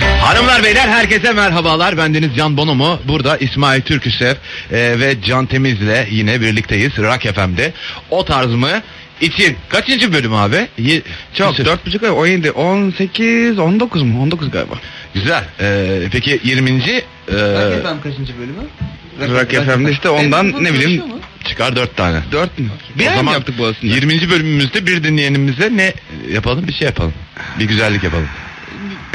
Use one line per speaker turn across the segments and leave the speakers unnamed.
Hanımlar beyler herkese merhabalar. Ben Deniz Can Bonomo. Burada İsmail Türküsev e, ve Can Temiz'le yine birlikteyiz. Rock FM'de. O tarz mı? için. Kaçıncı bölüm abi? Ye-
Çok
Sür-
dört buçuk ay 17 18 19 mu 19 galiba.
Güzel. E, peki 20. E,
Rock FM kaçıncı bölümü?
Rock E, FM'de işte ondan ne bileyim
konuşuyor mu?
çıkar 4 tane.
4 mü?
O
Bir ay
zaman
mı yaptık bu aslında?
20. bölümümüzde bir dinleyenimize ne yapalım? Bir şey yapalım. Bir güzellik yapalım.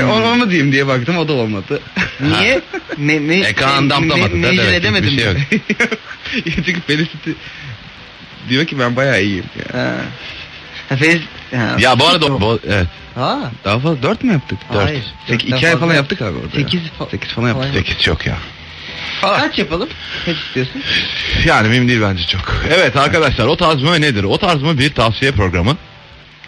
Onu, onu diyeyim diye baktım o da olmadı.
Niye? ne, ne,
E, Kaan damlamadı da,
Ne, ne,
evet,
ne edemedim.
bir şey yok.
Çünkü Felicity diyor ki ben bayağı iyiyim. Ya.
Ha. Ha, Fez... Ha.
Ya bu arada bu, evet,
Ha.
Daha fazla 4 mü yaptık?
Dört.
Hayır.
Sek,
dörtten
2 ay falan
fazla-
yaptık abi orada.
Sekiz
8 falan yaptık.
8 çok ya.
Kaç yapalım? Kaç istiyorsun?
Yani mühim değil bence çok. Evet arkadaşlar o tarz mı nedir? O tarz mı bir tavsiye programı.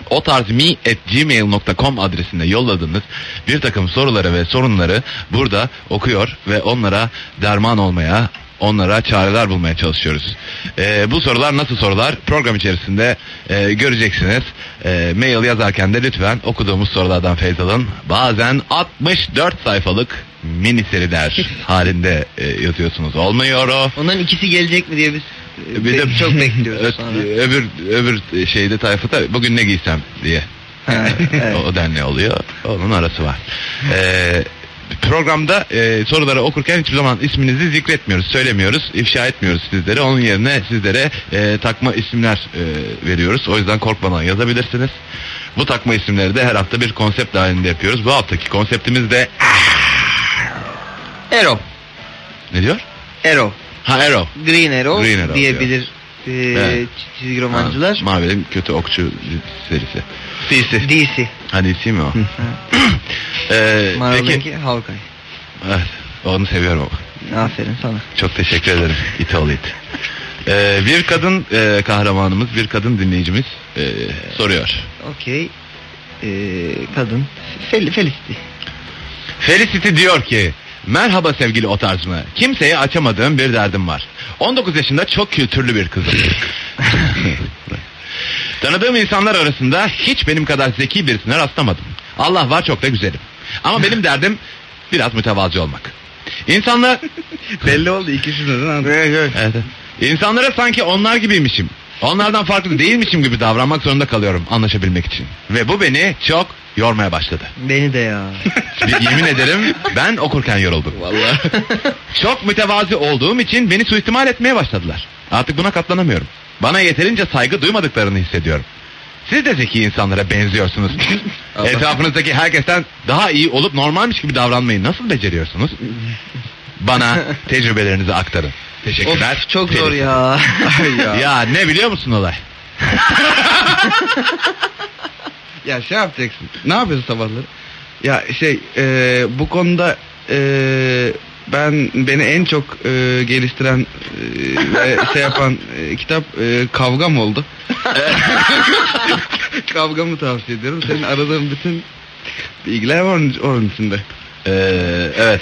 O tarz mi at gmail.com adresinde yolladığınız bir takım soruları ve sorunları burada okuyor ve onlara derman olmaya, onlara çareler bulmaya çalışıyoruz. Ee, bu sorular nasıl sorular? Program içerisinde e, göreceksiniz. E, mail yazarken de lütfen okuduğumuz sorulardan feyz alın. Bazen 64 sayfalık mini seriler halinde e, yazıyorsunuz. Olmuyor o.
Onların ikisi gelecek mi diye biz e,
Bir de
be- çok bekliyoruz sonra.
Ö- öbür öbür şeyde tayfada bugün ne giysem diye.
Ha, evet.
O, o denli oluyor. Onun arası var. Ee, programda e, soruları okurken hiçbir zaman isminizi zikretmiyoruz, söylemiyoruz, ifşa etmiyoruz sizlere. Onun yerine sizlere e, takma isimler e, veriyoruz. O yüzden korkmadan yazabilirsiniz. Bu takma isimleri de her hafta bir konsept halinde yapıyoruz. Bu haftaki konseptimiz de
Arrow.
ne diyor?
Arrow.
Ha Arrow.
Green Arrow,
Green Arrow
diyebilir e,
Evet.
çizgi romancılar.
Ha, Marvel'in kötü okçu serisi. DC.
DC.
Ha DC mi o? Ee, peki.
Marvel'daki Hawkeye.
Evet, Ah, onu seviyorum ama.
Aferin sana.
Çok teşekkür ederim. İt ol it. Ee, bir kadın e, kahramanımız, bir kadın dinleyicimiz e, soruyor.
Okey. E, kadın. Fel, Felicity.
Felicity diyor ki Merhaba sevgili o tarz mı? Kimseye açamadığım bir derdim var. 19 yaşında çok kültürlü bir kızım. Tanıdığım insanlar arasında hiç benim kadar zeki birisine rastlamadım. Allah var çok da güzelim. Ama benim derdim biraz mütevazı olmak. İnsanlar
Belli oldu ikisini de anladık.
Evet. İnsanlara sanki onlar gibiymişim. Onlardan farklı değilmişim gibi davranmak zorunda kalıyorum anlaşabilmek için. Ve bu beni çok yormaya başladı.
Beni de ya.
Bir Yemin ederim ben okurken yoruldum. Vallahi. çok mütevazi olduğum için beni suistimal etmeye başladılar. Artık buna katlanamıyorum. Bana yeterince saygı duymadıklarını hissediyorum. Siz de zeki insanlara benziyorsunuz. Etrafınızdaki herkesten daha iyi olup normalmiş gibi davranmayı nasıl beceriyorsunuz? Bana tecrübelerinizi aktarın. Teşekkürler.
Of, çok zor
Felicity.
ya.
ya. ya.
Ya ne biliyor musun olay?
Ya şey yapacaksın. Ne yapıyorsun sabahları? Ya şey e, bu konuda e, ben beni en çok e, geliştiren e, ve şey yapan e, kitap e, kavgam oldu. Kavgamı tavsiye ediyorum. Senin aradığın bütün bilgiler var onun, onun içinde.
Ee, evet.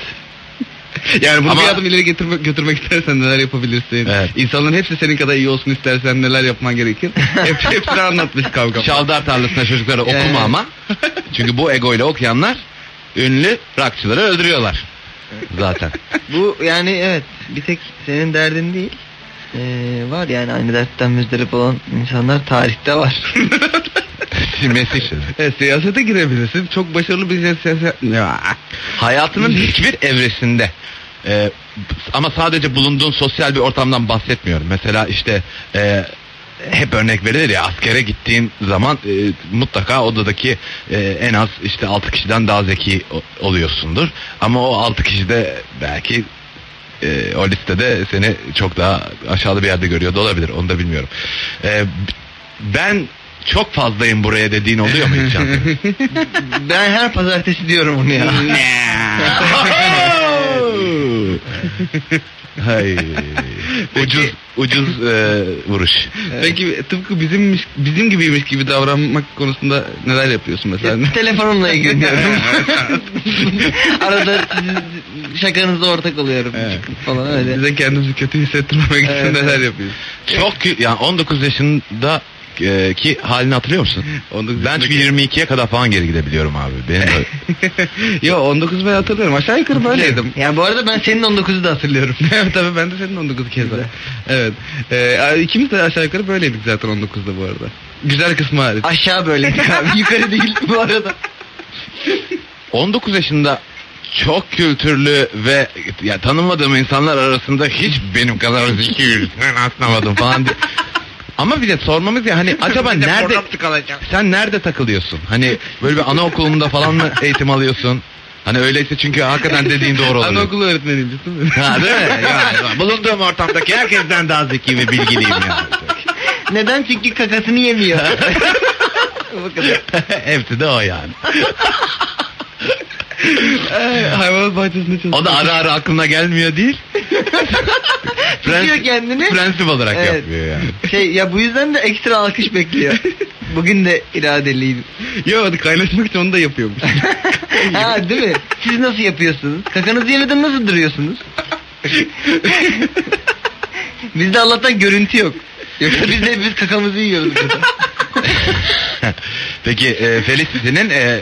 Yani bunu
Ama-
bir adım ileri getirmek, götürmek istersen neler yapabilirsin.
Evet.
İnsanların hepsi senin kadar iyi olsun istersen neler yapman gerekir. Hep, hepsini anlatmış kavgam.
Çavdar tarlasına çocuklara
Evet.
okuma ama. Çünkü bu egoyla okuyanlar ünlü rakçıları öldürüyorlar. Zaten.
Bu yani evet bir tek senin derdin değil. Ee, var yani aynı dertten müzdarip olan insanlar tarihte var.
Silmesi için.
Evet, siyasete girebilirsin. Çok başarılı bir siyaset... Ya.
Hayatının hiçbir evresinde e, ama sadece bulunduğun sosyal bir ortamdan bahsetmiyorum. Mesela işte e, hep örnek verilir ya askere gittiğin zaman e, mutlaka odadaki e, en az işte 6 kişiden daha zeki o- oluyorsundur. Ama o 6 kişi de belki e, o listede seni çok daha aşağıda bir yerde görüyor da olabilir. Onu da bilmiyorum. E, b- ben çok fazlayım buraya dediğin oluyor mu hiç? Can?
ben her pazartesi diyorum bunu ya.
Hay. Ucuz ucuz e, vuruş.
Peki tıpkı bizimmiş, bizim gibiymiş gibi davranmak konusunda neler yapıyorsun mesela?
Te- Telefonumla ilgileniyorum. Arada siz- şakanıza ortak oluyorum
Evet.
falan öyle.
Bize kendimizi kötü hissettirmemek için
Evet,
neler
evet.
yapıyorsun?
Çok kü- yani 19 yaşında e, ki halini hatırlıyor musun?
Onu-
Ben çünkü 22'ye kadar falan geri gidebiliyorum abi. Benim de-
Yo 19 ben hatırlıyorum. Aşağı yukarı böyleydim.
Ya bu arada ben senin 19'u da hatırlıyorum.
Evet tabii ben de senin 19 keza.
Güzel.
Evet. Ee, ikimiz de aşağı yukarı böyleydik zaten 19'da bu arada. Güzel kısmı hariç.
Aşağı böyle abi. Yukarı değil bu arada.
19 yaşında çok kültürlü ve ya tanımadığım insanlar arasında hiç benim kadar zeki yürütmen atlamadım falan diye. Ama bir de sormamız ya hani acaba
Bir de
nerede
pornografik alacağım.
sen nerede takılıyorsun? Hani böyle bir anaokulunda falan mı eğitim alıyorsun? Hani öyleyse çünkü hakikaten dediğin doğru olur.
Anaokulu öğretmeniymiş değil mi?
Ha değil mi? Yani bulunduğum ortamdaki herkesten daha zeki ve bilgiliyim yani.
Neden? Çünkü kakasını yemiyor. bu kadar.
Hepsi de o yani.
Ee, Hayvanat bahçesinde çalışıyor.
O da ara ara aklına gelmiyor değil.
Tutuyor kendini.
Prensip olarak
Evet.
yapıyor yani.
Şey ya bu yüzden de ekstra alkış bekliyor. Bugün de iradeliyim.
Yo kaynaşmak için onu da yapıyormuş.
ha değil mi? Siz nasıl yapıyorsunuz? Kakanızı yemeden nasıl duruyorsunuz? Bizde Allah'tan görüntü yok. Yoksa biz de biz kakamızı yiyoruz. burada.
Peki e, Felicity'nin e,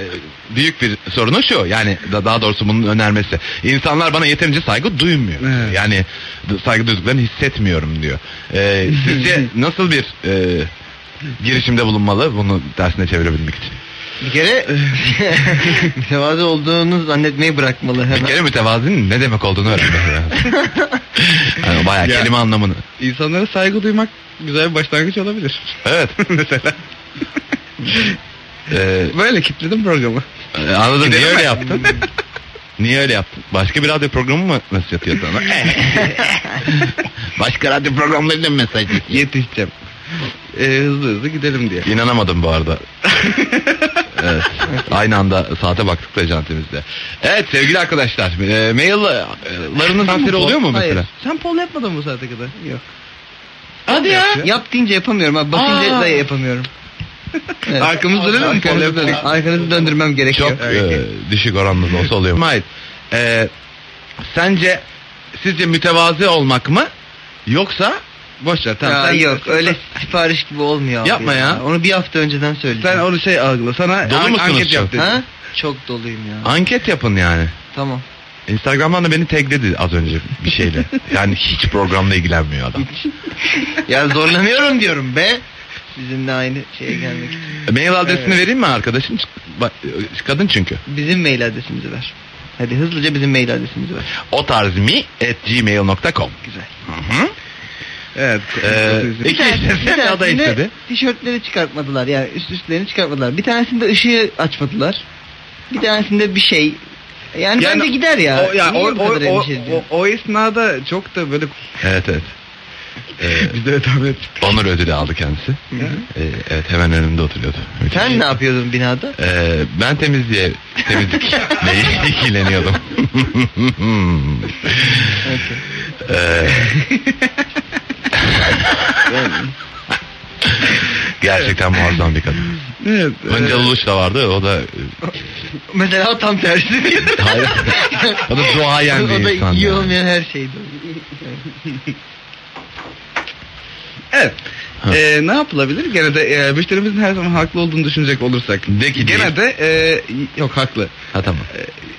büyük bir sorunu şu yani da, daha doğrusu bunun önermesi. İnsanlar bana yeterince saygı duymuyor.
Evet.
Yani d- saygı duyduklarını hissetmiyorum diyor. E, sizce nasıl bir e, girişimde bulunmalı bunu dersine çevirebilmek için?
Bir kere mütevazı olduğunu zannetmeyi bırakmalı
Bir
hemen.
kere mütevazinin ne demek olduğunu öğrenmek lazım. yani bayağı
Ya.
kelime anlamını.
İnsanlara saygı duymak güzel bir başlangıç olabilir.
Evet.
Mesela.
E,
Böyle kitledim programı.
Ee, Anladım niye
Gidelim
öyle
mi?
yaptın? niye öyle yaptın? Başka bir radyo programı mı mesaj atıyor sana? Başka radyo programlarıyla mı mesaj atıyor?
Yetişeceğim. Ee, hızlı hızlı gidelim diye.
İnanamadım bu arada. evet. Aynı anda saate baktık da jantimizde. Evet sevgili arkadaşlar. E, maillarının transferi oluyor mu mesela?
Hayır. Sen pol yapmadın mı bu saate kadar? Yok.
Hadi ya.
Yap deyince yapamıyorum abi. Bakınca
Aa.
da yapamıyorum. Evet.
Arkamızı dönelim mi? Pol
Arkanızı, dön-
yapmak.
arkanızı döndürmem gerekiyor.
Çok e, düşük oranda da olsa oluyor. Mahit, e, sence sizce mütevazı olmak mı? Yoksa
Boş ver tamam.
Ya
sen-
yok öyle sipariş gibi olmuyor abi
Yapma ya.
Onu bir hafta önceden
Sen
söyleyeceğim.
onu şey algıla. Sana
Dolu
an-
musunuz
anket
çok?
yap dedi.
ha? Çok doluyum ya.
anket yapın yani.
Tamam.
Instagram'dan da beni tagledi az önce bir şeyle. Yani hiç programla ilgilenmiyor adam.
Ya zorlanıyorum diyorum be. Sizinle aynı şeye gelmek için.
Mail adresini vereyim mi arkadaşım? Bak, Kadın çünkü.
Bizim mail adresimizi ver. Hadi hızlıca bizim mail adresimizi ver.
O tarzmi at gmail.com
Güzel.
Hı-hı.
Evet.
Ee, iki istedi, o da istedi.
tişörtleri çıkartmadılar yani üst üstlerini çıkartmadılar. Bir tanesinde ışığı açmadılar. Bir tanesinde bir şey. Yani,
Yani
bence gider ya.
O, ya,
Niye
o,
bu kadar
o, o,
endişe ediyorsun?
o, o esnada çok da böyle
Evet evet. Ee,
biz de tahmin ettik.
onur ödülü aldı kendisi. Ee, evet hemen önümde oturuyordu. Müthiş.
Sen ne yapıyordun binada?
Ee, ben temizliğe temizlik ile ilgileniyordum.
Okey.
Ee, gerçekten muazzam bir kadın.
Evet.
Önce
evet.
Luluş da vardı o da
Mesela tam tersi.
Hayır. O da duayen bir
o da
insan.
iyi
yani.
olmayan her şeydi.
Evet.
Ha.
Ee, ne yapılabilir? Gene de e, müşterimizin her zaman haklı olduğunu düşünecek olursak.
De ki
Gene de e, yok haklı
Ha tamam.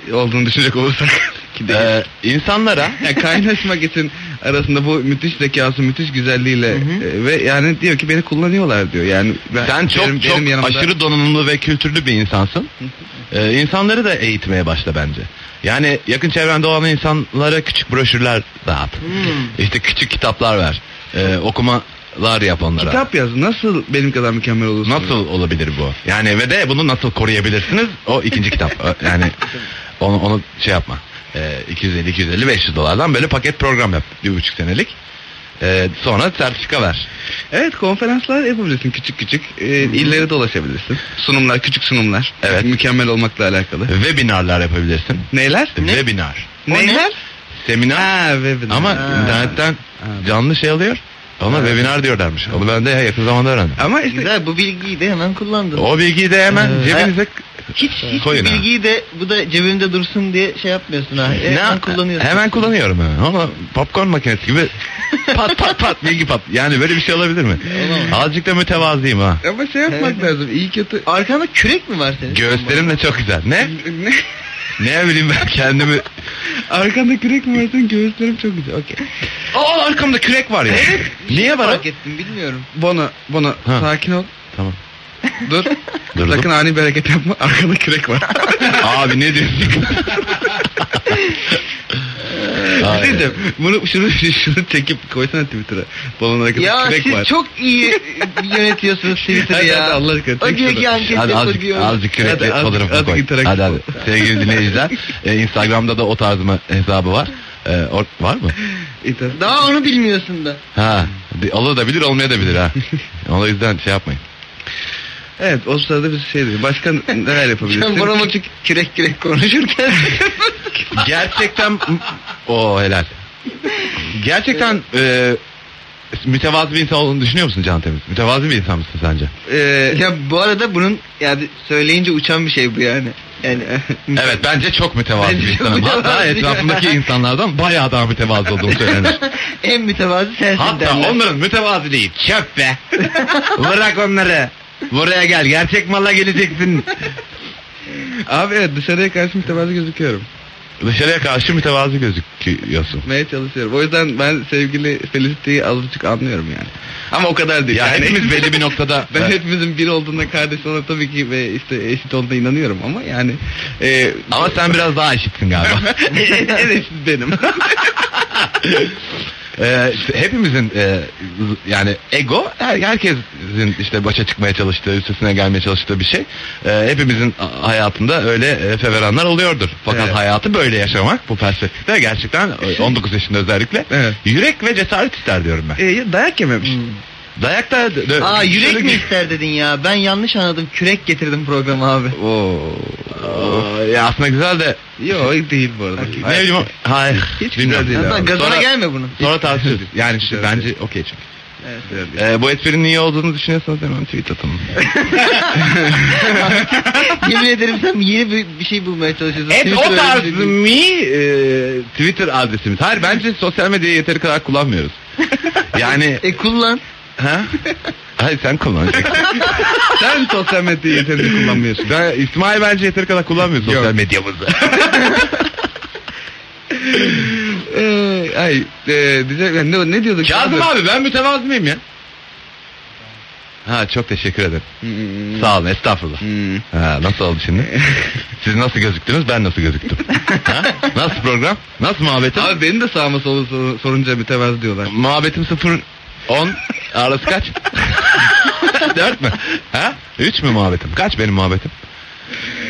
e, olduğunu düşünecek olursak. ki değil.
Ee, insanlara
Yani kaynaşmak için arasında bu müthiş zekası, müthiş güzelliğiyle
Hı hı.
e, ve yani diyor ki beni kullanıyorlar diyor. Yani ben-
sen çok
benim-
çok
benim yanımda-
aşırı donanımlı ve kültürlü bir insansın. Ee, insanları da eğitmeye başla bence. Yani yakın çevrende olan insanlara küçük broşürler dağıt.
Hmm.
İşte küçük kitaplar ver. Ee, okumalar yap onlara.
kitap yaz. Nasıl benim kadar mükemmel olursun?
Nasıl olabilir bu? Yani ve de bunu nasıl koruyabilirsiniz? O ikinci kitap. Ö- Yani onu, onu şey yapma. Ee, 250, 250, 500 dolardan böyle paket program yap. Bir buçuk senelik. Ee, sonra sertifika ver.
Evet konferanslar yapabilirsin küçük küçük. E, illeri dolaşabilirsin. Sunumlar, küçük sunumlar.
Evet.
Mükemmel olmakla alakalı.
Webinarlar yapabilirsin.
Neyler?
Webinar.
O ne?
Neyler?
Seminer.
Ha, webinar.
Ama
Ha.
internetten
Ha.
canlı şey alıyor. Ona
Ha.
webinar diyorlarmış. Onu ben de yakın zamanda öğrendim.
Ama işte
Güzel bu bilgiyi de hemen kullandım.
O bilgiyi de hemen
Ee,
cebinize
hiç hiç bu
koyun ha.
bilgiyi de bu da cebimde dursun diye şey yapmıyorsun ha. Hemen kullanıyorsun.
Hemen kullanıyorum hemen. Ama popcorn makinesi gibi pat pat pat bilgi pat. Yani böyle bir şey olabilir mi? Azıcık da mütevazıyım ha.
Ama şey yapmak
Evet.
lazım. İyi kötü.
Arkanda kürek mi var senin?
Göğüslerim de çok güzel. Ne?
ne?
Ne bileyim ben kendimi...
Arkanda kürek mi varsa göğüslerim çok güzel. Okey.
Aa arkamda kürek var ya. Niye var?
Fark ettim bilmiyorum.
Bono, Bono
Ha.
sakin ol.
Tamam.
Dur.
Durdum.
Sakın ani bir hareket yapma. Arkanda kürek var.
Abi ne diyorsun?
Bir
Ay.
şey diyeceğim. Bunu, şunu, şunu çekip koysana Twitter'a. Bono'nun arkasında
Ya
kürek
siz
var.
çok iyi yönetiyorsunuz Twitter'ı
Hadi,
ya.
hadi, Allah aşkına,
O
çek
diyor
şunu.
ki anketi
Hadi azıcık,
soruyor.
azıcık kürekli
Hadi azıcık-
fotoğrafını
azıcık
koy.
interaktif
Hadi hadi.
ol.
Sevgili dinleyiciler. e, Instagram'da da o tarz mı hesabı var. E, or- var mı?
İtiraz.
Daha onu bilmiyorsun da.
Ha. de- Olabilir olmayabilir ha. O yüzden şey yapmayın.
Evet o sırada biz şey diyor. Başka neler
Sen
yapabilirsin?
bana bak kürek kürek konuşurken.
Gerçekten o helal. Gerçekten e, mütevazı bir insan olduğunu düşünüyor musun Can Temiz? Mütevazı bir insan mısın sence?
Ee,
ya bu arada bunun yani söyleyince uçan bir şey bu yani. Yani
Evet bence çok mütevazı
Bence
bir
çok
insanım. Hatta
mütevazı.
etrafımdaki insanlardan bayağı daha mütevazı olduğum söylenir.
en mütevazı sensin
Hatta
derler.
onların mütevaziliği çöp be. Bırak onları. Buraya gel. Gerçek mala geleceksin.
abi evet dışarıya karşı mütevazı gözüküyorum.
Dışarıya karşı mütevazı gözüküyorsun.
Meye çalışıyorum. O yüzden ben sevgili Felicity'yi azıcık anlıyorum yani. Ama o kadar değil.
Ya
yani.
hepimiz belli bir noktada
Ben
ben
hepimizin bir olduğuna kardeş olduğuna tabii ki ve işte eşit olduğuna inanıyorum ama yani e,
ama sen biraz daha eşitsin galiba.
en, en eşit benim.
Ee, hepimizin e, z- yani ego her, herkesin işte başa çıkmaya çalıştığı, üstesine gelmeye çalıştığı bir şey. Ee, hepimizin a- hayatında öyle e, feveranlar oluyordur. Fakat
Evet.
hayatı böyle yaşamak bu felsefede gerçekten e, 19 yaşında özellikle
Evet.
yürek ve cesaret ister diyorum ben.
E, ya dayak yememiş.
Dayak da dö- dö-
Hmm. Aa yürek
şöyle-
mi ister dedin ya? Ben yanlış anladım. Kürek getirdim programa abi.
Oo.
Aa, ya aslında güzel de
Yok Hmm. değil bu arada.
ne bileyim o- hayır
Hiç
bilmiyorum.
güzel değil
Hatta
abi.
gazına
Sonra-
gelme bunun.
Sonra tartışırız. Yani işte
Güzel
bence okey çünkü.
Evet, evet.
Ee, bu esprinin iyi olduğunu düşünüyorsanız hemen tweet atın.
Yemin ederim sen yeni bir, bir şey bulmaya çalışıyorsun.
Et
Twitter
o
öyle
tarz
bir şey değil.
mi e, Twitter adresimiz. Hayır bence sosyal medyayı yeteri kadar kullanmıyoruz. Yani
E kullan.
ha? Hayır sen kullanacaksın.
Sen sosyal medyayı yeterince kullanmıyorsun.
Ben, İsmail bence yeteri kadar kullanmıyor sosyal
Yok.
medyamızı.
Ee, ay e, diyeceğim yani ne, ne diyorduk?
Kazım abi ben mütevazı mıyım ya? Ha çok teşekkür ederim.
Hmm,
Sağ olun estağfurullah.
hmm.
Ha, nasıl oldu şimdi? Siz nasıl gözüktünüz ben nasıl gözüktüm? Ha? Nasıl program? Nasıl muhabbetim?
Abi benim de sağıma solu sor- sorunca mütevazı diyorlar.
Ee, Muhabbetim 0 10 arası kaç? 4 mü? Ha? 3 mü muhabbetim? Kaç benim muhabbetim?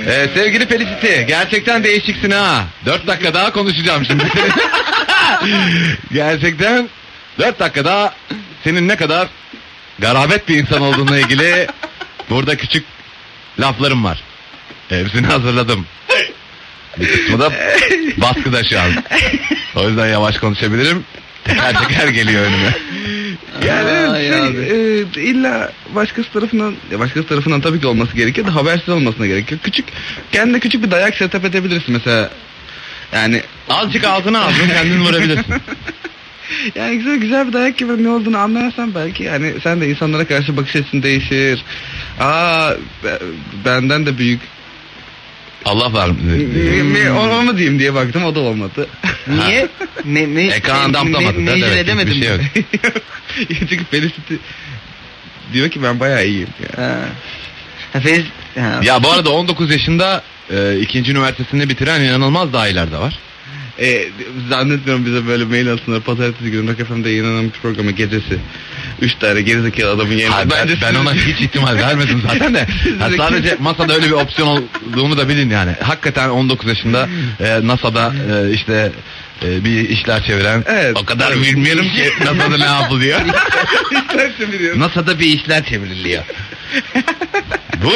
Ee, sevgili Felicity gerçekten değişiksin ha. 4 dakika daha konuşacağım şimdi. gerçekten 4 dakika daha senin ne kadar garabet bir insan olduğunla ilgili burada küçük laflarım var. Hepsini hazırladım. Bir kısmı da baskıda şu an. O yüzden yavaş konuşabilirim. Teker teker geliyor önüme.
Yani
Ay
evet, şey,
abi.
e, illa başkası tarafından, ya başkası tarafından tabii ki olması gerekir de habersiz olmasına gerek yok. Küçük, kendine küçük bir dayak setup edebilirsin mesela. Yani
Azıcık ağzına aldın kendini vurabilirsin.
yani güzel güzel bir dayak gibi ne olduğunu anlarsan belki yani sen de insanlara karşı bakış açın değişir. Aa be- benden de büyük
Allah var mı? Hmm.
mi onu mu diyeyim diye baktım o da olmadı.
Niye? ne, ne,
Ekran damlamadın.
ne,
da
mecbur
demek ki
edemedim.
Bir şey yok.
Çünkü Felicity diyor ki ben bayağı iyiyim. Yani.
Ha. Ha, Fez, ha.
Ya bu arada 19 yaşında e, ikinci üniversitesini bitiren inanılmaz dahiler de var.
E, zannetmiyorum bize böyle mail atsınlar. Pazartesi günü Rock FM'de yayınlanan bir programı gecesi. Üç tane gerizekalı adamın yerine.
Hayır, ben, ben ona hiç ihtimal vermedim zaten de. Ha, sadece masada öyle bir opsiyon olduğunu da bilin yani. Hakikaten 19 yaşında e, NASA'da e, işte e, bir işler çeviren
Evet.
o kadar bilmiyorum ki NASA'da ne yapılıyor.
İsterse biliyorum.
NASA'da bir işler çevriliyor. Bu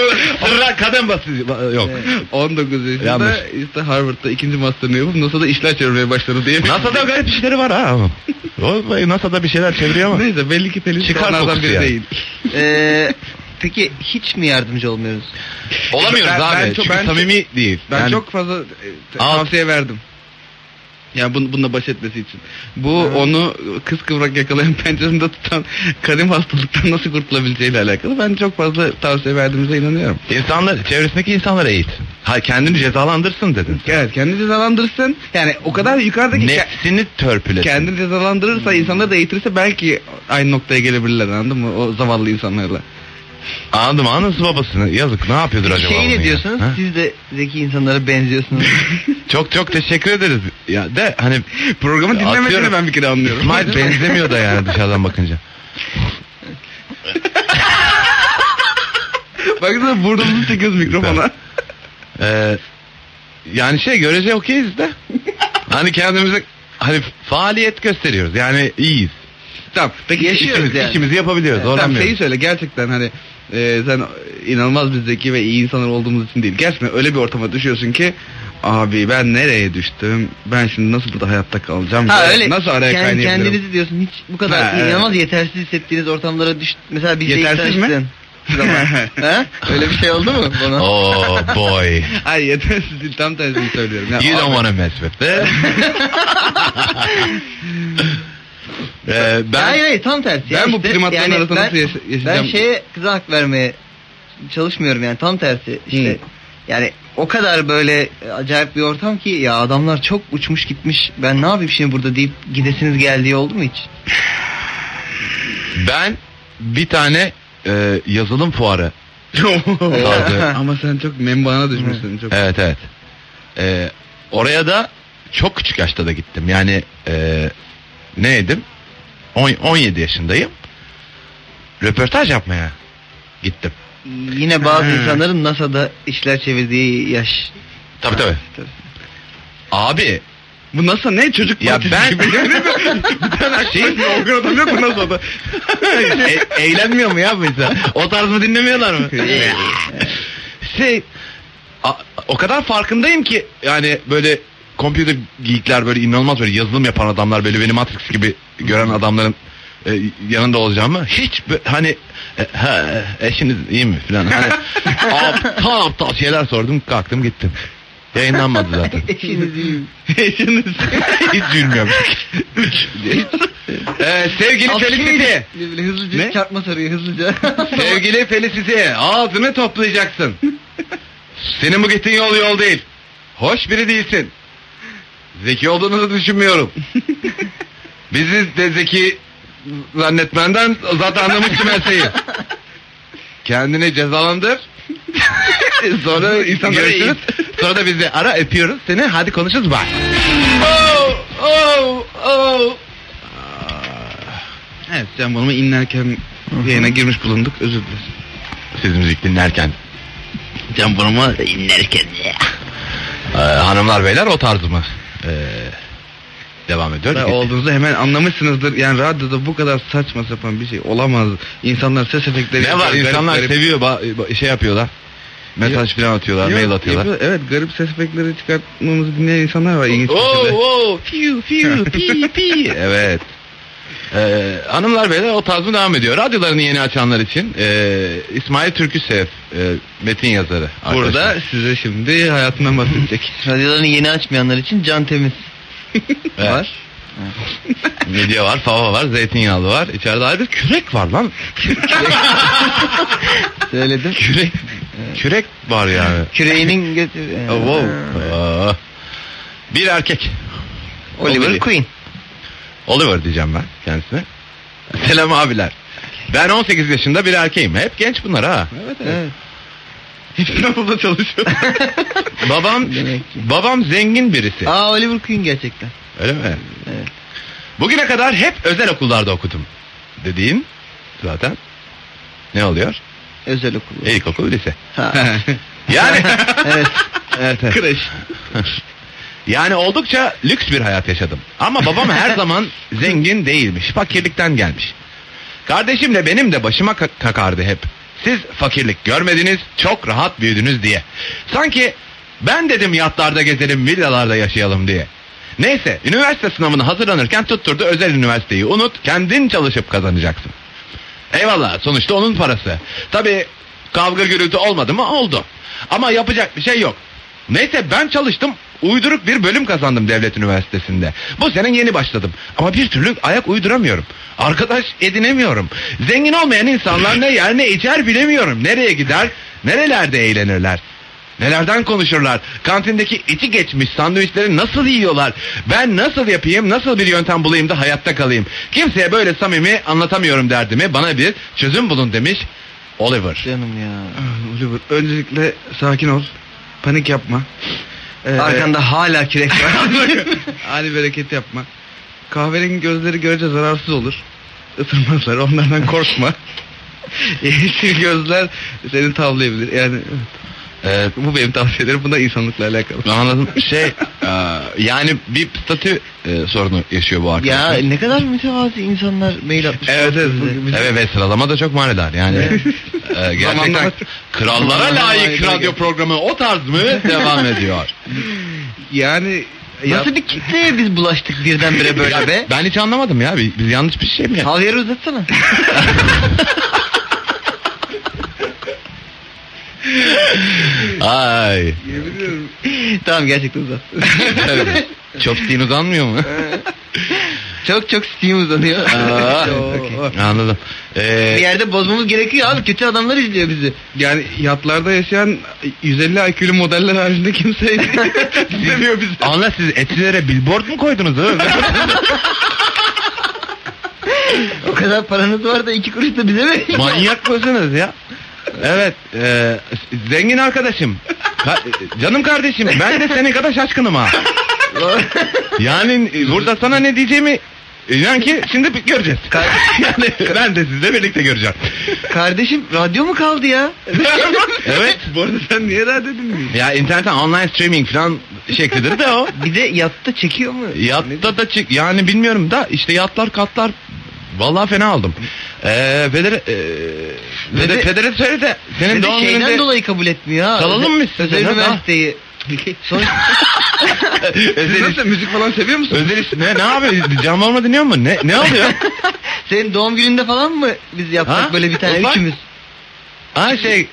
sıra kadın basıyor. Yok.
19 yaşında
Yanlış.
işte Harvard'da ikinci master'ını yapıp NASA'da işler çevirmeye başladı diye.
NASA'da garip işleri var ha. Vallahi NASA'da bir şeyler çeviriyor ama.
Neyse belli ki Pelin
Çıkar
onlardan
kokusu
biri
yani.
değil.
Ee, peki hiç mi yardımcı olmuyoruz?
Olamıyoruz
Ben-
abi.
ben çok-
çünkü
ben çok-
samimi değil.
Ben
Yani
çok fazla e, t-
Alt-
tavsiye verdim. Yani bun, bununla baş etmesi için. Bu
Evet.
onu kız kıvrak yakalayan pencerinde tutan kadim hastalıktan nasıl kurtulabileceğiyle alakalı. Ben çok fazla tavsiye verdiğimize inanıyorum.
İnsanlar, çevresindeki insanları eğitsin. Ha, kendini cezalandırsın dedin.
Evet kendi cezalandırsın. Yani o kadar yukarıdaki ke-
Nefsini törpülesin.
kendini cezalandırırsa
Hmm.
insanları da eğitirse belki aynı noktaya gelebilirler anladın mı? O zavallı insanlarla.
Anladım anladın babasını. Yazık ne yapıyordur acaba?
Şey
bunun
ne
ya?
diyorsunuz?
Ha?
Siz de zeki insanlara benziyorsunuz.
Çok çok teşekkür ederiz. Ya de hani
Programı dinlemediğini
Atıyorum.
ben bir kere anlıyorum.
İsmail benzemiyor da yani dışarıdan bakınca.
Baksana burnumuzu çekiyoruz mikrofona.
Ee, yani şey görece okeyiz de. Hani kendimize hani faaliyet gösteriyoruz. Yani iyiyiz.
tamam. Peki şey
Yaşıyoruz
İşimiz-
yani.
İşimizi yapabiliyoruz.
Tamam
Zorlanmıyoruz.
şeyi söyle gerçekten hani e, sen inanılmaz bir zeki ve iyi insanlar olduğumuz için değil. Gerçekten öyle bir ortama düşüyorsun ki abi ben nereye düştüm? Ben şimdi nasıl burada hayatta kalacağım?
ha
Ben
öyle.
Nasıl araya
Kend-
kaynayabilirim?
Kendinizi diyorsun hiç bu kadar
Ha, evet.
inanılmaz yetersiz hissettiğiniz ortamlara düş. Mesela bizde
Yetersiz mi?
yetersiz ha? Öyle bir şey oldu mu bana?
Oh boy.
Ay yetersiz değil tam tersini söylüyorum. Ya
You don't
abi,
wanna mess with this. Ee,
hayır
ben
hayır tam tersi. ya
Ben bu
işte,
primatların
yani
arasında
ben-
nasıl yaşa- yaşayacağım?
Ben şeye kıza hak vermeye çalışmıyorum yani tam tersi işte.
Hı.
Yani o kadar böyle e, acayip bir ortam ki ya adamlar çok uçmuş gitmiş ben ne yapayım şimdi burada deyip gidesiniz geldiği oldu mu hiç?
ben bir tane e, yazılım fuarı. Tarzı.
Ama sen çok membana düşmüşsün. Çok...
Evet evet. Ee, oraya da çok küçük yaşta da gittim. Yani e, neydim? On- 17 yaşındayım. Röportaj yapmaya gittim.
Yine bazı
Hı.
insanların NASA'da işler çevirdiği yaş.
Tabii tabii. Abi
Bu nasıl ne çocuk
Ya
partisi
ben-
gibi. bir tane
Şey-
akşam o gün adam yok mu nasıl da?
E- eğlenmiyor mu ya bu insan? O tarz mı dinlemiyorlar mı?
Ee.
şey a- o kadar farkındayım ki yani böyle computer geekler böyle inanılmaz böyle yazılım yapan adamlar böyle beni Matrix gibi gören adamların e, yanında olacağımı hiç bö- hani e, ha, eşiniz iyi mi falan hani aptal aptal şeyler sordum kalktım gittim. Yayınlanmadı zaten.
Eşiniz değil.
Eşiniz.
Hiç gülmüyorum. Üç. Ee, sevgili Felicity.
Birbirine Hızlıca
Ne?
çarpma soruyu hızlıca.
Sevgili Felicity ağzını toplayacaksın. Senin bu gittiğin yol yol değil. Hoş biri değilsin. Zeki olduğunuzu düşünmüyorum. Bizi de zeki zannetmenden zaten anlamıştım her şeyi. Kendini cezalandır. Sonra
İnsanlara
görüşürüz. Sonra da bizi ara öpüyoruz seni. Hadi konuşuruz bak. Oh,
Evet Can Bonomo inlerken yayına girmiş bulunduk. Özür dileriz.
Siz müzik dinlerken. Can bunumu dinlerken. Ee, hanımlar beyler o tarz mı? Ee, devam ediyor.
Da olduğunuzu hemen anlamışsınızdır. Yani radyoda bu kadar saçma sapan bir şey olamaz. İnsanlar ses efektleri...
ne var
Garip-
insanlar
garip-
seviyor ba- ba- şey yapıyorlar. Mesaj falan atıyorlar,
Yok,
mail atıyorlar.
yapıyor- Evet garip ses efektleri çıkartmamızı dinleyen insanlar var ilginç bir
Oo,
şekilde.
oo, fiu, fiu, pi, pi. Evet. Ee, hanımlar beyler o tarz mı devam ediyor. Radyolarını yeni açanlar için ee, İsmail Türküsev, ee, metin yazarı.
Burada
arkadaşlar.
size şimdi hayatından bahsedecek.
Radyolarını yeni açmayanlar için can temiz.
Evet.
Var.
Midye var, fava var, zeytinyağlı var. İçeride ayrı bir kürek var lan.
Söyledim.
Kürek, kürek var yani.
Küreğinin götü. Ee,
Oh, wow. Aa. Bir erkek.
Oliver
Oliver.
Queen.
Oliver diyeceğim ben kendisine. Selam abiler. Ben 18 yaşında bir erkeğim. Hep genç bunlar ha.
evet evet.
Evet.
Hiçbir okulda çalışıyor.
Babam
Demek ki.
babam zengin birisi.
Aa Oliver Queen gerçekten.
Öyle mi?
Evet.
Bugüne kadar hep özel okullarda okudum. Dediğin zaten ne oluyor?
Özel okulu.
İlkokul, lise.
Ha.
Yani
evet.
evet, evet.
Kreş.
Yani oldukça lüks bir hayat yaşadım. Ama babam her zaman zengin değilmiş. Fakirlikten gelmiş. Kardeşimle benim de başıma ka- kakardı hep. Siz fakirlik görmediniz, çok rahat büyüdünüz diye. Sanki ben dedim yatlarda gezelim, villalarda yaşayalım diye. Neyse, üniversite sınavına hazırlanırken tutturdu özel üniversiteyi. Unut, kendin çalışıp kazanacaksın. Eyvallah sonuçta onun parası. Tabi kavga gürültü olmadı mı oldu. Ama yapacak bir şey yok. Neyse ben çalıştım Uyduruk bir bölüm kazandım devlet üniversitesinde. Bu sene yeni başladım. Ama bir türlü ayak uyduramıyorum. Arkadaş edinemiyorum. Zengin olmayan insanlar ne yer ne içer bilemiyorum. Nereye gider, nerelerde eğlenirler. Nelerden konuşurlar? Kantindeki eti geçmiş sandviçleri nasıl yiyorlar? Ben nasıl yapayım, nasıl bir yöntem bulayım da hayatta kalayım? Kimseye böyle samimi anlatamıyorum derdimi. Bana bir çözüm bulun demiş Oliver.
Canım ya.
Ah, Oliver, öncelikle sakin ol. Panik yapma. Ee,
Arkanda hala kürek var.
Ali bereket yapma. Kahverengi gözleri görece zararsız olur. Isırmazlar onlardan korkma. Yeşil gözler seni tavlayabilir. Yani evet.
Ee,
bu benim tavsiyelerim. Bu da insanlıkla alakalı.
anladım. Şey, e, yani bir statü e, sorunu yaşıyor bu arkadaş.
ya ne kadar mütevazi insanlar mail atmış.
Evet evet.
bize.
bu- bize-
Evet ve sıralama da çok manidar yani.
Evet.
Ee, gerçekten
Zamanlama-
krallara
Zamanlama
layık
ayrı
radyo
gerçekten.
programı o tarz mı devam ediyor?
Yani ya-
Nasıl bir kitleye biz bulaştık birdenbire böyle be?
Ben hiç anlamadım ya. Biz biz yanlış bir şey mi? yaptık?
Havyarı uzatsana.
Ay.
Yemin ediyorum.
tamam gerçekten uzat.
Evet. Chopstick'in uzanmıyor mu?
çok çok steam uzanıyor.
Aa,
Oo.
okey. Anladım.
Bir
Ee,
yerde bozmamız gerekiyor abi. Kötü adamlar izliyor bizi.
Yani yatlarda yaşayan 150 IQ'lu modeller haricinde kimse istemiyor bizi.
anla siz etilere billboard mu koydunuz? ha?
O kadar paranız var da iki kuruş da bize verin.
Manyak mısınız ya? Evet. e, zengin arkadaşım. Ka- e, canım kardeşim ben de senin kadar şaşkınım ha. Yani e, burada sana ne diyeceğimi inan ki şimdi bir göreceğiz. yani ben de sizle birlikte göreceğim.
Kardeşim radyo mu kaldı ya?
evet.
Bu arada sen niye radyo dinliyorsun?
Ya internetten online streaming falan şeklidir de o.
Bir de yatta çekiyor mu?
Yatta da çık yani bilmiyorum da işte yatlar katlar vallahi fena aldım. Ee, Feder e,
Ve
Feder-
de-
Federer söyle de senin
Bir de
doğum
şeyden
gününde
dolayı kabul etmiyor ha.
Kalalım mı
Özel,
siz de?
özel üniversiteyi. Sonuç
Siz
özel,
nasıl müzik falan seviyor musun?
özel iş- ne ne yapıyor? Can Borma dinliyor mu? Ne ne oluyor?
senin doğum gününde falan mı biz yapsak
Ha?
böyle bir tane
Ufak.
üçümüz?
ha şey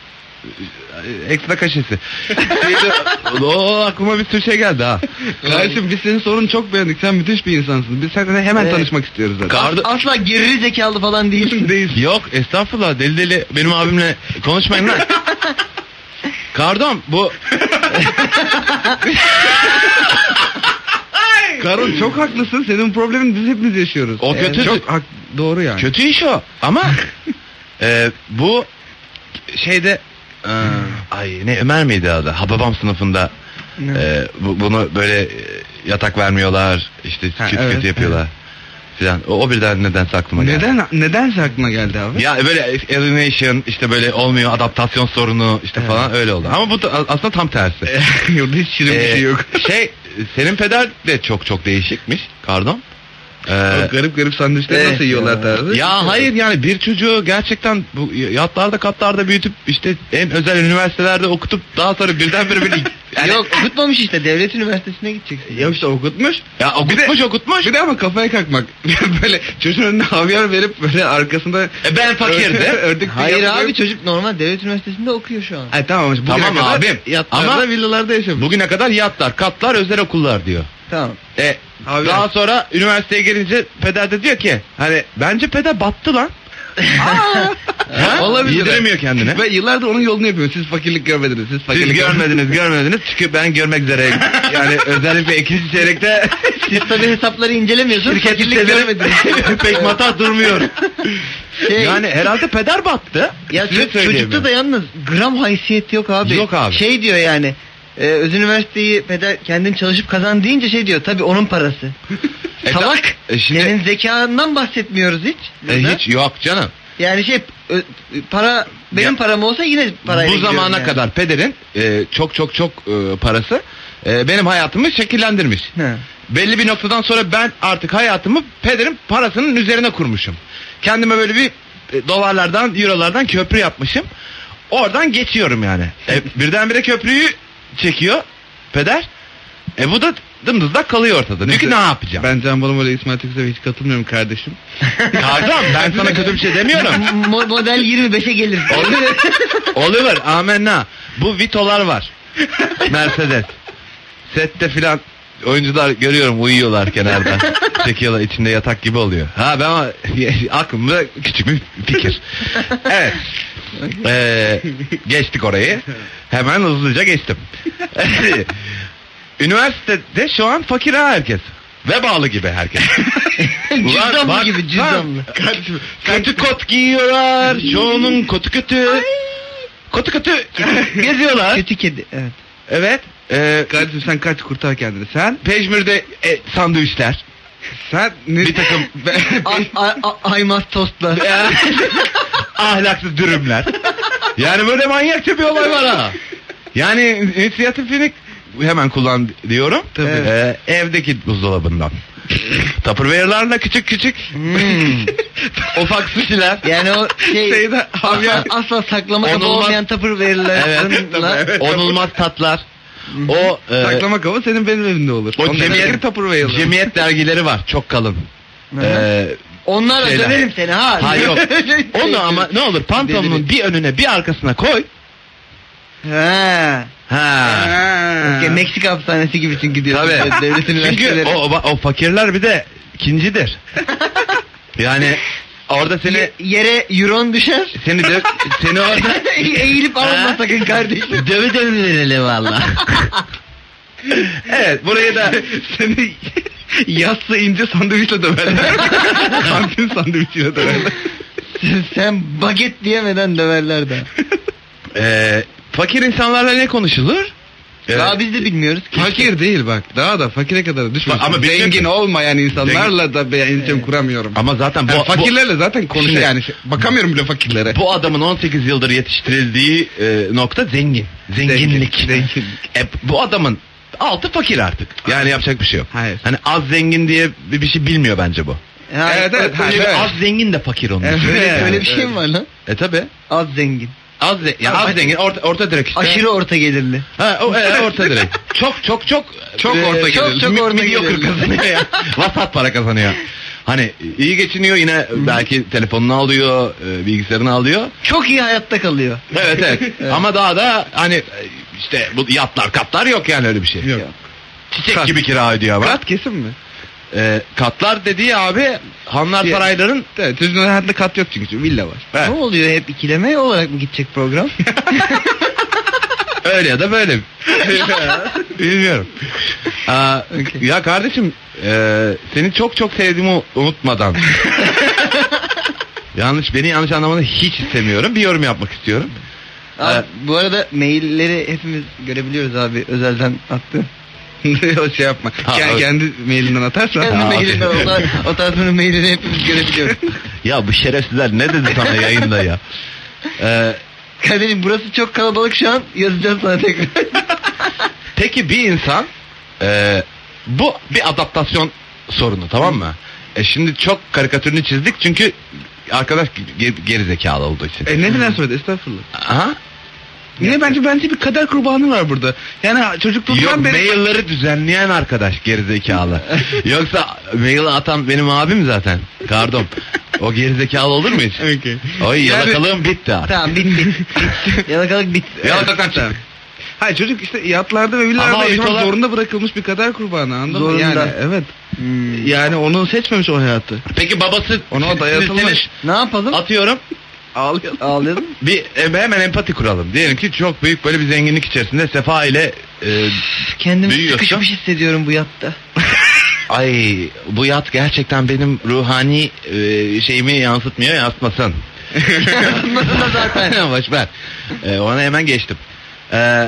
ekstra kaşesi. Şeyde, o aklıma bir sürü şey geldi ha.
Kardeşim biz senin sorunu çok beğendik. Sen müthiş bir insansın. Biz seninle hemen
Evet.
tanışmak istiyoruz zaten.
Kardı-
Asla gerili zekalı falan değil.
Yok estağfurullah deli deli benim abimle konuşmayın lan. Kardom bu
Karol çok haklısın. Senin problemin biz hepimiz yaşıyoruz.
O kötü-
Çok hak, doğru yani.
Kötü iş o ama e, bu şeyde e, ay ne Ömer miydi adı? Hababam sınıfında e, bu- bunu böyle e, yatak vermiyorlar işte
Ha,
kötü
evet,
kötü yapıyorlar filan. O, o birden nedense aklıma geldi.
Neden nedense aklına geldi abi?
Ya böyle alienation işte böyle olmuyor adaptasyon sorunu işte
Evet.
falan öyle oldu. Ama bu da aslında tam tersi.
Yolda hiç şirin bir
Ee,
şey yok.
şey senin peder de çok çok değişikmiş. Pardon. Ee,
O garip garip sandviçleri
Evet
nasıl yiyorlar
ya.
tarzı.
Ya hayır yani bir çocuğu gerçekten bu yatlarda katlarda büyütüp işte en özel üniversitelerde okutup daha sonra birdenbire böyle yani,
Yok okutmamış işte devlet üniversitesine gideceksin.
Ya işte okutmuş.
ya okutmuş okutmuş.
Bir de ama kafaya kalkmak. böyle çocuğun önüne havyar verip böyle arkasında...
E ben fakirdi.
Ördük
Hayır abi çocuk normal devlet üniversitesinde okuyor şu an.
Ay tamam. Bugüne
Tamam
kadar
abim.
Yatlarda
Ama-
villalarda yaşamış.
Bugüne kadar yatlar katlar özel okullar diyor.
Tamam.
E
Abi-
daha sonra üniversiteye gelince peder de diyor ki hani bence peder battı lan. Ha?
Olabilir.
Yediremiyor kendine.
Ve yıllardır onun yolunu yapıyor. Siz fakirlik görmediniz. Siz fakirlik
Siz görmediniz görmediniz çünkü ben görmek üzere yani özellikle ikinci çeyrekte
Siz tabii hesapları incelemiyorsun.
şirketli
Fakirlik görmediniz.
severim pek mata durmuyor.
Şey,
Yani herhalde peder battı.
ya
Size
ço- çocukta
söyleyemiyorum.
da yalnız gram haysiyet yok abi.
Yok abi.
Şey diyor yani. E, öz üniversiteyi peder kendin çalışıp kazan deyince şey diyor tabii onun parası.
E,
Salak.
e, şimdi-
Senin zekandan bahsetmiyoruz hiç.
E,
burada.
hiç yok canım.
Yani şey ö- para benim
Ya-
param olsa yine parayla
Bu
gidiyorum
zamana
yani.
kadar pederin e, çok çok çok e, parası e, benim hayatımı şekillendirmiş.
Ha.
Belli bir noktadan sonra ben artık hayatımı pederin parasının üzerine kurmuşum. Kendime böyle bir e, dolarlardan, eurolardan köprü yapmışım. Oradan geçiyorum yani. E, birdenbire köprüyü çekiyor peder. E bu da dımdızlak kalıyor ortada. Diyor ki ne yapacağım?
Ben Can Balım ile İsmail Türksever'e hiç katılmıyorum kardeşim.
Kardam ben sana kötü bir şey demiyorum.
Mo- model 25'e gelir.
Oliver, Oliver amenna. Bu Vito'lar var. Mercedes. Sette filan oyuncular görüyorum uyuyorlar kenarda. Çekiyorlar içinde yatak gibi oluyor. Ha ben ama- aklımda küçük bir fikir. Evet. Ee, geçtik orayı. Hemen hızlıca geçtim. Üniversitede şu an fakir ha herkes. Ve bağlı gibi herkes. Ulan
cüzdanlı
bak-
gibi cüzdanlı.
Kötü kot giyiyorlar. Çoğunun kotu kötü. Kotu kötü geziyorlar.
Kötü kedi evet.
Evet. Ee,
Kardeşim sen kaç kurtar kendini sen.
pejmürde e, sandviçler.
Sen ne?
Bir takım
Ay, ay, ay- aymaz tostlar.
E, Ya. ahlaksız dürümler. Yani böyle manyakça bir olay var ha. Yani inisiyatifini hemen kullan diyorum.
Tabii.
Ee, evdeki buzdolabından. Tupperware'larla küçük küçük
Hmm.
ufak suşiler.
Yani o şey
Şeyde hamya.
asla, asla saklama kabı
Onulmaz-
olmayan tapır verirler.
Evet.
Bununla-
Evet.
Onulmaz tatlar. O e,
Saklama kabı senin benim evimde olur.
O
Ondan
cemiyet-
sonra Tupperware alırım.
cemiyet dergileri var. Çok kalın. Ee,
Onlarla
Şeyler.
döverim seni ha. şey
Ha, yok. onu ama ne olur pantolonun bir önüne bir arkasına koy.
He.
Ha.
Ha.
Okey, Meksika hapishanesi gibi çünkü diyorsun.
Tabii.
Devlet
Çünkü
üniversiteleri.
o, o, o fakirler bir de ikincidir. yani orada seni
Ye- yere euron düşer.
seni dö- seni orada
Eğilip alma
Ha?
sakın kardeşim.
döve döve verelim valla. evet burayı da
Seni yassı ince sandviçle döverler. Kantin sandviçiyle döverler.
Sen baget diyemeden döverler daha.
Eee Ee, fakir insanlarla ne konuşulur? Ee, Evet.
Daha biz de bilmiyoruz ki.
Fakir değil bak. Daha da fakire kadar düşmüş.
Bak ama
Ama
benim-
zengin olmayan insanlarla da ben iletişim kuramıyorum.
Ama zaten bu,
Yani
bu,
fakirlerle zaten konuşuyor
Şimdi-
yani. Şey- Bakamıyorum bile fakirlere.
bu adamın 18 yıldır yetiştirildiği e, nokta zengin. Zenginlik.
Zenginlik.
E, bu adamın altı fakir artık. Yani yapacak bir şey yok.
Hayır.
Hani az zengin diye bir, bir şey bilmiyor bence bu.
Ha,
Evet, evet,
öyle-
hayır,
Çünkü
evet.
Az zengin de fakir onun.
Evet.
Öyle, öyle bir şey
Evet.
mi var lan?
E tabi.
Az zengin.
Az, ze- ya az zengin orta, orta direk işte.
Aşırı orta gelirli.
Ha, o, e, orta direk. çok çok çok.
Çok orta
Çok
gelirli.
çok
Mi-
orta
mediocre
gelirli. kazanıyor ya. Vasat para kazanıyor. Hani iyi geçiniyor yine belki telefonunu alıyor, e, bilgisayarını alıyor.
Çok iyi hayatta kalıyor.
Evet evet. Ama daha da hani e, işte bu yatlar katlar yok yani öyle bir şey.
Yok.
Çiçek
Kat.
gibi kira ödüyor ama.
Kat kesin mi?
E, katlar dediği abi Hanlar
Ya.
Sarayları'nın
Evet, çocuğun hayatında kat yok çünkü. Villa var.
Evet.
Ne oluyor hep ikileme olarak mı gidecek program?
Öyle ya da böyle. Bilmiyorum. Aa,
Okey.
Ya kardeşim e, seni çok çok sevdiğimi u- unutmadan. yanlış beni yanlış anlamanı hiç istemiyorum. Bir yorum yapmak istiyorum.
Abi, bu arada mailleri hepimiz görebiliyoruz abi özelden attı.
o şey yapma.
Ha,
Ke-
evet.
kendi mailinden atarsan.
Kendi
abi.
mailinden o, tar- o tarz bunun mailini hepimiz görebiliyoruz.
Ya bu şerefsizler ne dedi sana yayında ya? E,
Kardeşim burası çok kalabalık şu an yazacağız sana tekrar.
Peki bir insan e, bu bir adaptasyon sorunu tamam mı? E şimdi çok karikatürünü çizdik çünkü arkadaş ge- gerizekalı olduğu için.
E ne bilen söyledi estağfurullah.
Aha.
Yine bence bence bir kader kurbanı var burada. Yani
Yok
çocukluğumdan beri...
mailleri düzenleyen arkadaş gerizekalı. Yoksa mail atan benim abim zaten. Pardon. O gerizekalı olur mu hiç?
Okey.
Oy
Yani-
yalakalığım bitti artık.
tamam bitti. Yalakalık bitti.
Yalakalıktan çık.
Hayır çocuk işte yatlarda ve
Ama
villalarda yaşamak
Vito'lar-
zorunda bırakılmış bir kader kurbanı anladın mı?
Zorunda.
Yani evet.
Hmm.
Yani onu seçmemiş o hayatı.
Peki babası
Ona
sinir-
dayatılmış.
sinir-
Ne yapalım?
Atıyorum
Ağlıyor.
Ağlayalım.
bir e, hemen empati kuralım. Diyelim ki çok büyük böyle bir zenginlik içerisinde sefa ile e,
Kendimi
Büyüyorsun.
sıkışmış hissediyorum bu yatta.
Ay bu yat gerçekten benim ruhani e, şeyimi yansıtmıyor yansıtmasın.
Nasıl da zaten.
Boş ver. E, ona hemen geçtim. E,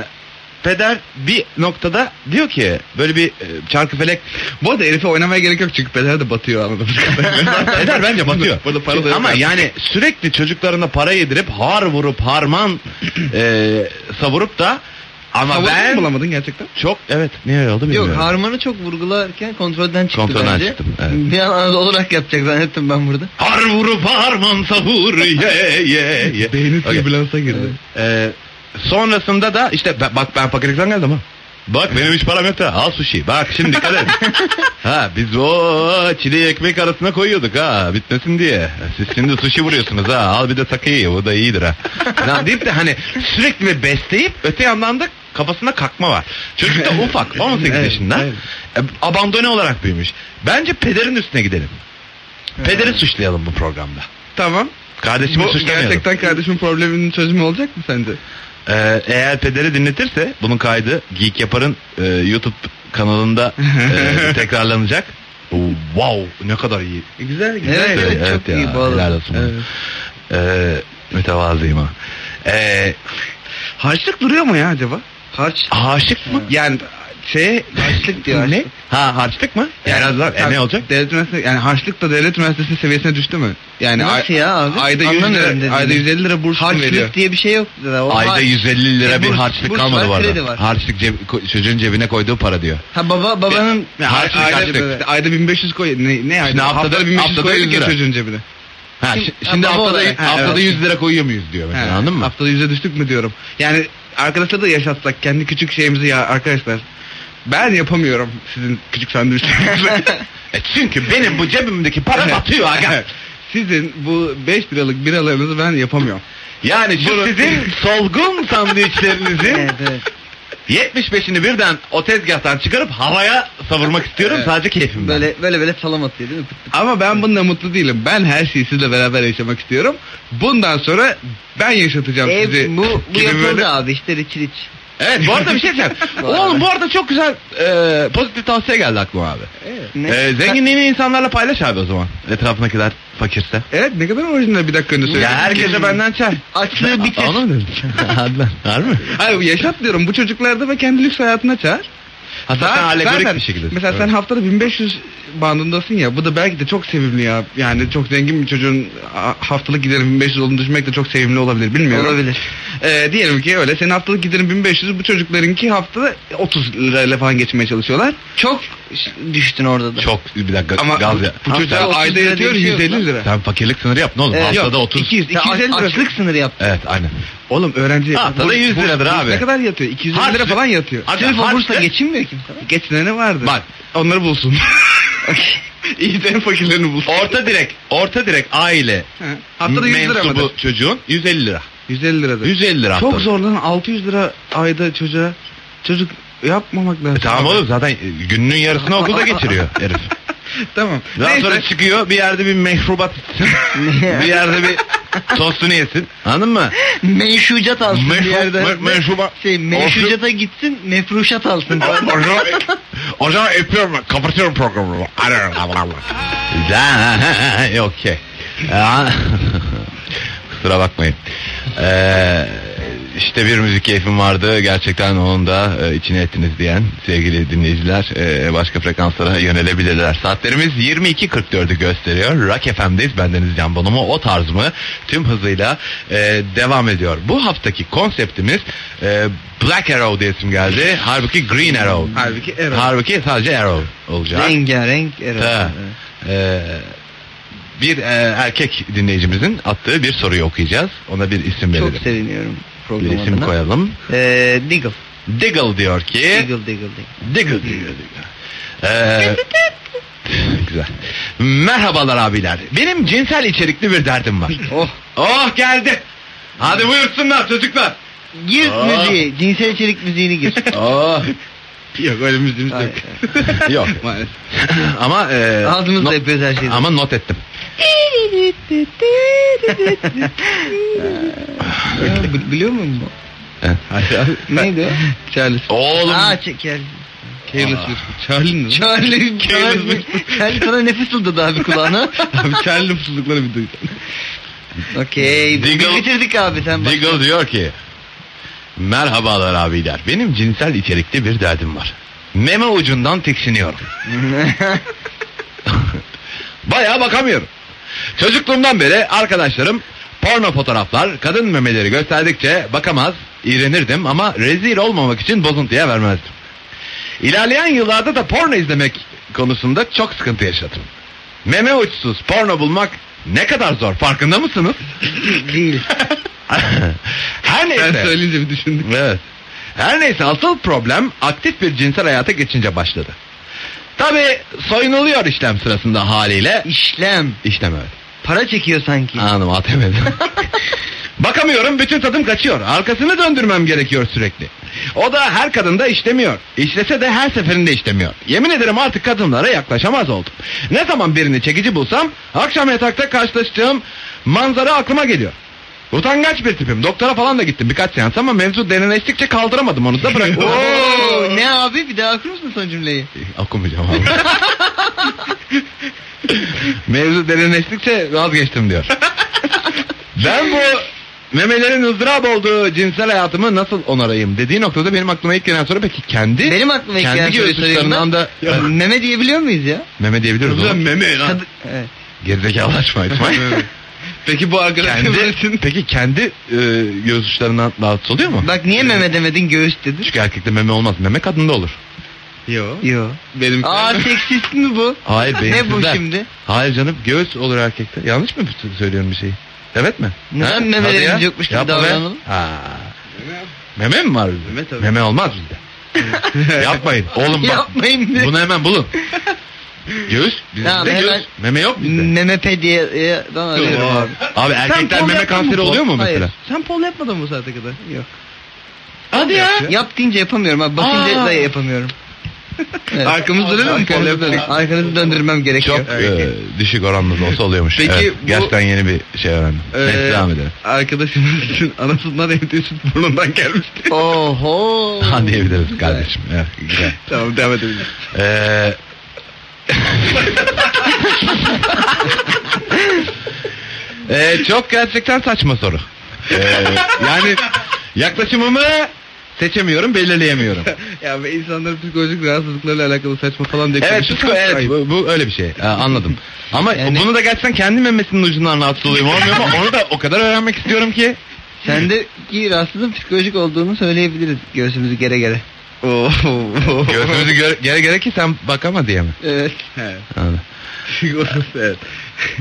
peder bir noktada diyor ki böyle bir e, çarkıfelek
Bu arada herife oynamaya gerek yok çünkü peder de batıyor anladığımız kadarıyla.
Peder bence batıyor.
Burada para da yok
Ama
artık.
yani sürekli çocuklarına para yedirip har vurup harman e, savurup da ama
Ama
ben
bulamadın gerçekten.
çok evet niye oldu bilmiyorum.
Yok harmanı çok vurgularken kontrolden çıktı
Kontrolden
bence.
çıktım, evet.
Bir an Anadolu olarak yapacak zannettim ben burada.
Har vurup harman savur ye ye ye.
Beyni
Okey.
türbülansa girdi.
Ee, sonrasında da işte ben- bak ben fakirlikten geldim ha. Bak benim hiç param yoktu. Al sushi. Bak şimdi dikkat et. ha biz o çileği ekmek arasına koyuyorduk ha bitmesin diye. Siz şimdi sushi vuruyorsunuz ha. Al bir de sakeyi. Bu da iyidir ha. Lan deyip de hani sürekli bir besleyip öte yandan da Kafasında kakma var. Çocuk da ufak 18
Evet,
yaşında.
evet.
E, abandone olarak büyümüş. Bence pederin üstüne gidelim. Pederi suçlayalım bu programda.
Tamam.
Kardeşimi
Bu
suçlamayalım.
gerçekten kardeşimin probleminin çözümü olacak mı sence?
Ee, eğer pederi dinletirse bunun kaydı Geek Yapar'ın e, YouTube kanalında e, tekrarlanacak. Oo, Wow ne kadar iyi.
Güzel
E, güzel. Evet,
Ee,
çok iyi bu arada.
helal olsun.
Evet.
Ee, mütevazıyım ha. Ee,
Harçlık duruyor mu ya acaba?
Harç.
aşık mı?
Yani şey
Harçlık diyor,
ne?
harçlık.
Ha harçlık mı? Yani,
Yani-
e, ne olacak?
Devlet üniversitesi yani harçlık da devlet üniversitesi seviyesine düştü mü? Yani
Nasıl
Hani ay-
ya abi?
ayda 100
Anlamıyorum dediğini.
lira, ayda 150 lira burs mu veriyor.
Harçlık diye bir şey yok. dediler. O
Ayda
harç.
150 lira
E,
bir
burs-
harçlık
burs
kalmadı
var,
bu
kredi
arada.
var.
Harçlık ceb- ko- çocuğun cebine koyduğu para diyor.
Ha baba babanın
Ya,
Harçlık,
ayda,
harçlık.
işte ayda 1500 koy. Ne, ne ayda?
haftada-
haftada 1500
haftada
koyuyorduk
100
ya
lira.
çocuğun cebine.
Ha,
Şimdi-
şi- şimdi
Ha, baba
haftada,
olarak-
Ha,
haftada
evet.
100 lira koyuyor muyuz diyor mesela
He,
anladın mı?
Haftada yüze düştük mü diyorum. Yani arkadaşlar da yaşatsak kendi küçük şeyimizi ya arkadaşlar. Ben yapamıyorum sizin küçük sandviçlerinizi.
E çünkü benim bu cebimdeki para batıyor aga.
sizin bu 5 liralık biralarınızı ben yapamıyorum.
Yani şu
Bunu-
sizin solgun sandviçlerinizin
evet, evet.
75'ini birden o tezgahtan çıkarıp havaya savurmak istiyorum
Evet.
sadece keyfimden.
Böyle böyle böyle salam atıyor değil mi? Pıt pıt.
Ama ben bununla mutlu değilim. Ben her şeyi sizle beraber yaşamak istiyorum. Bundan sonra ben yaşatacağım
E,
sizi.
bu bu
gibi
yapıldı
böyle-
abi işte riç riç.
Evet bu arada bir şey söyleyeceğim. Oğlum bu arada çok güzel e, pozitif tavsiye geldi aklıma abi.
Evet.
Ne?
E, zenginliğini insanlarla paylaş abi o zaman. Etrafındakiler fakirse.
Evet ne kadar orijinal bir dakika önce söyledim.
Ya herkese benden çay.
Açlığı bitir.
Onu mu dedin? Adnan. Var mı?
Hayır yaşat diyorum. Bu çocuklarda ve kendi lüks hayatına çağır.
Ha, zaten
Ben-
alegorik
zaten-
bir şekilde.
Mesela sen haftada 1500 bandındasın ya. Bu da belki de çok sevimli ya. Yani çok zengin bir çocuğun ha- haftalık giderim 1500 olduğunu düşünmek de çok sevimli olabilir. Bilmiyorum.
Olabilir.
Ee, diyelim ki öyle. Senin haftalık giderim 1500 bu çocuklarınki haftada 30 lirayla falan geçmeye çalışıyorlar.
Çok ş- düştün orada da.
Çok bir dakika
Ama
gaz
bu-
ya.
bu, çocuğa
Haftada 30
ayda
lira diye
yatıyor
bir şey yok
150
lan.
lira.
Sen fakirlik sınırı yaptın oğlum.
Evet.
Haftada
Yok,
30.
200,
Sen aç-
250 lira.
açlık sınırı yap.
Evet aynen.
Oğlum öğrenci.
Haftada
Bu-
100
bu-
liradır
bu-
abi.
Ne kadar yatıyor? 250 lira
Harçlık.
falan yatıyor.
Harçlık.
Sırf o
harçlı-
bursla geçinmiyor ki.
Geçinene vardı.
Bak.
Onları bulsun. İyi de en fakirlerini bulsun.
Orta direk, orta direk aile
He. Haftada 100 lira
mensubu
mıdır?
çocuğun 150 lira.
150 liradır.
150 lira
Çok
haftada.
zor lan 600 lira ayda çocuğa. Çocuk yapmamak lazım.
E, tamam oğlum zaten gününün yarısını okulda geçiriyor herif.
Tamam.
Daha
Neyse.
sonra çıkıyor bir yerde bir meşrubat içsin. bir yerde bir tostunu yesin. Anladın mı?
Menşucat alsın bir
Meşru-
yerde.
me- meşrubat.
Şey menşucata gitsin mefruşat alsın.
O zaman yapıyorum ben. Kapatıyorum programı. Güzel. Okey. Ya. Kusura bakmayın. Ee, işte bir müzik keyfim vardı. Gerçekten onun da e, içine ettiniz diyen sevgili dinleyiciler e, başka frekanslara yönelebilirler. Saatlerimiz 22.44'ü gösteriyor. Rock FM'deyiz. Bendeniz Can Bonomo. O tarz mı? Tüm hızıyla e, devam ediyor. Bu haftaki konseptimiz e, Black Arrow diye isim geldi. Halbuki Green Arrow.
Halbuki Erol.
Halbuki sadece Arrow olacak.
Rengarenk
Ha.
erol.
Ee, bir e, erkek dinleyicimizin attığı bir soruyu okuyacağız. Ona bir isim
Çok
verelim.
seviniyorum
bir
programına.
isim koyalım. E?
Ee, Diggle.
Diggle diyor ki...
Diggle, Diggle, Diggle.
Diggle diggle diggle. Ee, güzel. Merhabalar abiler. Benim cinsel içerikli bir derdim var.
Oh.
Oh geldi. Hadi buyursunlar çocuklar.
Gir
Aa.
müziği. Cinsel içerik müziğini gir.
Oh.
Yok öyle müziğimiz
Ay,
yok.
şey Yok.
Maalesef.
ama e,
Ağzımızla
not-
yapıyoruz her şeyi.
ama not ettim.
Ya, bi- Ee, biliyor muyum bu?
Hayır abi.
Neydi o?
Charles.
Oğlum.
Aa çekel.
Careless
Aa.
Whisper. Charlie ne?
Charlie, Charlie, Charlie sana ne fısıldadı abi kulağına?
Abi Charlie'nin fısıldıkları bir duy.
Okey. biz
Diggle-
Bitirdik abi sen bak.
Diggle diyor ki Merhabalar abiler benim cinsel içerikli bir derdim var. Meme ucundan tiksiniyorum. Bayağı bakamıyorum. Çocukluğumdan beri arkadaşlarım porno fotoğraflar kadın memeleri gösterdikçe bakamaz iğrenirdim ama rezil olmamak için bozuntuya vermezdim. İlerleyen yıllarda da porno izlemek konusunda çok sıkıntı yaşadım. Meme uçsuz porno bulmak ne kadar zor farkında mısınız?
Değil.
Her neyse.
Ben söyleyince bir düşündüm.
Evet. Her neyse asıl problem aktif bir cinsel hayata geçince başladı. Tabi soyunuluyor işlem sırasında haliyle.
İşlem.
İşlem evet.
Para çekiyor sanki.
Anladım ATM'den. Bakamıyorum bütün tadım kaçıyor. Arkasını döndürmem gerekiyor sürekli. O da her kadında işlemiyor. İşlese de her seferinde işlemiyor. Yemin ederim artık kadınlara yaklaşamaz oldum. Ne zaman birini çekici bulsam akşam yatakta karşılaştığım manzara aklıma geliyor. Utangaç bir tipim. Doktora falan da gittim birkaç seans ama mevzu derinleştikçe kaldıramadım onu da bırak.
Oo, ne abi bir daha okur musun son cümleyi?
Okumayacağım abi. Mevzu derinleştikçe vazgeçtim diyor. ben bu memelerin ızdırap olduğu cinsel hayatımı nasıl onarayım dediği noktada benim aklıma ilk gelen soru peki kendi
Benim aklıma ilk gelen
kendi
soruyu
göğüslerinden
sorayım
da
ben. Meme diyebiliyor muyuz ya?
meme diyebiliyoruz
Ulan
oğlum.
meme lan.
Kadı- evet.
Gerizekalı açma İsmail.
Peki bu arkadaşlar
kendi,
için
peki kendi e, göğüs uçlarından rahatsız oluyor mu?
Bak niye meme demedin göğüs dedin?
Çünkü erkekte meme olmaz. Meme kadında olur.
Yo.
Yo.
Benim
Aa seksist mi bu?
Hayır
ne bu
benimkinde-
şimdi?
Hayır canım göğüs olur erkekte. Yanlış mı bütün söylüyorum bir şeyi? Evet mi?
Neden
Ha?
memelerimiz
Hadi ya.
yokmuş gibi
Yapma be.
davranalım?
Ha. Meme mi var bizde?
Meme tabii.
Meme olmaz bizde. Yapmayın. Oğlum bak.
Yapmayın de.
Bunu hemen bulun. Göğüs. Bizde
Tamam,
göğüs.
hemen-
Meme yok bizde.
Memepe diye diye ben arıyorum
Tamam.
Abi
abi.
erkekler meme kanseri oluyor mu mesela?
Hayır. Sen pol yapmadın mı bu saate kadar? Yok.
Hadi ya.
Yap deyince yapamıyorum abi. Bakınca
Aa.
da yapamıyorum. Evet.
Arkamız dönüyor mu? Pol
Arkanızı, dön-
yapacak.
arkanızı döndürmem gerekiyor.
Çok
Erkek.
e, düşük oranlı da olsa oluyormuş.
Peki
Evet,
bu-
Gerçekten yeni bir şey öğrendim. Neyse
Ee,
devam edelim.
Arkadaşımız için anasından evde süt burnundan gelmişti.
Oho.
Ha diyebiliriz
Güzel.
kardeşim. Evet, güzel.
tamam devam edelim.
Ee, Ee, çok gerçekten saçma soru. Ee, yani yaklaşımımı seçemiyorum, belirleyemiyorum.
ya ve insanların psikolojik rahatsızlıklarıyla alakalı saçma falan diye
Evet,
konuşursak
psiko- evet
ayıp.
bu, bu öyle bir şey. Ee, anladım. Ama
Yani-
bunu da gerçekten kendi memesinin ucundan rahatsız olayım olmuyor ama onu da o kadar öğrenmek istiyorum ki.
Sendeki rahatsızlığın psikolojik olduğunu söyleyebiliriz göğsümüzü gere gere.
Oo.
Göğsümüzü gö- gere gere ki sen bakama diye mi?
Evet.
Evet.
Anladım. Ee,
Sigortası evet.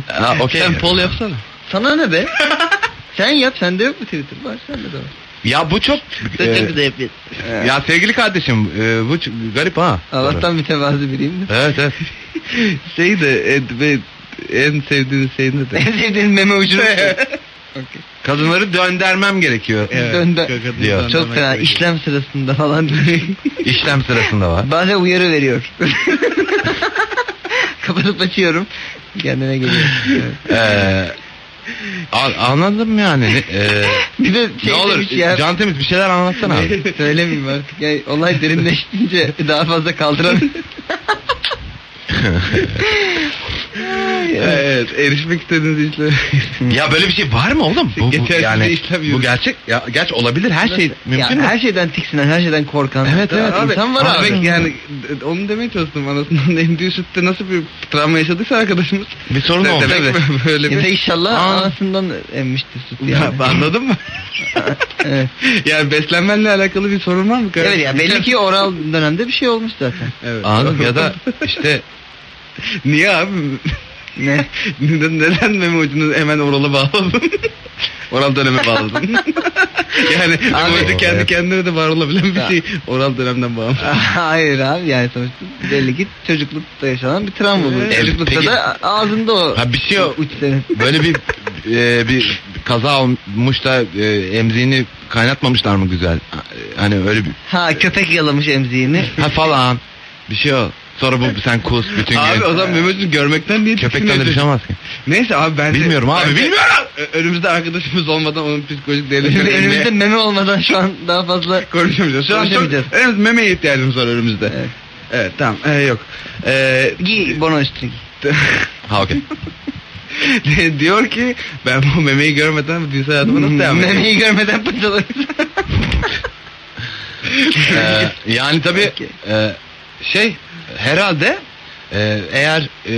Ha, okey.
Sen pol yapsana.
Sana ne be? sen yap sende yok mu Twitter? Var sende de var.
Ya bu çok...
Sen
e,
çok güzel yapıyorsun.
ya sevgili kardeşim e, bu ç- garip ha.
Allah'tan mütevazı biriyim de.
Evet evet.
Şey de e, ve en sevdiğiniz şey ne de?
en sevdiğin meme ucunu. Okey.
Kadınları döndürmem gerekiyor.
Evet.
Diyor.
Çok fena işlem sırasında falan
İşlem sırasında var.
bazen uyarı veriyor. Kapatıp açıyorum. Kendine geliyor. Evet.
Ee, an- anladım yani. Ee,
Bir de şey
ne olur
demiş ya.
can temiz bir şeyler anlatsana abi.
Söylemeyeyim artık. Ya, olay derinleşince daha fazla kaldıran.
Evet erişmek istediğiniz işler.
ya böyle bir şey var mı oğlum? Bu, bu,
Geçersiz
yani,
işlem yürü.
bu gerçek. Ya, gerçi olabilir her şey mümkün
ya,
mü?
her şeyden tiksinen, her şeyden korkan.
Evet, evet,
Abi, insan var abi.
peki yani e, onu demeye çalıştım anasından emdiği sütte nasıl bir travma yaşadıysa arkadaşımız.
Bir sorun
Ne
oldu.
demek
Evet.
böyle
Ya da
bir...
inşallah
Aa.
anasından emmiştir süt
Ya,
yani.
anladın mı?
evet.
yani beslenmenle alakalı bir sorun var mı? kardeşim?
evet ya belli ki oral dönemde bir şey olmuş zaten.
Evet.
Anladım ya da işte
Niye abi?
Ne?
Neden, neden meme ucunu hemen orala bağladın? oral döneme bağladın. yani
Abi-
meme ucu kendi
Evet.
kendine de var olabilen bir
Ya.
şey. Oral dönemden bağımsız.
Hayır abi yani sonuçta belli ki çocuklukta yaşanan bir travma bu.
Evet,
çocuklukta
peki-
da ağzında o
ha bir şey
uç senin.
böyle bir e, bir kaza olmuş da e, emziğini kaynatmamışlar mı güzel? Hani öyle bir
Ha köpek yalamış emziğini.
ha falan bir şey o. Sonra bu sen kus bütün gün.
Abi o zaman meme ucunu görmekten niye
Köpekten de
tiksiniyorsun?
bir şey olmaz ki.
Neyse abi ben
Bilmiyorum abi, bilmiyorum.
Önümüzde arkadaşımız olmadan onun psikolojik değerlerini
Önümüzde meme olmadan şu an daha fazla
konuşamayacağız. Şu an çok
Konuşamayacağız.
evet, memeye ihtiyacımız var önümüzde.
Evet.
Evet, tamam ee, yok. Ee,
Giy bono üstünü.
Ha okey.
diyor ki ben bu memeyi görmeden cinsel hayatıma nasıl
Hmm.
devam edeyim?
Memeyi görmeden paçalarız.
Ee, yani tabii
Peki.
e, şey herhalde e, eğer e,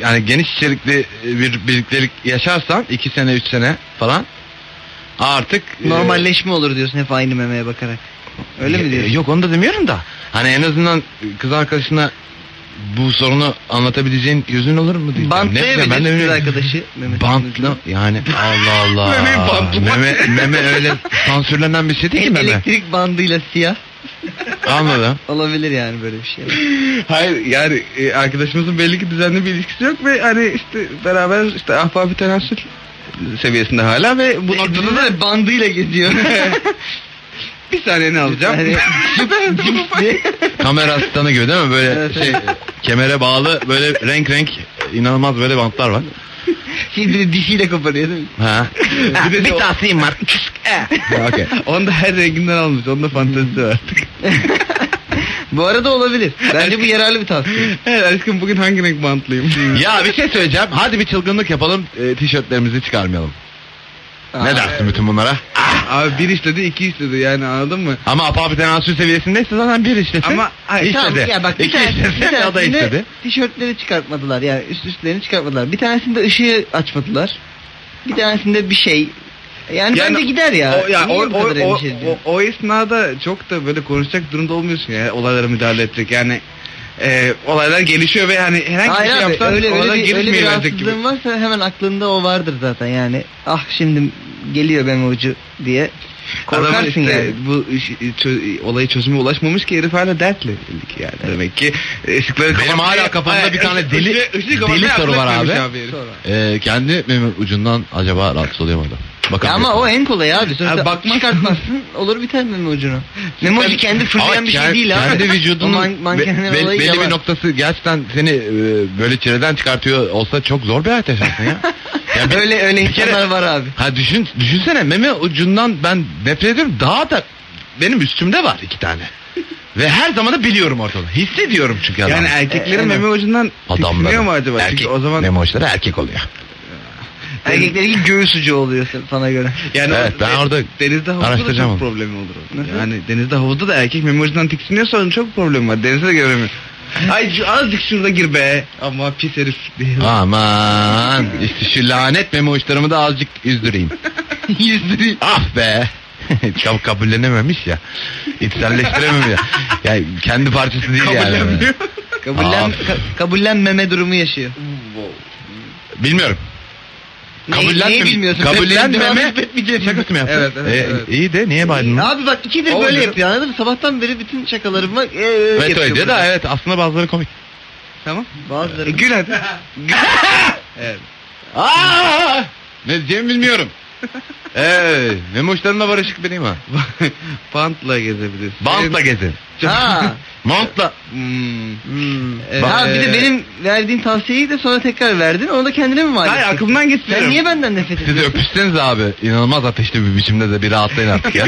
yani geniş içerikli bir birliktelik yaşarsan 2 sene 3 sene falan artık e,
Normalleşme olur diyorsun hep aynı memeye bakarak. Öyle mi
e,
diyorsun?
Yok onu da demiyorum da hani en azından kız arkadaşına bu sorunu anlatabileceğin yüzün olur mu diyeceğim. Ne bileyim, ben de
Bantlayabilir kız
bilmiyorum.
arkadaşı. memesinin
Bantla
ucunu.
yani Allah Allah.
Memeyi bantlamak.
meme, meme öyle sansürlenen bir şey değil ki
Hem
meme.
elektrik bandıyla siyah
Anladım.
olabilir yani böyle bir şey.
Hayır yani e, arkadaşımızın belli ki düzenli bir ilişkisi yok ve hani işte beraber işte ahbap tenasül seviyesinde hala ve bu noktada da
bandıyla geziyor.
Bir saniyeni alacağım.
Yani-
Süper. tamam, bak.
Kamera asistanı gibi değil mi? Böyle
Evet,
şey kemere bağlı böyle renk renk inanılmaz böyle bantlar var.
Şimdi bir dişiyle koparıyor değil mi?
Ha.
Bir de- şey
tasayım var.
Ha, Okey.
Onda her renginden almış. Onda fantezisi var.
Bu arada olabilir. Bence bu yararlı bir tavsiye.
Evet aşkım bugün hangi renk bantlıyım?
Ya bir şey söyleyeceğim. Hadi bir çılgınlık yapalım. e, tişörtlerimizi çıkarmayalım. ne dersin bütün bunlara?
Abi bir istedi iki istedi yani anladın mı?
Ama apabiden tenasül seviyesindeyse zaten bir işlesin.
Ama ay,
İşte
Tamam,
de.
ya bak,
İki
bir tanesi-
istedi,
bir
o da
tanesinde
istedi.
Tişörtleri çıkartmadılar yani üst üstlerini çıkartmadılar. Bir tanesinde ışığı açmadılar. Bir tanesinde bir şey. Yani,
Yani
bence gider ya.
o, ya,
Niye
o,
bu
o,
kadar
o,
endişe ediyorsun?
o, o esnada çok da böyle konuşacak durumda olmuyorsun ya olaylara müdahale edecek yani e, olaylar gelişiyor ve hani herhangi bir
Hayır
şey
abi,
yapsan
öyle,
olaylar
öyle bir, öyle bir
gelişmeye verecek gibi.
rahatsızlığın varsa hemen aklında o vardır zaten yani. Ah şimdi geliyor benim ucu diye. Korkarsın
Adamın işte
yani.
bu işi- çö- olayı çözüme ulaşmamış ki herif hala dertli yani demek ki e, ışıkları
Benim
kapatmaya-
hala kafamda
Ay,
bir tane
ışık-
deli-
ışığı- ışığı
deli
kapatmaya
soru
aklı
var
etmemiş
abi.
herif.
Sonra.
Ee, kendi memin ucundan acaba rahatsız oluyor mu adam? Bakalım.
ama o en kolay abi. Sonuçta
Abi bakmazsın.
çıkartmazsın olur biter memo ucunu. Memo ucu kendi fırlayan
Ama
bir şey
kend-
değil abi.
Kendi
O
vücudunun
man- mankenler
be- be-
olayı
belli bir
yalan.
noktası gerçekten seni e, böyle çileden çıkartıyor olsa çok zor bir hayat yaşarsın ya. ya bir-
Öyle öyle
kere-
insanlar var abi.
Ha düşün, düşünsene meme ucundan ben nefret ediyorum daha da benim üstümde var iki tane. Ve her zaman da biliyorum ortada. Hissediyorum çünkü adamı.
yani erkeklerin
E,
meme ucundan
Adamları.
tiksiniyor mu acaba
Erkek,
çünkü o zaman
meme uçları erkek oluyor.
Erkeklerinki göğüs ucu oluyor sana göre.
Yani
Evet,
o-
ben
de-
orada
denizde havuzda da
araştıracağım onu.
çok problemi olur. onun.
Nasıl?
Yani denizde havuzda da erkek memurcudan tiksiniyorsa onun çok problemi var. Denizde de göremiyor. Ay şu- azıcık şurada gir be. Ama pis herif diye.
Aman işte şu lanet meme uçlarımı da azıcık yüzdüreyim.
Yüzdürüyor.
Ah be. Kab kabullenememiş ya. İçselleştirememiş ya. Yani kendi parçası değil yani.
Kabullenmiyor.
Kabullen,
Abi.
ka- kabullenmeme durumu yaşıyor.
Bilmiyorum.
Ne- neyi bilmiyorsun? Devam
Kabullenmeme.
edip etmeyeceğini.
Şakası mı yaptın?
Evet, evet, evet.
İyi E, de niye bağırdın? lan?
Abi bak ikidir
Oğlum
böyle
dedim.
yapıyor anladın mı? Sabahtan beri bütün şakalarıma e, e,
Veto
yapıyor
ediyor
burada.
da evet aslında bazıları komik.
Tamam.
Bazıları.
E, gül hadi. Gül. evet.
Aa! Ne diyeceğimi bilmiyorum. Eee memoşlarımla barışık benim ha.
Bantla gezebilirsin.
Bantla gezin.
Ha.
Montla.
Hmm.
Hmm.
Evet.
ha bir
e-
de
Ee,
benim verdiğim tavsiyeyi de sonra tekrar verdin. Onu da kendine mi mal
Hayır
ettin?
aklımdan
Sen
gitmiyorum.
niye benden nefret
Siz
ediyorsun?
öpüşseniz abi. İnanılmaz ateşli bir biçimde de bir rahatlayın artık ya.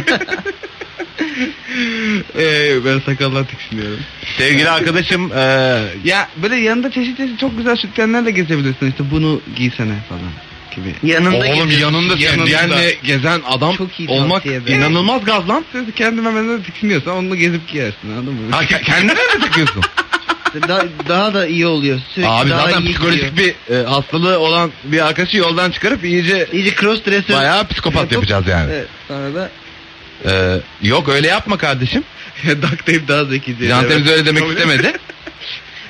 Ee, ben sakaldan tiksiniyorum.
Sevgili arkadaşım eee
Ya böyle yanında çeşit çeşit çok güzel sütyenlerle gezebilirsin. İşte bunu giysene falan gibi.
Yanında
Oğlum
getir.
yanında
Yanında.
sevgiyenle gezen adam
Çok iyi
olmak
tavsiye be.
inanılmaz gaz lan.
Sen kendime benden tiksiniyorsan onu gezip giyersin anladın mı?
Ha, ke- kendine mi takıyorsun?
Da- daha da iyi oluyor. Sürekli
Abi
daha
zaten
iyi
psikolojik
gidiyor.
bir e, hastalığı olan bir arkadaşı yoldan çıkarıp iyice
İyice cross dresser.
bayağı psikopat yapacağız yani.
Evet, sonra da
Ee, yok öyle yapma kardeşim.
Duct tape daha zekice.
Can Temiz
Evet.
öyle demek istemedi.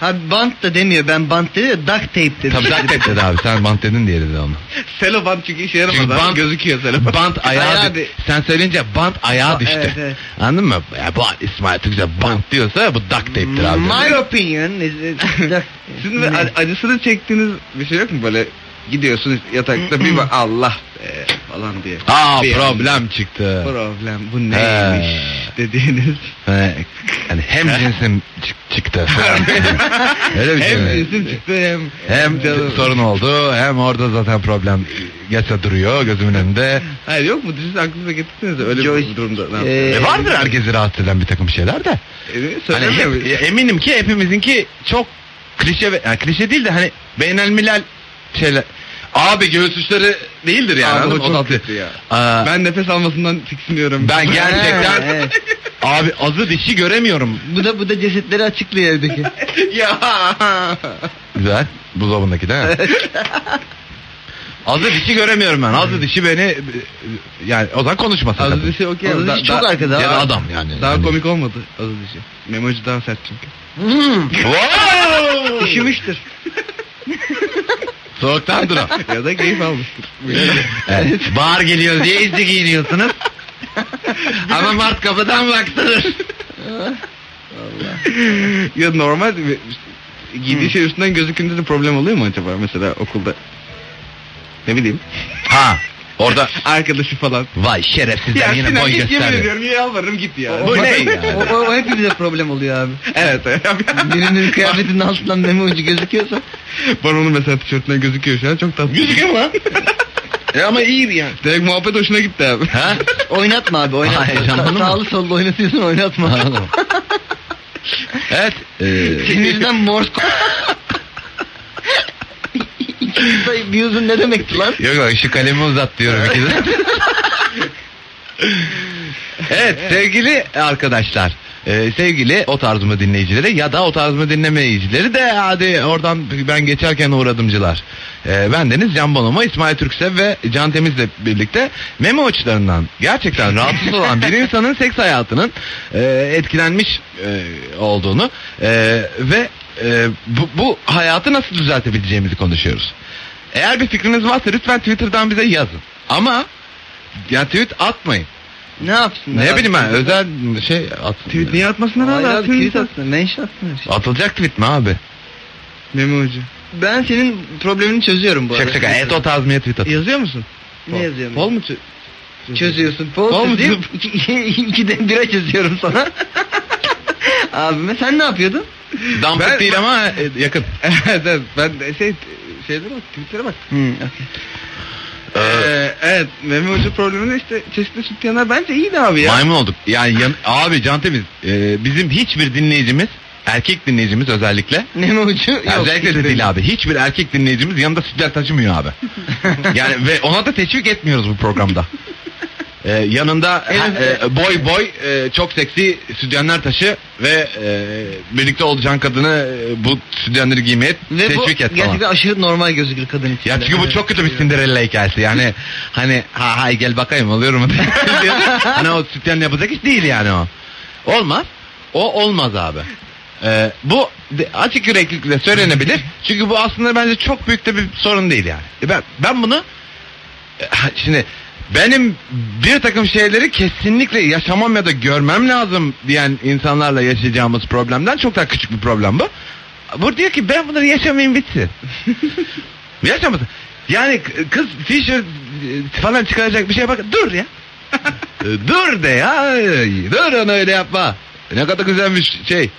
Ha bant da demiyor. Ben bant dedi de duct tape dedi.
Tabii zaten dedi abi sen bant dedin diye dedi onu.
Selobant çünkü işe yaramaz.
Çünkü
abi,
bant-
gözüküyor selobant.
Bant ayağa düştü.
Ayağı di-
Sen söyleyince bant ayağa düştü.
Evet, evet.
Anladın mı? Ya bu İsmail Türkçe bant diyorsa bu duct tape'tir abi.
My opinion is is duct
Sizin de
tape.
ac- acısını çektiğiniz bir şey yok mu böyle? Gidiyorsun yatakta bir bak Allah be falan diye.
Aa
Bir
problem çıktı.
Problem bu neymiş
He.
dediğiniz.
He, yani Ee, hani hem cinsim çık- çıktı. falan. Öyle bir şey
Hem
mi?
isim çıktı hem...
Hem
canım.
sorun oldu hem orada zaten problem geçse duruyor gözümün önünde.
Hayır yok mu? Siz aklınıza getirseniz öyle
Joyce-
bir durumda. Ne E,
Ee,
E vardır herkesi rahatsız eden bir takım şeyler de.
yapıyorsunuz?
Hani
Söylemiyor
hep-
muyuz?
ya eminim ki hepimizinki çok klişe ve yani klişe değil de hani beynelmilel şeyler. Abi göğüs uçları değildir yani.
Abi,
anladın
o
mı?
çok
tatlı.
kötü ya.
Aa, ben,
Ben nefes almasından tiksiniyorum.
gerçekten
Ha, evet.
abi azı dişi göremiyorum.
Bu da bu da cesetleri açıklıyor evdeki.
ya.
Güzel. Buzdolabındaki değil mi? azı dişi göremiyorum ben. Azı dişi beni yani o zaman konuşmasın.
Aziz
kadın.
dişi okey.
Aziz
Da-
dişi çok
da-
arkada
Ya da
Daha-
adam yani.
Daha
Hani-
komik olmadı Aziz dişi. Memoji daha sert çünkü.
Hmm.
Wow!
Üşümüştür.
Soğuktan dura.
ya da keyif almıştır.
Evet. Bahar geliyor diye izli giyiniyorsunuz. Ama Mart kapıdan baktınız.
ya normal bir- giydiği şey üstünden gözükünce de problem oluyor mu acaba mesela okulda? Ne bileyim.
Ha. Orada
Arkadaşı falan.
vay şerefsizler
Ya
yine
Sinan
boy
git yemin
gösterdi.
ediyorum yalvarırım git ya.
Bu ne ya?
O, o, o hepimize problem oluyor abi.
Evet.
Birinin kıyafetinin altından meme ucu gözüküyorsa
Bana onun mesela tişörtüne gözüküyor şu an çok tatlı.
Gözüküyor mu lan?
Ya ama iyi bir yani. Direkt muhabbet hoşuna gitti abi.
Ha?
oynatma abi oynatma.
Hayır, canım
Sa-
mı?
sağlı sollu oynatıyorsun oynatma.
Anladım. evet. e, eee,
Senin yüzünden morse ko- İkimiz de bir yüzün ne demekti lan?
Yok yok şu kalemi uzat diyorum ikide. evet sevgili arkadaşlar. e, sevgili o tarzımı dinleyicileri ya da o tarzımı dinlemeyicileri de hadi oradan ben geçerken uğradımcılar. E, ben Deniz Can Bonomo, İsmail Türksev ve Can Temiz'le birlikte meme uçlarından gerçekten rahatsız olan bir insanın seks hayatının e, etkilenmiş e, olduğunu e, ve e, bu, bu hayatı nasıl düzeltebileceğimizi konuşuyoruz. Eğer bir fikriniz varsa lütfen Twitter'dan bize yazın. Ama ya tweet atmayın.
Ne yapsın?
Ne bileyim ben özel şey atsın.
Tweet niye atmasınlar
Hayır
abi?
abi tweet
Atsın.
atsın. Mention atsın her şey.
Atılacak tweet mi abi?
Memo Hoca.
Ben senin problemini çözüyorum bu
Şaka
arada.
şaka. Evet o tarz mı tweet atın.
Yazıyor musun?
Ne yazıyorum?
Pol mu çö-
Çözüyorsun. Pol,
Pol mu
çözeyim. İki, iki, iki de bira çözüyorum sana. Abime sen ne yapıyordun?
Dumpet
Ben-
değil ama e, yakın.
evet evet. ben de şey şeylere bak tweetlere bak.
Hı, okey.
Ee,
Ee, evet Memo Hoca problemini işte çeşitli sütyenler bence iyiydi abi ya.
Ee, Maymun olduk. Yani yan- abi Can Temiz e, bizim hiçbir dinleyicimiz erkek dinleyicimiz özellikle
Ne mi ucu? Yok. şey.
özellikle de değil abi. Hiçbir erkek dinleyicimiz yanında sütler taşımıyor abi. yani ve ona da teşvik etmiyoruz bu programda. Ee, yanında
En
ha-
azından-
e, boy boy e, çok seksi sütyenler taşı ve e, birlikte olacağın kadını e, bu sütyenleri giymeye
Ve bu
teşvik et falan.
gerçekten aşırı normal gözükür kadın için.
Ya çünkü bu çok kötü bir Cinderella hikayesi. Yani hani ha hay gel bakayım oluyorum. mu?" hani o sütyen yapacak iş değil yani o. Olmaz. O olmaz abi. Ee, bu de- açık yüreklilikle söylenebilir. Çünkü bu aslında bence çok büyük de bir sorun değil yani. E Ben ben bunu e, ha, şimdi benim bir takım şeyleri kesinlikle yaşamam ya da görmem lazım diyen insanlarla yaşayacağımız problemden çok daha küçük bir problem bu. Bu diyor ki ben bunları yaşamayayım bitsin. Yaşamasın. Yani k- kız t-shirt e, falan çıkaracak bir şey bak dur ya. E, dur de ya. Ay, Dur onu öyle yapma. Ne kadar güzelmiş şey.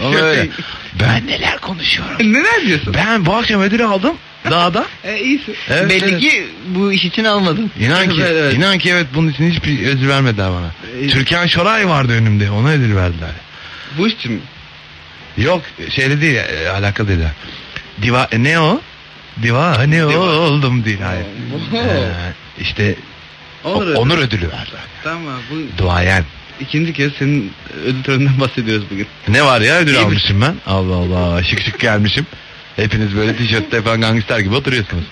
Ama öyle. Şey, E, Ben neler konuşuyorum.
Neler diyorsun?
Ben bu akşam ödül aldım dağda.
E, iyisin.
Evet,
Belli
evet.
ki bu iş için almadım.
İnan ki,
Evet, evet.
inan ki evet E, bunun için hiçbir ödül vermediler bana.
Ee,
Türkan Şoray vardı önümde ona ödül verdiler.
Bu iş için mi?
Yok şeyle değil e, alakalı değil. Diva e, ne o? Diva ne o
Diva.
oldum değil hayır.
Oo.
Ee, işte
Onur
onur,
ödülü.
ödülü verdi.
Tamam abi, bu
Duayen.
ikinci kez senin ödül töreninden bahsediyoruz bugün.
Ne var ya ödül
İyi bir-
almışım ben. Allah Allah şık şık gelmişim. Hepiniz böyle tişörtte falan gangster gibi oturuyorsunuz.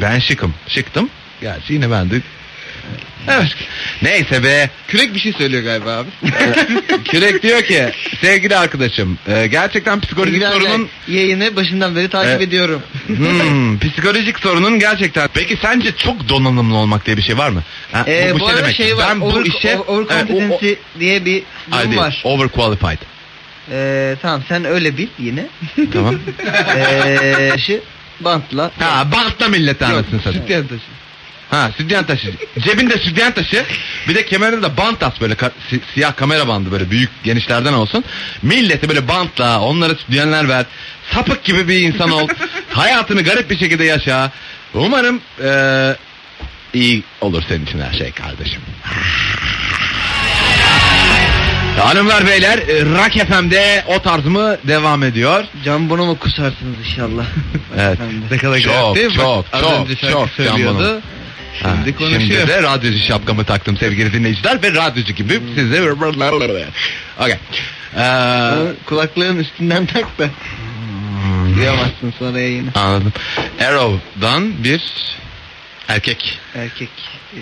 ben şıkım. Şıktım. Gerçi yine ben de... Evet. Neyse be.
Kürek bir şey söylüyor galiba abi.
Kürek diyor ki sevgili arkadaşım e, gerçekten psikolojik
İlgilenme.
sorunun
Yayını başından beri takip
Evet.
ediyorum.
Hmm, psikolojik sorunun gerçekten. Peki sence çok donanımlı olmak diye bir şey var mı? Ha,
Ee, bu,
şey
arada
demek.
şey var.
Ben bu
over,
işe
overcompetency diye bir durum var.
overqualified.
Ee, tamam sen öyle bil yine.
tamam.
Eee şu bantla.
Ha, bantla millet anasını satayım.
Sütyen taşı.
Ha, sütyen taşı. Cebinde sütyen taşı. Bir de kemerinde bant as böyle ka- si- siyah kamera bandı böyle büyük genişlerden olsun. Millete böyle bantla onlara sütyenler ver. Sapık gibi bir insan ol. Hayatını garip bir şekilde yaşa. Umarım eee, iyi olur senin için her şey kardeşim. Hanımlar beyler e, Rock FM'de o tarz mı devam ediyor?
Can Bonomo kusarsınız inşallah.
Evet.
Efendim.
Ne kadar
Çok,
değil mi?
çok,
Az
çok,
önce
çok
şarkı
canlanım.
söylüyordu.
Ha,
Şimdi konuşuyor.
şimdi de radyocu şapkamı taktım sevgili dinleyiciler ve radyocu gibi size okay. Ee,
Onu Kulaklığın üstünden tak da duyamazsın sonra yayını.
hmm, anladım. Arrow'dan bir erkek.
Erkek eee,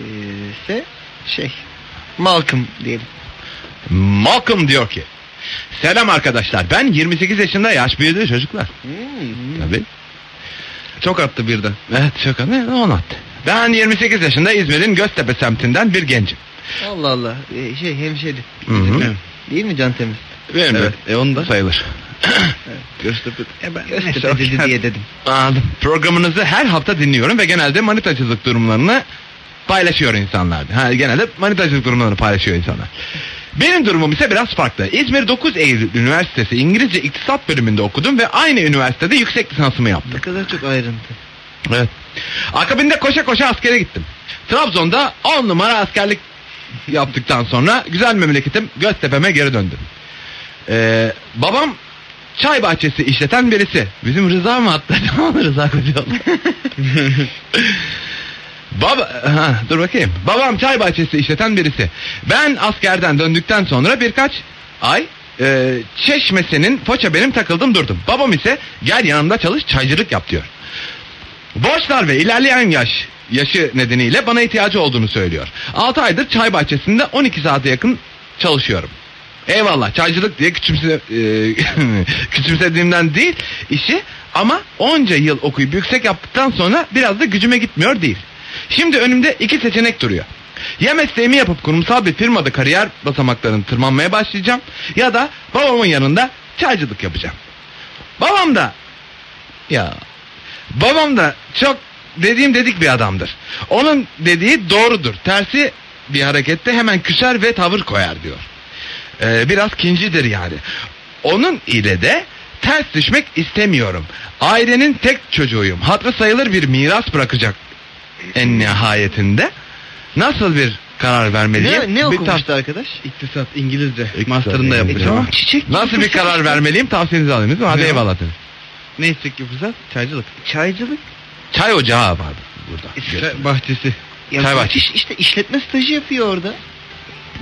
ise şey Malcolm diyelim.
Malcolm diyor ki Selam arkadaşlar ben 28 yaşında yaş büyüdü çocuklar.
Hmm.
Tabii.
Çok attı birden.
Evet şaka ne anlat. Ben 28 yaşında İzmir'in Göztepe semtinden bir gencim.
Allah Allah. Ee, şey hemşeri.
Hı hı.
Değil mi Can Temiz?
Benim de
Evet, e onu da.
sayılır.
Göztepe. E ben
Göztepe dedi diye dedim.
Anladım. Programınızı her hafta dinliyorum ve genelde manitacılık durumlarını paylaşıyor insanlar. Ha, genelde manitacılık durumlarını paylaşıyor insanlar. Benim durumum ise biraz farklı. İzmir 9 Eylül Üniversitesi İngilizce İktisat bölümünde okudum ve aynı üniversitede yüksek lisansımı yaptım.
Ne kadar çok ayrıntı.
Evet. Akabinde koşa koşa askere gittim. Trabzon'da 10 numara askerlik yaptıktan sonra güzel memleketim Göztepe'me geri döndüm. Ee, babam çay bahçesi işleten birisi. Bizim Rıza mı hatta? Tamam Rıza Kocaoğlu. Baba, ha, dur bakayım. Babam çay bahçesi işleten birisi. Ben askerden döndükten sonra birkaç ay e, çeşmesinin poça benim takıldım durdum. Babam ise gel yanımda çalış çaycılık yap diyor. Borçlar ve ilerleyen yaş yaşı nedeniyle bana ihtiyacı olduğunu söylüyor. 6 aydır çay bahçesinde 12 saate yakın çalışıyorum. Eyvallah çaycılık diye küçümse, e, küçümsediğimden değil işi ama onca yıl okuyup yüksek yaptıktan sonra biraz da gücüme gitmiyor değil. Şimdi önümde iki seçenek duruyor. Ya mesleğimi yapıp kurumsal bir firmada kariyer basamaklarını tırmanmaya başlayacağım ya da babamın yanında çaycılık yapacağım. Babam da ya Babam da çok dediğim dedik bir adamdır. Onun dediği doğrudur. Tersi bir harekette hemen küser ve tavır koyar diyor. Ee, biraz kincidir yani. Onun ile de ters düşmek istemiyorum. Ailenin tek çocuğuyum. Hatırı sayılır bir miras bırakacak en nihayetinde. Nasıl bir karar vermeliyim?
Ne, ne
Bir tavsiye-
okumuştu arkadaş?
İktisat İngilizce.
İktisat,
Master'ını da
İngilizce.
yapacağım.
tamam.
çiçek.
Nasıl bir karar vermeliyim? Tavsiyenizi alayım. değil mi? Hadi
Ne?
eyvallah. dedim.
Ne istek yapacağız? Çaycılık.
Çaycılık.
Çay ocağı var burada.
Çay bahçesi.
Ya
E, Çay
bu
bahçesi.
iş- işte işletme stajı yapıyor orada.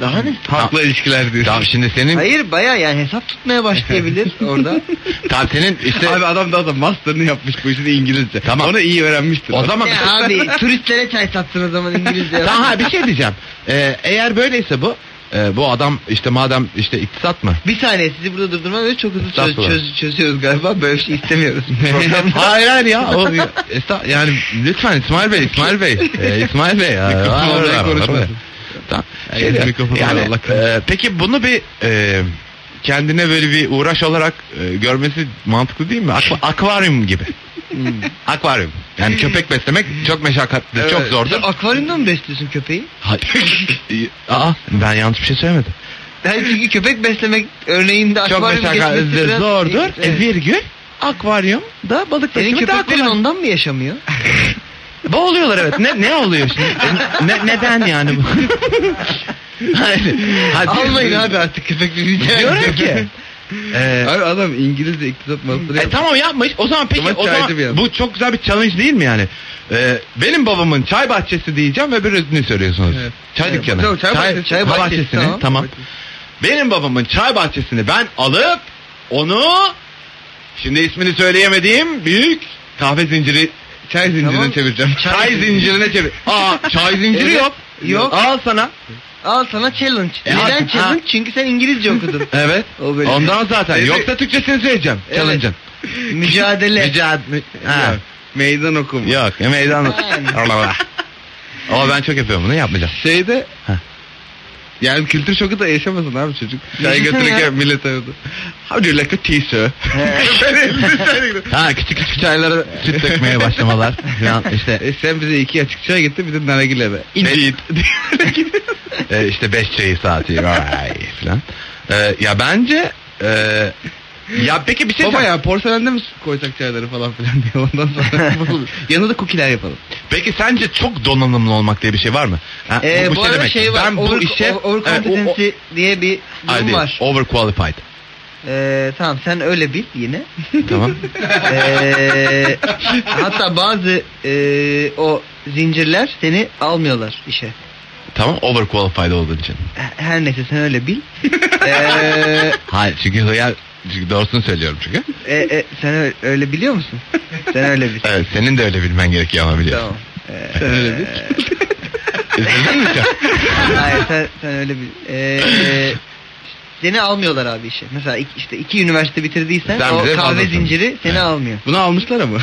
Daha ne?
Halkla ilişkiler diyorsun.
Tamam şimdi senin
Hayır baya yani hesap tutmaya başlayabilir orada.
Tamam senin işte
Abi adam daha da master'ını yapmış bu işi de İngilizce.
Tamam.
Onu iyi öğrenmiştir.
o zaman
ya abi turistlere çay sattın o zaman İngilizce.
Tamam, ha, bir şey diyeceğim. Ee, eğer böyleyse bu e, bu adam işte madem işte iktisat mı?
Bir saniye sizi burada durdurmam ve çok hızlı çöz,
Estağfurullah.
çöz- çözüyoruz galiba. Böyle bir şey istemiyoruz. Program-
hayır hayır ya. O, Esta- yani lütfen İsmail Bey, İsmail Bey. Ee, İsmail Bey ya.
Mikrofonu
Var,
oraya
var,
konuşmasın.
var. Tamam.
Yani
Şey de-
mikrofonu
yani,
oraya, Allah kahretsin.
e, peki bunu bir e, kendine böyle bir uğraş olarak e, görmesi mantıklı değil mi? Akva- akvaryum gibi.
Hmm.
Akvaryum. Yani köpek beslemek çok meşakkatli, çok
Evet.
zordur.
Sen akvaryumda mı besliyorsun köpeği?
Hayır. Aa, ben yanlış bir şey söylemedim.
Ben çünkü köpek beslemek örneğinde
Çok
akvaryum geçmesi
meşakkatlidir,
biraz-
zordur.
Evet.
E, virgül akvaryum da balık
Senin
taşımak daha
köpeklerin
kolay.
ondan mı yaşamıyor?
Boğuluyorlar evet. Ne, ne oluyor şimdi? E, ne, neden yani bu? Hayır. Hadi.
Almayın abi artık köpek rica
Diyorum
ediyorum.
ki. e,
Abi adam İngilizce iktisat master'ı
e, tamam yapmış. O zaman peki
Ama
o
çaycı bir
zaman
adam.
bu çok güzel bir challenge değil mi yani? E, benim babamın çay bahçesi diyeceğim ve bir ödünü söylüyorsunuz.
Evet.
Çay
Evet.
dükkanı.
Tamam, çay bahçesi.
çay
Bahçesi,
bahçesini
tamam.
tamam. Benim babamın çay bahçesini ben alıp onu şimdi ismini söyleyemediğim büyük kahve zinciri
Çay zincirine
Tamam.
çevireceğim.
çay, zincirine çevir. Aa çay zinciri
Evet.
yok.
Yok.
Al sana.
Al sana challenge.
E,
Neden
artık-
challenge? Çünkü sen İngilizce okudun.
Evet.
O böyle.
Ondan zaten.
Evet.
Yoksa Türkçesini söyleyeceğim.
Evet.
Challenge'ın.
Mücadele.
Mücadele. Ha.
Yok, Meydan okuma.
Yok. e, Meydan.
Yani.
Allah Allah. Ama ben çok yapıyorum bunu yapmayacağım.
Şeyde
Heh.
yani kültür şoku da yaşamasın abi çocuk. Çay
Yaşasın ya.
götürürken millet aradı. How do you like a tea sir?
Ha küçük küçük çaylara süt dökmeye başlamalar. falan işte
e, sen bize iki açık çay getir bir de nargile be.
Indeed. e, işte 5 çayı saati vay falan. E, ya bence e, ya peki bir şey
Baba
diyeceğim.
ya porselende mi koysak çayları falan filan diye ondan sonra. Yanına da kukiler yapalım.
Peki sence çok donanımlı olmak diye bir şey var mı? Ha,
Ee, bu,
şey
arada
demek.
şey var.
Ben
over,
bu işe E,
o- overcompetency diye bir durum var.
overqualified.
Ee, tamam sen öyle bil yine.
tamam.
Ee, hatta bazı ee, o zincirler seni almıyorlar işe.
Tamam overqualified olduğun için.
Her neyse sen öyle bil. Ee,
Hayır çünkü hıyar çünkü doğrusunu söylüyorum çünkü.
e, e, sen ö- öyle biliyor musun? Sen öyle bil.
Evet, senin de öyle bilmen gerekiyor ama biliyorsun.
Tamam. Ee,
Sen öyle bil. Üzüldün mü sen?
Hayır sen, sen öyle bil. Ee, seni almıyorlar abi işe. Mesela iki, işte iki üniversite bitirdiysen
Sen
o
bize
kahve
fazlasın.
zinciri seni
Evet.
almıyor.
Bunu almışlar ama.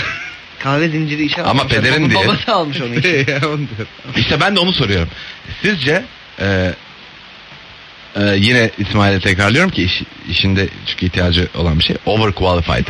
Kahve zinciri işe
Ama
almamışlar.
pederin
Babam-
diye.
Babası almış onu işe.
ya onu diyorum.
İşte ben de onu soruyorum. Sizce e, Ee, yine İsmail'e tekrarlıyorum ki iş- işinde çünkü ihtiyacı olan bir şey. Overqualified.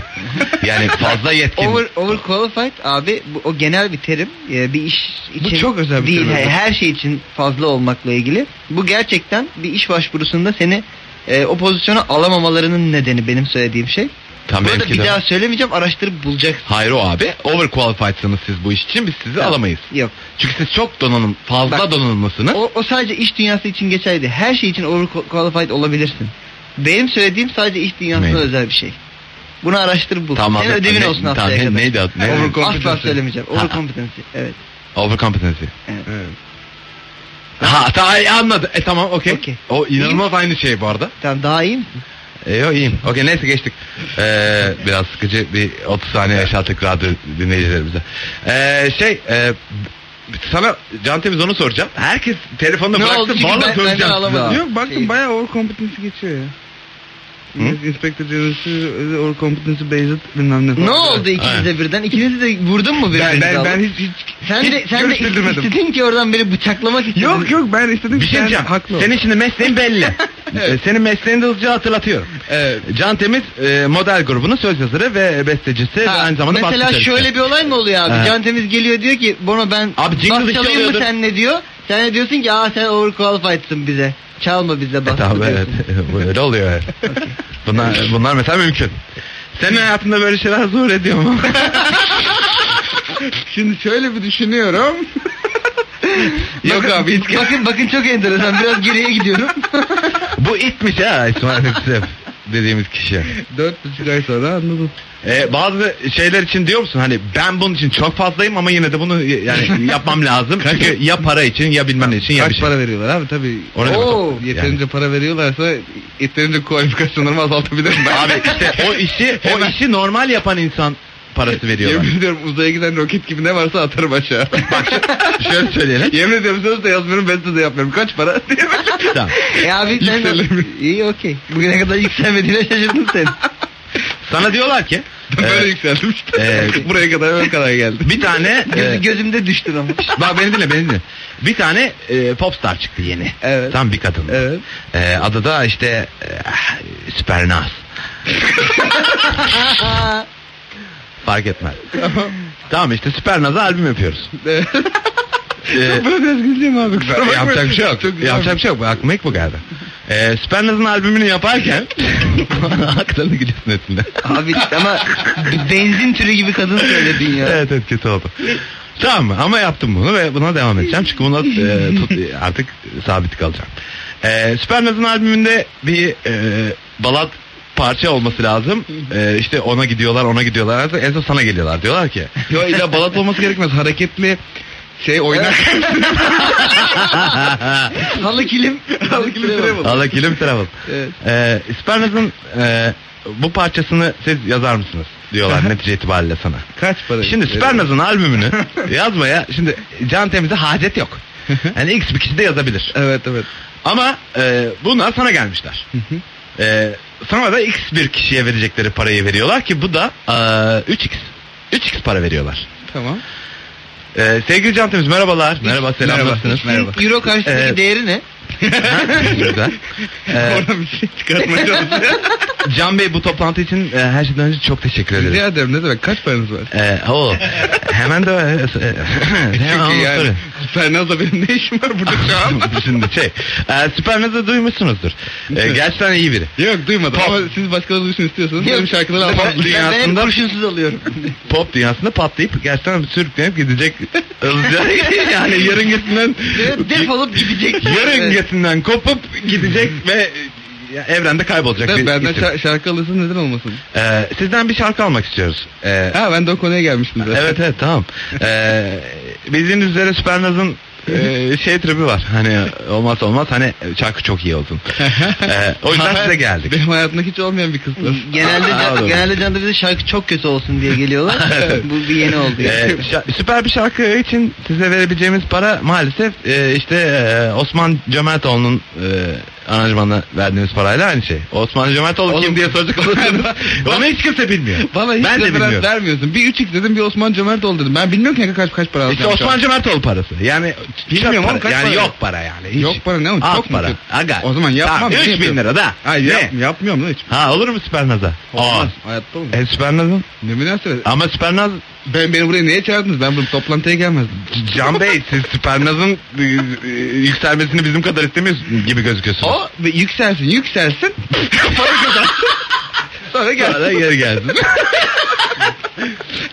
yani fazla yetkin.
Over, overqualified abi bu, o genel bir terim. Ee, bir iş için
çok özel bir
değil. he-
terim.
Her şey için fazla olmakla ilgili. Bu gerçekten bir iş başvurusunda seni e, o pozisyona alamamalarının nedeni benim söylediğim şey.
Tam
Burada
benimki
bir
de-
daha söylemeyeceğim araştırıp bulacaksın.
Hayır o abi. Overqualified'sınız siz bu iş için. Biz sizi
Ya.
alamayız.
Yok.
Çünkü siz çok donanım, fazla
Bak,
donanımlısınız.
O, o sadece iş dünyası için geçerli. Her şey için overqualified olabilirsin. Benim söylediğim sadece iş dünyasına
Neydi?
özel bir şey. Bunu araştır bul. Senin ödevin
Ne-
olsun
tamam,
haftaya
ne-
kadar.
Neydi adı? Ne?
Over- Overcompetency.
Asla söylemeyeceğim.
Ha.
Overcompetency. Evet.
Overcompetency.
Evet.
Ha ta- anladı. E tamam okey.
Okey.
O inanılmaz aynı şey bu arada.
Tamam daha iyi mi?
E yo iyiyim. Okey neyse geçtik. Ee, biraz sıkıcı bir 30 saniye yaşattık radyo dinleyicilerimize. Ee, şey e, sana Can Temiz onu soracağım. Herkes telefonunu
Ne
bıraksın.
oldu? Çünkü
vallahi
ben-
soracağım
benden
size.
alamadım.
Yok baktım
Şey-
bayağı over competency geçiyor ya.
Hı?
Inspector General'sı over competency based bilmem ne falan.
Ne oldu ikiniz de birden? İkinizi de vurdun mu birbirinize?
Ben, ben, ben
Allah?
hiç, hiç
sen de,
hiç
sen de
görüş bildirmedim.
istedin ki oradan beni bıçaklamak istedin.
Yok yok ben istedim
Bir
ki
şey
sen
diyeceğim.
haklı ol.
Senin şimdi mesleğin belli. Ee, Senin mesleğini de hızlıca hatırlatıyorum.
Evet.
Can Temiz e, model grubunun söz yazarı ve bestecisi
Ha,
ve aynı zamanda
mesela
baskı
şöyle
çalışanı.
bir olay mı oluyor abi?
Evet.
Can Temiz geliyor diyor ki Bono ben
Abi jingle
bas
işi
çalayım mı
oluyordur.
senle diyor. Sen de diyorsun ki aa sen overqualified'sın bize. Çalma bize bas.
E, tabii evet.
diyorsun.
Böyle oluyor. evet. bunlar, bunlar mesela mümkün. Senin hayatında böyle şeyler zuhur ediyor mu?
Şimdi şöyle bir düşünüyorum.
Yok
Bakın-
abi hiç
Bakın bakın çok enteresan. Biraz geriye gidiyorum.
Bu itmiş ha İsmail Hepsep dediğimiz kişi.
Dört buçuk ay sonra anladım.
Ee, bazı şeyler için diyor musun hani ben bunun için çok fazlayım ama yine de bunu y- yani yapmam lazım. Çünkü ya para için ya bilmem ne için ya bir
Kaç
şey.
para veriyorlar abi tabii.
O ne demek?
Oo, yeterince para veriyorlarsa yeterince kualifikasyonlarımı azaltabilirim ben.
Abi işte o işi o
Hemen.
işi normal yapan insan parası veriyorlar.
Yemin ediyorum uzaya giden roket gibi ne varsa atarım aşağı.
Şöyle söyleyelim.
Yemin ediyorum söz de yazmıyorum ben de yapmıyorum. Kaç para?
Tamam.
E abi sen
Yükselemiyor.
iyi okey. Bugüne kadar yükselmediğine şaşırdım sen.
Sana diyorlar ki
Böyle
e,
yükseldim işte.
Evet.
Buraya kadar öyle kadar geldim.
bir tane
Gözü-
e,
gözümde düştün ama.
bak beni dinle beni dinle. Bir tane e, popstar çıktı yeni.
Evet.
Tam bir kadın.
Evet.
E, adı da işte e, Süpernaz. Fark etmez. tamam işte Süpernaz'a albüm yapıyoruz.
Evet.
Ee,
Böyle biraz güleceğim abi. kusura bakma.
yapacak bir şey yok.
Çok güzel
yapacak bir şey yok. Bu Aklıma ilk bu geldi. Ee, Süpernaz'ın albümünü yaparken aklını gidiyorsun etinde.
Abi ama benzin türü gibi kadın söyledin ya.
evet evet kötü oldu. Tamam mı? Ama yaptım bunu ve buna devam edeceğim. Çünkü buna e, tut- e, artık sabit kalacağım. E, Süpernaz'ın albümünde bir e, balat parça olması lazım. E, işte ona gidiyorlar, ona gidiyorlar. En son sana geliyorlar. Diyorlar ki
Yo illa balat olması gerekmez. Hareketli şey oynar.
Halı kilim.
Halı kilim türe bak.
Allah kilim tarafı.
Evet.
Ee, Spernaz'ın e, bu parçasını siz yazar mısınız? Diyorlar
Aha.
netice itibariyle sana.
Kaç para?
Şimdi Spernaz'ın albümünü yazmaya şimdi Can Temiz'e hacet yok. Yani X bir kişi de yazabilir.
Evet evet.
Ama e, bunlar sana gelmişler.
hı.
E, sana da X bir kişiye verecekleri parayı veriyorlar ki bu da e, 3X. 3X para veriyorlar.
Tamam.
E, sevgili Can Temiz merhabalar. Merhaba selam
merhaba,
nasılsınız?
Euro karşısındaki
Evet.
değeri ne?
Güzel. E,
Oradan bir şey çıkartmaya çalışıyorum.
Can Bey bu toplantı için e, her şeyden önce çok teşekkür ederim.
Rica ederim ne demek kaç paranız var?
Ee, o hemen de e, hemen
Çünkü
onu
yani
sorayım.
Süpernaz'la benim ne işim var burada şu an?
Şimdi şey, e, Superman'ı duymuşsunuzdur. E, gerçekten iyi biri.
Yok duymadım
Pop.
ama siz başkaları duysun istiyorsanız benim
Yok,
şarkıları
ben-
almam.
ben- Ben hep
dünyasında-
kurşunsuz alıyorum.
Pop dünyasında patlayıp gerçekten sürüklenip gidecek. hızlıca. yani yörüngesinden
Evet, Defolup gidecek. Evet.
yörüngesinden kopup gidecek ve e, evrende kaybolacak
Ben,
bir
benden
isim.
şa- şarkı alırsın neden olmasın?
E, sizden bir şarkı almak istiyoruz. E,
Ha ben de o konuya gelmiştim zaten.
Evet evet tamam. Ee, bildiğiniz üzere Supernaz'ın e, şey tribi var. Hani olmaz olmaz hani şarkı çok iyi olsun. Ee, o yüzden
Ha,
size geldik.
Benim hayatımda hiç olmayan bir kızsın.
Genelde
Aa, doğru.
can, genelde canda bize şarkı çok kötü olsun diye geliyorlar.
Evet.
Bu bir yeni oldu. yani.
Ee, şa- süper bir şarkı için size verebileceğimiz para maalesef e, işte e, Osman Cömertoğlu'nun e, aranjmanda verdiğimiz parayla aynı şey. Osman Cömertoğlu
Oğlum-
kim diye soracak olursanız onu hiç kimse bilmiyor.
Bana hiç
ben de
referans
bilmiyorum.
vermiyorsun. Bir 3x dedim bir Osman Cömertoğlu dedim. Ben bilmiyorum ki kaç kaç para
İşte
alacağım şu an.
Osman Cömertoğlu parası. Yani
Bilmiyorum
çok
oğlum, kaç
yani
para?
yok para yani. Hiç.
Yok para ne oğlum
Az
çok mu
para.
çok?
Aga.
O zaman yapmam.
Tamam,
ne
3 bin
yapıyorum?
lira da.
Hayır
Ne?
yap- yapmıyorum lan hiç.
Ha olur mu Süpernaz'a?
Olmaz. Hayatta olmaz.
E Süpernaz'ın?
Ne münasebet.
Ama Süpernaz
Ben beni buraya niye çağırdınız? Ben buraya toplantıya gelmezdim.
Can Bey siz Süpernaz'ın e, e, yükselmesini bizim kadar istemiyorsunuz gibi gözüküyorsunuz.
O ve yükselsin yükselsin. para kazansın. Sonra gel.
Sonra geri gelsin.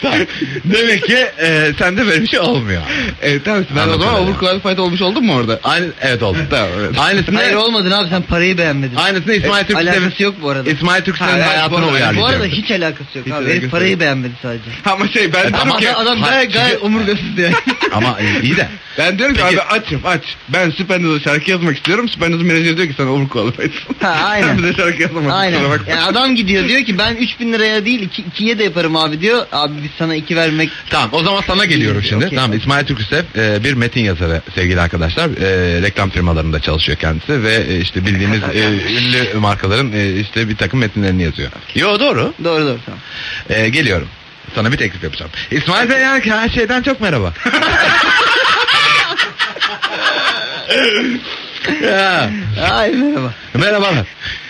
Tamam. Demek ki e, sende böyle bir şey olmuyor.
Evet tamam ben o
Anladım
zaman
öyle.
overqualified olmuş oldum mu orada?
Aynı, evet oldu.
Tamam, evet.
Aynısını,
Hayır olmadın abi sen parayı beğenmedin.
aynısını
E,
İsmail Türksel'in
Alakası yok bu arada.
İsmail
Ha,
Türksel'in
evet,
hayatına
bu arada-
uyarlayacak.
Bu arada hiç alakası yok
Hiç
abi.
alakası
Herif parayı
yok.
beğenmedi sadece.
Ama şey
E,
ben diyorum
tamam
ki.
ya,
adam, adam
ha,
gayet, gayet
çünkü-
omurgasız yani.
Ama iyi de.
Ben diyorum ki
Peki.
abi açım aç. Ben Süpernaz'a şarkı yazmak istiyorum. Süpernaz'ın menajeri diyor ki sen overqualified'sın.
Ha, aynen.
Sen bize şarkı yazamazsın.
Aynen.
kusura bakma.
Yani adam gidiyor diyor ki ben 3000 liraya değil 2, 2'ye de yaparım abi diyor. Abi biz sana 2 vermek
Tamam o zaman sana geliyorum şimdi.
Okey.
Tamam İsmail Türküsev e, bir metin yazarı sevgili arkadaşlar. E, reklam firmalarında çalışıyor kendisi ve e, işte bildiğiniz e, ünlü markaların e, işte bir takım metinlerini yazıyor. Yo doğru.
doğru doğru tamam.
E, geliyorum. Sana bir teklif yapacağım. İsmail Bey ya, her şeyden çok merhaba. ya,
Ay merhaba.
merhabalar.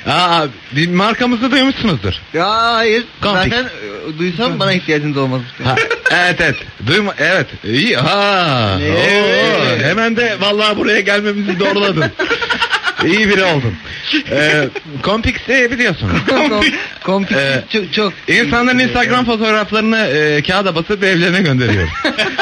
Aa, bir markamızı duymuşsunuzdur.
Ya hayır.
Kampik.
Zaten e, duysam bana ihtiyacınız olmaz.
Ha, evet evet. Duyma evet. İyi ha.
Ne?
Oo, hemen de vallahi buraya gelmemizi doğruladın. İyi biri oldun. Ee, Compix'i biliyorsun.
Kom- Kompik
Ee,
çok çok.
İnsanların Instagram fotoğraflarını e, kağıda basıp evlerine gönderiyor.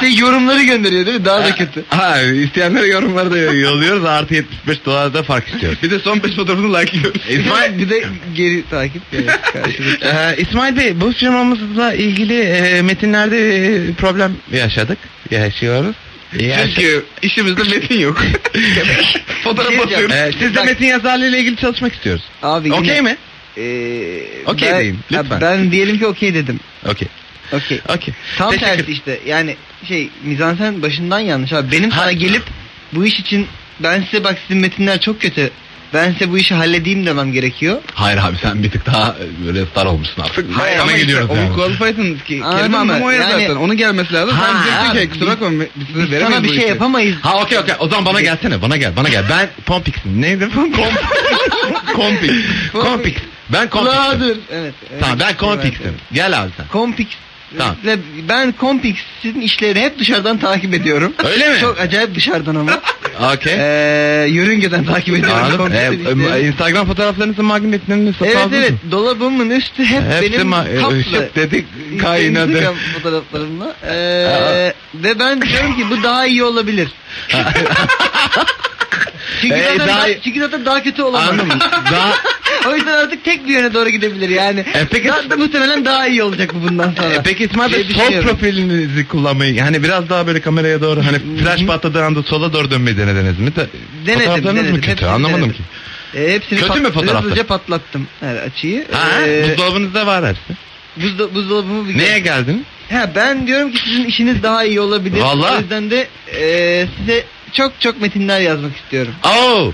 şey yorumları gönderiyor değil mi? Daha da kötü.
Ha, isteyenlere yorumları da yolluyoruz. Artı 75 dolar da fark istiyoruz.
Bir de son 5 fotoğrafını like ediyoruz.
İsmail,
bir de geri takip yani karşılıklı.
Ee, İsmail Bey bu firmamızla ilgili e, metinlerde e, problem yaşadık. Yaşıyoruz.
Çünkü işimizde metin yok. Fotoğraf
Bir şey
basıyorum.
Ee, siz de
Bak-
metin yazarlığıyla ilgili çalışmak istiyoruz.
Abi yine-
Okey mi?
Ee,
Okey
ben-
deyin, lütfen.
Ha, Ben diyelim ki okey dedim.
Okey.
Okey.
Okey.
Tam
Teşekkür-
tersi işte. Yani şey mizansen başından yanlış abi. Benim
Ha.
sana gelip bu iş için ben size bak sizin metinler çok kötü. Ben size bu işi halledeyim demem gerekiyor.
Hayır abi sen bir tık daha e, böyle star olmuşsun artık.
Hayır ama gidiyoruz işte, overqualified'ın ki kelime
Anladın
anlamı
mı?
o ya
Yani-
zaten. Onun gelmesi lazım.
Ha,
Sen diyorsun
abi,
ki kusura
biz-
bakma biz size
Biz
veremeyiz
sana bir
bu
şey
işi."
yapamayız.
Ha okey okey. O zaman bana gelsene. Bana gel. Bana gel. Ben Pompix'im. Neydi? Pomp- Compix. Compix. Ben Compix'im.
Kulağıdır. Evet. evet.
Tamam ben Compix'im.
Evet.
Gel abi sen.
Compix.
Tamam.
Ve Ben Compix'in işlerini hep dışarıdan takip ediyorum.
Öyle mi?
Çok acayip dışarıdan ama.
Okey.
Ee, yörüngeden takip ediyorum.
Anladım.
Compix'in işlerini.
Ee, Instagram fotoğraflarınızın magnetlerini satın
Evet
aldınız
evet
mı?
dolabımın üstü hep
Hepsi
benim
ma- e,
kaplı.
ışık dedi, kaynadı.
Instagram fotoğraflarımla. Ee, ve ben diyorum ki bu daha iyi olabilir. çünkü,
Ee,
zaten
daha-
daha... çünkü zaten daha kötü olamaz.
Anladım. Daha...
o yüzden artık tek bir yöne doğru gidebilir yani.
E, peki-
Daha da muhtemelen daha iyi olacak bu bundan sonra.
E, peki İsmail Bey
Diye
sol
Şey düşünüyorum.
profilinizi kullanmayı yani biraz daha böyle kameraya doğru hani flash patladığı anda sola doğru dönmeyi denediniz mi? Da,
Denedim,
fotoğraflarınız
denedim.
mı kötü?
Hepsini
Anlamadım
denedim.
ki.
E, hepsini
Kötü
pat-
mü fotoğrafta?
Hızlıca patlattım her açıyı.
Ha,
Ee,
buzdolabınızda var hepsi.
buzda- buzdolabımı bir-
Neye geldin?
Ha ben diyorum ki sizin işiniz daha iyi olabilir.
Vallahi.
O yüzden de e, size çok çok metinler yazmak istiyorum.
Oo!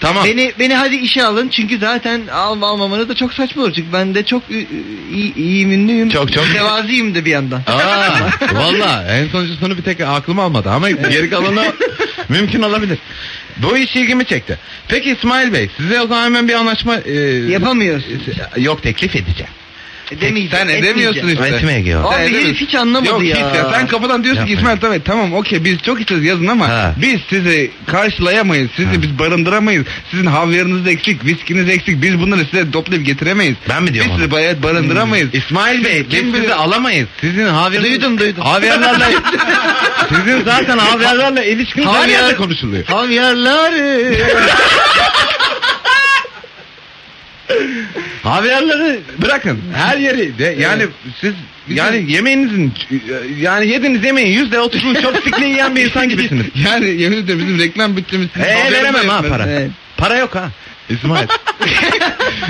Tamam.
Beni beni hadi işe alın çünkü zaten alma almamanız da çok saçma olur. Çünkü ben de çok ü- ü- iyi, iyiyim, ünlüyüm.
Çok, çok.
Mütevazıyım de bir yandan.
Aa, valla en sonuncusunu bir tek aklım almadı ama geri kalanı mümkün olabilir. Bu iş ilgimi çekti. Peki İsmail Bey size o zaman hemen bir anlaşma... E,
Yapamıyorsun.
Yok teklif edeceğim.
Edemeyeceğim.
E, sen edemiyorsun
etmeyeceğim.
İşte.
Etmeye gidiyor.
Abi
Sen
herif
edemiyorsun.
hiç anlamadı
Yok,
ya.
hiç ya. Sen kafadan diyorsun ki
Yapmayın.
İsmail tamam tamam okey biz çok isteriz yazın ama
Ha.
biz sizi karşılayamayız. Sizi
Ha.
biz barındıramayız. Sizin havyarınız eksik, viskiniz eksik. Biz bunları size toplayıp getiremeyiz.
Ben mi diyorum
Biz sizi bayağı barındıramayız.
İsmail Bey biz
Kim bilir?
sizi alamayız. Sizin havyarınız...
Duydum, duydum.
Havyarlarla... sizin zaten havyarlarla ilişkiniz her
Havyar-
yerde konuşuluyor.
Havyarlar.
Havyarları bırakın. Her yeri de yani siz yani yemeğinizin yani yediğiniz yemeğin yüzde otuzunu çok sikliği yiyen bir insan gibisiniz.
Yani yemin ediyorum bizim reklam bütçemiz. sizin
Ee
havyarınız
veremem ha
yetmez.
para.
Evet.
Para yok ha. İsmail.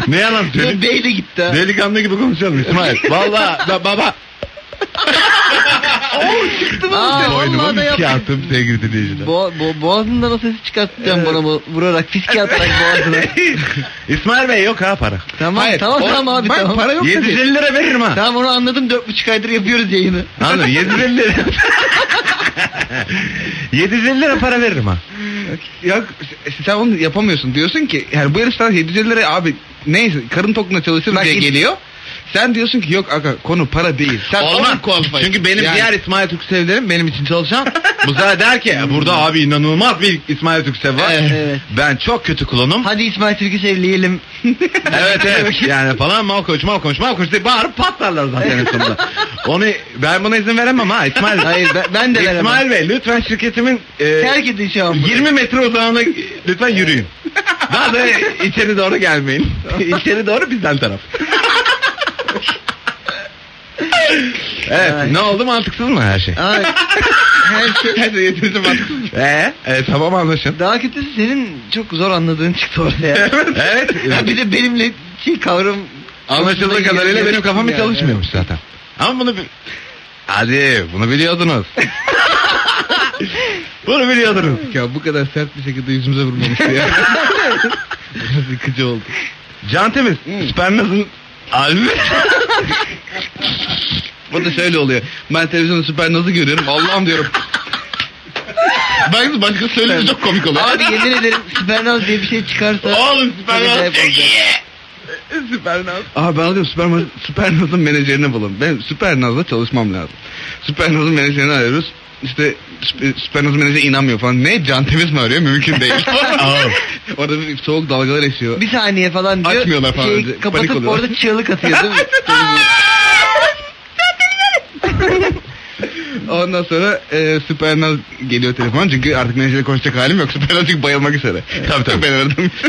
ne yalan söyleyeyim.
Bey de gitti. ha.
Delikanlı gibi konuşalım İsmail. Valla ba- baba.
Çıktı mı?
Aa,
Vallahi
boynumu
da
riske
yaptım.
attım sevgili dinleyiciler.
Bo bo boğazından o sesi çıkartacağım
Evet.
bana bu- vurarak fiske atarak boğazına.
İsmail Bey yok ha para.
tamam
Hayır,
tamam
o-
tamam abi
bak,
tamam.
para yok.
750 lira veririm ha.
Tamam onu anladım dört buçuk aydır yapıyoruz yayını.
Anladın mı? 750 lira. 750 lira para veririm ha.
Ya sen onu yapamıyorsun. Diyorsun ki yani bu herif sana 750 lira abi neyse karın tokluğuna çalışır
Bak
diye
git-
geliyor. Sen diyorsun ki yok aga konu para değil. Sen
Olmaz.
onun qualified.
Çünkü benim
Yani-
diğer İsmail Türksevlerim benim için çalışan. Bu zaten der ki "Ya burada abi inanılmaz bir İsmail Türksev var.
Hmm. Evet, evet.
Ben çok kötü kullanım.
Hadi İsmail Türk'ü sevleyelim.
evet evet yani falan mal koç mal koç mal koç diye bağırıp patlarlar zaten en sonunda. Onu ben buna izin veremem ha İsmail.
Hayır ben, ben de veremem.
İsmail Bey lütfen şirketimin e,
Terk edin şu an. bunu.
20 metre uzağına lütfen yürüyün. Daha da içeri doğru gelmeyin. içeri doğru bizden taraf. evet
Ay.
ne oldu mantıksız mı her şey?
Ay, her şey.
Her şey yeterince mantıksız mı? Ee, e, tamam anlaşın.
Daha kötüsü senin çok zor anladığın çıktı ortaya.
evet.
Ya bir de benimle şey kavram
Anlaşıldığı
konusunda
kadarıyla
yarışım
benim kafam hiç
yani.
çalışmıyormuş zaten. Ama bunu bi- Hadi bunu biliyordunuz. bunu biliyordunuz.
Ya bu kadar sert bir şekilde yüzümüze vurmamıştı ya. Biraz yıkıcı oldu.
Can Temiz,
Hmm.
Spernaz'ın albümü.
Bu da şöyle oluyor. Ben televizyonda süper nazı görüyorum. Allah'ım diyorum. Ben başka söyleyince çok komik oluyor.
Abi yemin ederim Sibernaz diye bir şey çıkarsa
Oğlum
Beni de
Spernaz.
yapacak.
Spernaz.
Aa ben alıyorum süper, süper nazın menajerini bulun. Ben süper nazla çalışmam lazım. Süper nazın menajerini arıyoruz. İşte Sp- süper nazın menajeri inanmıyor falan. Ne can temiz mi arıyor? Mümkün değil.
Oğlum.
Orada bir soğuk dalgalar esiyor.
bir saniye falan diyor.
Açmıyorlar falan
şeyi
önce, panik
Kapatıp
oluyorlar.
orada çığlık atıyor değil şey mi?
Ondan sonra e, süper naz geliyor telefon. Çünkü artık menajerle konuşacak halim yok. Süper naz çünkü bayılmak üzere.
Tabii, tabii.
Ben aradım.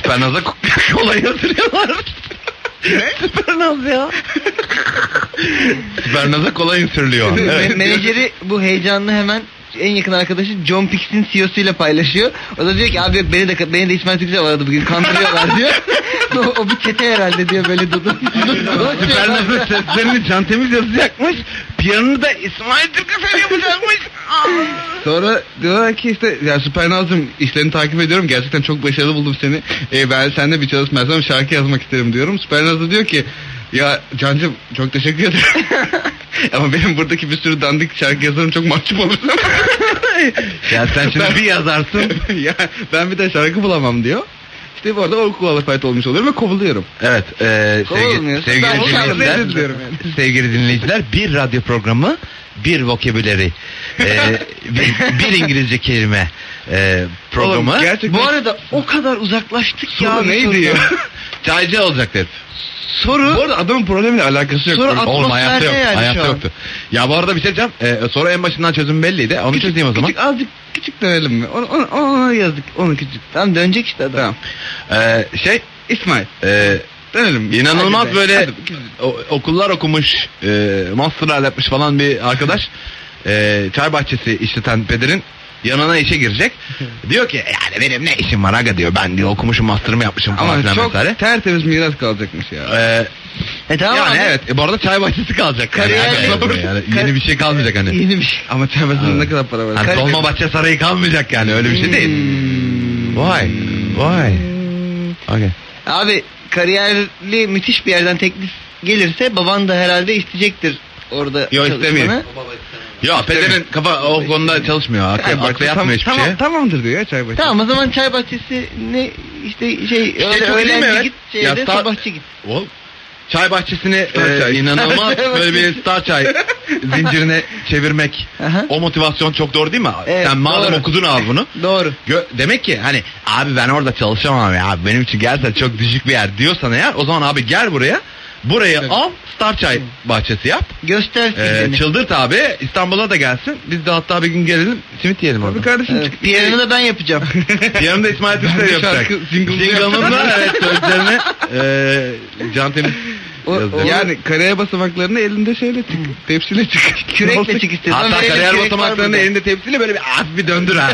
Spernaz'a ko- kolay hazırlıyorlar. Spernaz ya. Spernaz'a kolay insürülüyor.
Me-
Evet.
Menajeri bu heyecanını hemen en yakın arkadaşı John Pix'in CEO'suyla paylaşıyor. O da diyor ki abi yok beni de beni de İsmail Türkçe vardı bugün kandırıyorlar diyor. o, o bir çete herhalde diyor böyle dudu. şey
Süpernaz'ın seslerini Can Temiz yazacakmış. Piyanını da İsmail Ah. Türküsev yapacakmış.
Sonra diyorlar ki işte ya Süper Nazım işlerini takip ediyorum. Gerçekten çok başarılı buldum seni. E, ben seninle bir çalışmazsam şarkı yazmak isterim diyorum. Süper Naz da diyor ki ya Cancım çok teşekkür ederim. Ama benim buradaki bir sürü dandik şarkı yazarım çok mahcup olurum.
ya sen şimdi bir yazarsın.
ya ben bir de şarkı bulamam diyor. İşte bu arada o qualified olmuş oluyorum ve kovuluyorum.
Evet, e, sevgili,
Olmuyor.
sevgili
Ben hoşlandım,
dinleyiciler,
özür diliyorum
sevgili dinleyiciler, bir radyo programı, bir vokabüleri, e, bir, bir İngilizce kelime e, programı.
Oğlum, gerçekten-
bu arada o kadar uzaklaştık
Soru
ya. bir
neydi
sorudan.
ya?
Çaycı olacak herif.
Soru
Bu arada adamın problemiyle alakası yok.
Sonra
Oğlum,
Oğlum hayatta yok.
Atmosferde yani
hayatta
şu an.
yoktu. Ya bu arada bir şey diyeceğim. Ee, soru en başından çözüm belliydi. Onu çözeyim o zaman.
Küçük azıcık küçük dönelim mi? Onu, onu, onu yazdık. Onu küçük.
Tamam dönecek işte adam.
Tamam.
Ee, şey
İsmail
e,
dönelim.
inanılmaz
Hadi be,
böyle
hadi be.
o- okullar okumuş, e, masterlar yapmış falan bir arkadaş. e, çay bahçesi işleten pederin yanına işe girecek. diyor ki yani benim ne işim var aga diyor. Ben diyor okumuşum master'ımı yapmışım falan
Ama
filan
çok
vesaire.
tertemiz miras kalacakmış ya.
Ee,
E tamam
yani
abi.
evet. E, bu arada çay bahçesi kalacak.
Kariyer-
Yani aga, yani yeni bir şey kalmayacak hani.
Yeni bir şey.
Ama çevresinde
Evet.
ne kadar para
Yani
var?
Dolmabahçe Sarayı kalmayacak yani öyle bir şey değil.
Hmm.
Vay. Vay. Okay.
Abi kariyerli müthiş bir yerden teklif gelirse baban da herhalde isteyecektir orada
Yo,
çalışmanı.
istemiyor. Ya pederin kafa o konuda çalışmıyor. Aklı,
Hayır,
aklı yapmıyor
Tamam,
hiçbir
tamam,
şey.
tamamdır diyor ya çay başı.
Tamam o zaman çay bahçesi ne işte şey
çok
öyle
iyi
öğlenci
mi? Evet.
git
Ya,
şeyde
star-
sabahçı git.
Oğlum, çay bahçesini
Star
e,
çay.
inanılmaz böyle bir star çay zincirine çevirmek.
Aha.
O motivasyon çok doğru değil mi?
Evet,
Sen madem
doğru.
okudun al bunu.
Doğru.
Gö- demek ki hani abi ben orada çalışamam ya abi benim için gerçekten çok düşük bir yer diyorsan eğer o zaman abi gel buraya. Burayı
Evet.
al star çay bahçesi yap.
Göster
Ee,
filmini.
çıldırt abi İstanbul'a da gelsin. Biz de hatta bir gün gelelim simit yiyelim
Tabii
orada.
kardeşim.
Evet,
çık-
Piyanonu da ben yapacağım.
Yanımda İsmail
Ben
Türkler
bir
yapacak.
şarkı jingle'ını
Jingle'ımızla
yapacağım.
evet sözlerini e, Can Temiz
O- o-
yazacak.
Yani karaya basamaklarını elinde şeyle çık. Tepsiyle çık.
Kürekle çık istedim.
Hatta kariyer basamaklarını
elinde.
elinde tepsiyle böyle bir hafif bir döndür ha.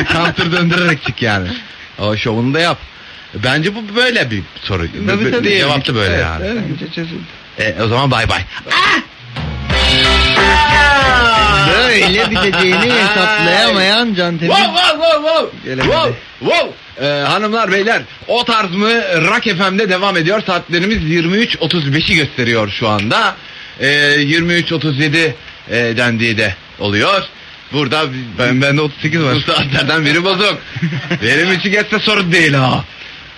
Bir Kantır döndürerek çık yani. O şovunu da yap. Bence bu böyle bir soru.
Tabii,
Bu- bu-
tabii.
şey
Cevap da böyle
Evet,
yani.
evet, çözüldü.
E, o zaman bay bay.
Böyle biteceğini hesaplayamayan Can Temiz.
Wow wow wow wow.
Gelemedi.
Wow wow. Ee, hanımlar beyler o tarz mı Rock FM'de devam ediyor. Saatlerimiz 23.35'i gösteriyor şu anda. Ee, 23.37 e, dendiği de oluyor. Burada ben,
Ben, bende 38
bu
var.
saatlerden biri bozuk. Benim için geçse sorun değil ha.